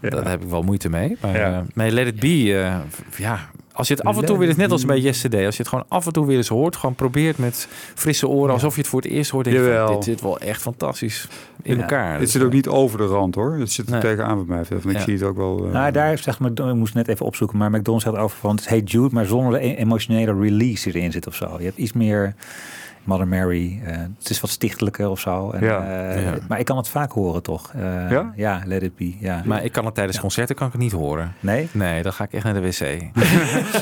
Daar heb ik wel moeite mee. Maar
Ja.
eh, nee, Let It Be, eh, v- ja, als je het af en toe weer eens, net als bij Yesterday, als je het gewoon af en toe weer eens hoort, gewoon probeert met frisse oren, alsof je het voor het eerst hoort. Denk je van,
Jawel.
dit zit wel echt fantastisch in
Ja.
elkaar. Dus,
Het zit ook niet over de rand, hoor. Het zit er
Nee.
tegenaan wat mij betreft. En ik
Ja.
zie het ook wel... eh,
Nou, daar heeft zeg maar, ik moest net even opzoeken, maar McDonald's had over van het heet Jude, maar zonder de e- emotionele release die erin zit of zo. Je hebt iets meer Mother Mary, eh, het is wat stichtelijker of zo. En,
Ja.
eh,
Ja.
Maar ik kan het vaak horen toch? Eh,
Ja?
Let It Be. Ja.
eh, Maar ik kan het tijdens concerten kan ik het niet horen.
nee?
Nee, dan ga ik echt naar de wc.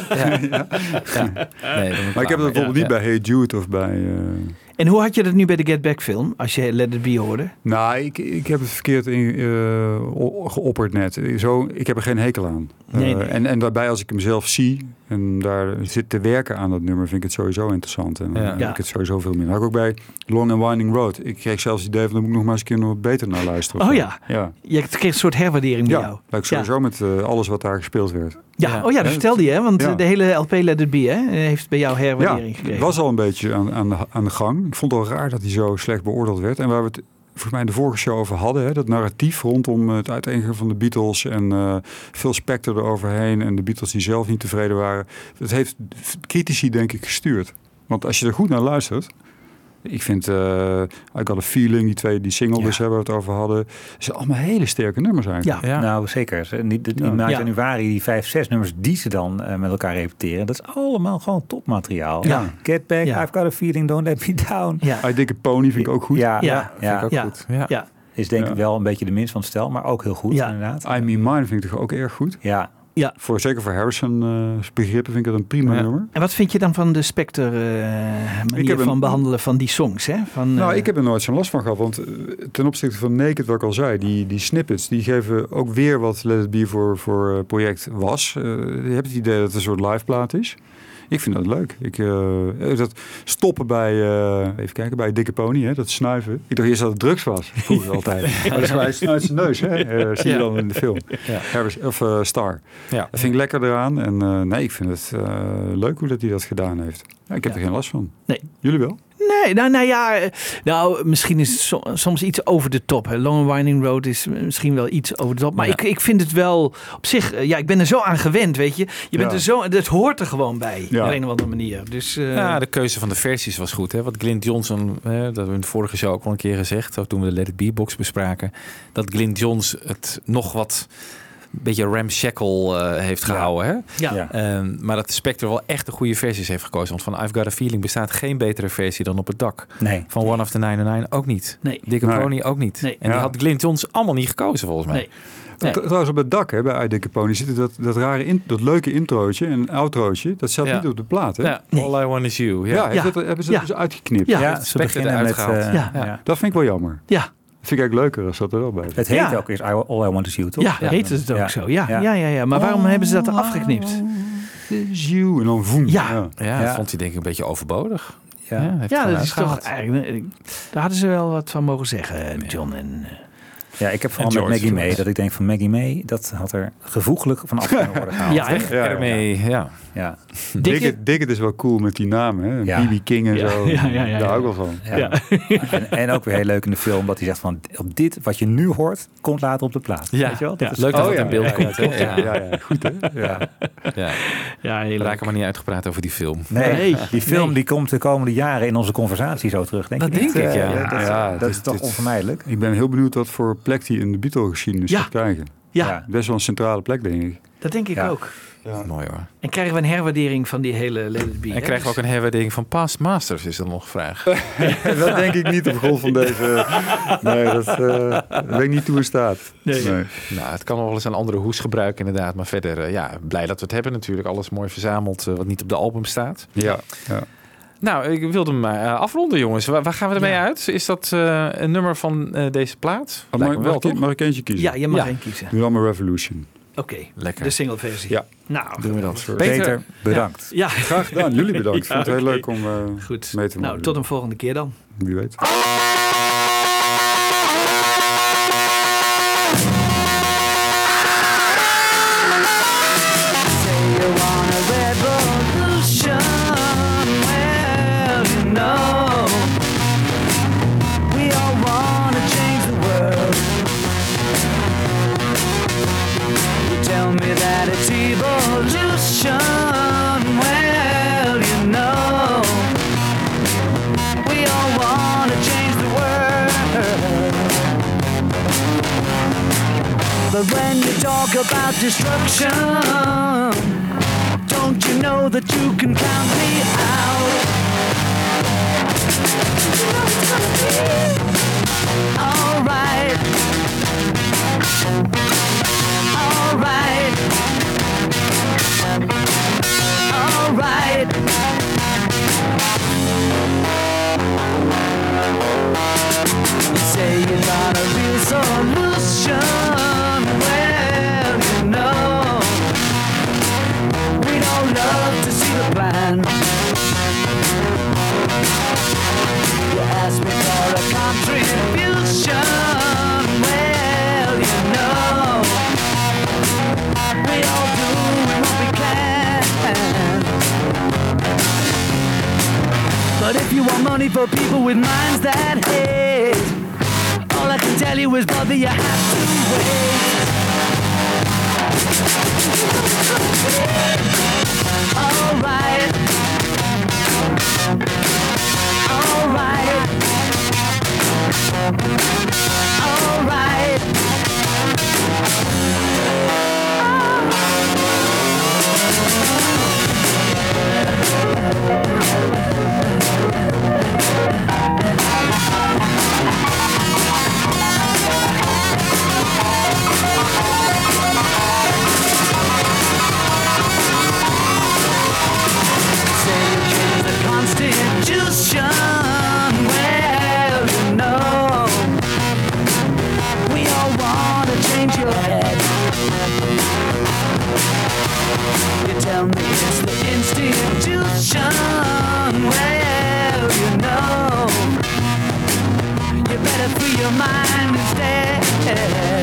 ja. Ja.
Eh.
Nee,
Maar ik heb dat bijvoorbeeld niet bij Hey Jude of bij... eh,
En hoe had je dat nu bij de Get Back film, als je Let It Be hoorde?
Nou, ik, ik heb het verkeerd in, eh, o- geopperd net. Zo, ik heb er geen hekel aan. Eh,
Nee, nee.
En, en daarbij als ik hem zelf zie en daar zit te werken aan dat nummer, vind ik het sowieso interessant. En dan
Ja.
heb
Ja.
ik het sowieso veel meer. Had ik ook bij Long and Winding Road. Ik kreeg zelfs het idee van, daar moet ik nog maar eens een keer nog wat beter naar luisteren.
Oh
Van.
ja.
Ja,
Je kreeg een soort herwaardering bij jou.
ja. Maar ik sowieso met eh, alles wat daar gespeeld werd.
Ja,
Ja.
oh ja, dat
Ja.
vertelde je, hè? want
Ja.
eh, de hele LP Let It Be hè, heeft bij jou
Ja,
herwaardering
het
gekregen.
was al een beetje aan, aan, de, aan de gang. Ik vond het al raar dat hij zo slecht beoordeeld werd. En waar we het volgens mij in de vorige show over hadden. Hè, dat narratief rondom het uiteengaan van de Beatles en eh veel Spector eroverheen. En de Beatles die zelf niet tevreden waren. Dat heeft critici denk ik gestuurd. Want als je er goed naar luistert. Ik vind eh I Got A Feeling, die twee, die single dus hebben we het over hadden. Ze zijn allemaal hele sterke nummers eigenlijk.
Ja.
Ja.
Nou, zeker. Ze- die- die- die maart
Ja.
januari, die vijf, zes nummers die ze dan eh, met elkaar repeteren. Dat is allemaal gewoon topmateriaal.
Ja.
Get back,
Ja.
I've got a feeling, don't let me down.
Ja.
I Dig A Pony vind ik ook goed.
Ja,
Ja.
ja,
Vind ik ook
Ja.
goed. Ja.
Ja.
is denk
Ja.
ik wel een beetje de minst van het stel, maar ook heel goed
Ja.
inderdaad.
I Mean Mine vind ik toch ook erg goed.
Ja,
Voor, zeker voor Harrison eh, begrippen vind ik dat een prima
Ja.
nummer.
En wat vind je dan van de Specter eh
Ik
manier
heb een-
van behandelen van die songs? Hè? Van,
Nou,
eh,
ik heb er nooit zo'n last van gehad. Want eh, ten opzichte van Naked, wat ik al zei, die, die snippets, die geven ook weer wat Let It Be voor, voor eh, project was. Eh, je hebt het idee dat het een soort liveplaat is. Ik vind dat leuk. Ik, eh, dat stoppen bij, eh, even kijken, bij Dikke Pony, hè, dat snuiven. Ik dacht eerst dat het drugs was, vroeger altijd. Maar dat is gewoon, hij snuit zijn neus, hè? eh, zie je dan in de film. Harris, of eh, Star.
Ja.
Dat vind ik lekker eraan. En eh, nee, ik vind het eh, leuk hoe dat hij dat gedaan heeft. Ja, ik heb er geen last van.
Nee.
Jullie wel?
Nee, nou, nou ja, eh, nou, misschien is het so- soms iets over de top. Hè. Long and Winding Road is misschien wel iets over de top. Maar
Ja.
ik, ik vind het wel op zich, eh, ja, ik ben er zo aan gewend, weet je. Je bent
Ja.
er zo, dat hoort er gewoon bij,
Ja.
op een of andere manier. Dus eh,
Ja, de keuze van de versies was goed. Hè? Wat Glyn Johnson, hè, dat hebben we in de vorige show ook al een keer gezegd, ook toen we de Let It Be box bespraken, dat Glyn Johns het nog wat een beetje ramshackle eh, heeft gehouden. Hè?
ja.
ja.
Ehm, maar dat de Spectre wel echt de goede versies heeft gekozen. Want van I've Got A Feeling bestaat geen betere versie dan op het dak.
nee.
Van One of the 99 ook niet.
Nee.
Dick and
Nee.
Pony ook niet.
Nee.
En die
Ja.
had Glyn Johns allemaal niet gekozen volgens mij.
Nee. Nee.
Tr- Trouwens, op het dak hè, bij iDikke Pony zit dat, dat rare in, dat leuke introotje en outrootje. Dat staat
Ja.
niet op de plaat. Hè?
Ja, All I Want Is You. Ja,
Ja, heeft
Ja.
dat- hebben ze
Ja.
dat dus uitgeknipt.
Ja.
Ja, ze
Spectre
beginnen met...
eruit gehaald.
eh,
Ja.
ja.
Dat vind ik wel jammer.
Ja.
Dat vind ik eigenlijk leuker als dat er wel bij zit.
Het heet
Ja.
ook eerst I- All I Want Is You, toch?
Ja, heet het dus ook
Ja.
zo. Ja, ja.
Ja.
Ja, ja, Maar waarom hebben ze dat er afgeknipt?
Is you, en dan voem.
Ja.
Ja, dat
Ja.
vond hij denk ik een beetje overbodig.
Ja.
heeft hij
Ja,
gewoon
dat is toch
uitgehaald.
eigenlijk... eh, Daar hadden ze wel wat van mogen zeggen, John. En, eh,
Ja, ik heb vooral
En
met
George
Maggie May
Floyd.
dat ik denk van Maggie May, dat had er gevoeglijk van af kunnen worden gehaald.
ja, hè?
Weg ermee, ja.
Ja.
dikke...
Dicket is wel cool met die naam. Hè?
Ja.
BB King en zo.
ja, ja, ja.
Daar hou ik wel van.
Ja. En, en ook weer heel leuk in de film dat hij zegt van op dit wat je nu hoort komt later op de plaat.
Ja.
Weet je wel?
Ja.
Leuk dat
Oh,
het
ja,
in beeld
ja, ja,
komt. hè? Ja, ja,
Ja, ja, goed hè? Ja.
Ja,
We
heel leuk.
raken maar niet uitgepraat over die film.
Nee,
Nee.
die film die komt de komende jaren in onze conversatie zo terug. Denk
Dat
je niet?
denk ik,
Eh,
ja.
Dat,
Ja,
dat
dit-
is toch
dit-
onvermijdelijk.
Ik ben heel benieuwd wat voor plek die in de Beatle-geschiedenis
Ja.
gaat krijgen.
Ja,
Best wel een centrale plek, denk ik.
dat denk ik
Ja.
ook.
Mooi hoor.
En krijgen we een herwaardering van die hele Let It Be, hè?
En krijgen we ook een herwaardering van Past Masters, is dat nog een vraag.
dat denk ik niet op grond van deze. Nee, dat eh ben ik niet toe in staat.
Nee.
nou, het kan nog wel eens een andere hoes gebruiken inderdaad. Maar verder, eh, ja, blij dat we het hebben natuurlijk. Alles mooi verzameld eh, wat niet op de album staat.
Ja, ja.
Nou, ik wilde hem maar eh, afronden jongens. Waar, waar gaan we ermee
Ja.
uit? Is dat eh, een nummer van eh, deze plaat?
Oh,
Lijkt
mag,
me
mag,
wel,
ik,
toch?
mag ik eentje kiezen?
Ja, je mag
Ja.
één kiezen.
Doe dan maar Revolution.
Oké,
Lekker.
de singleversie.
Ja.
Nou,
Doen we dat.
Peter,
Peter,
bedankt.
ja,
Graag gedaan. Jullie bedankt. Ik vond het heel
oké.
leuk om eh,
goed.
mee te maken.
Nou, tot een volgende keer dan.
Wie weet.
But when you talk about destruction, don't you know that you can count me out? Alright. Alright. Alright. Say you got a real solution. Well, you know, we don't love to see the plan. You ask me for a contribution. Well, you know, we all do what we can. But if you want money for people with minds that hate, tell you is, brother, you have to wait. Alright. Alright. Alright. Is a constitution. Well, you know, we all want to change your head. You tell me it's the institution. Well, you know, you better free your mind instead.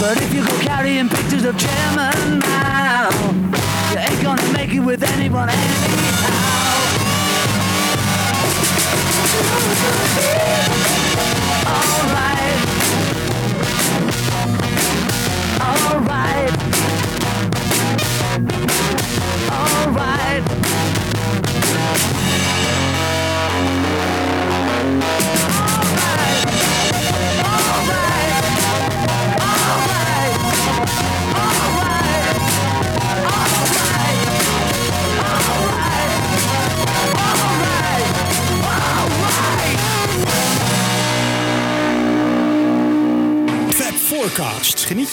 But if you go carrying pictures of chairman now. You ain't gonna make it with anyone anyhow. Alright. Alright. Alright.
Fab Forecast.
Geniet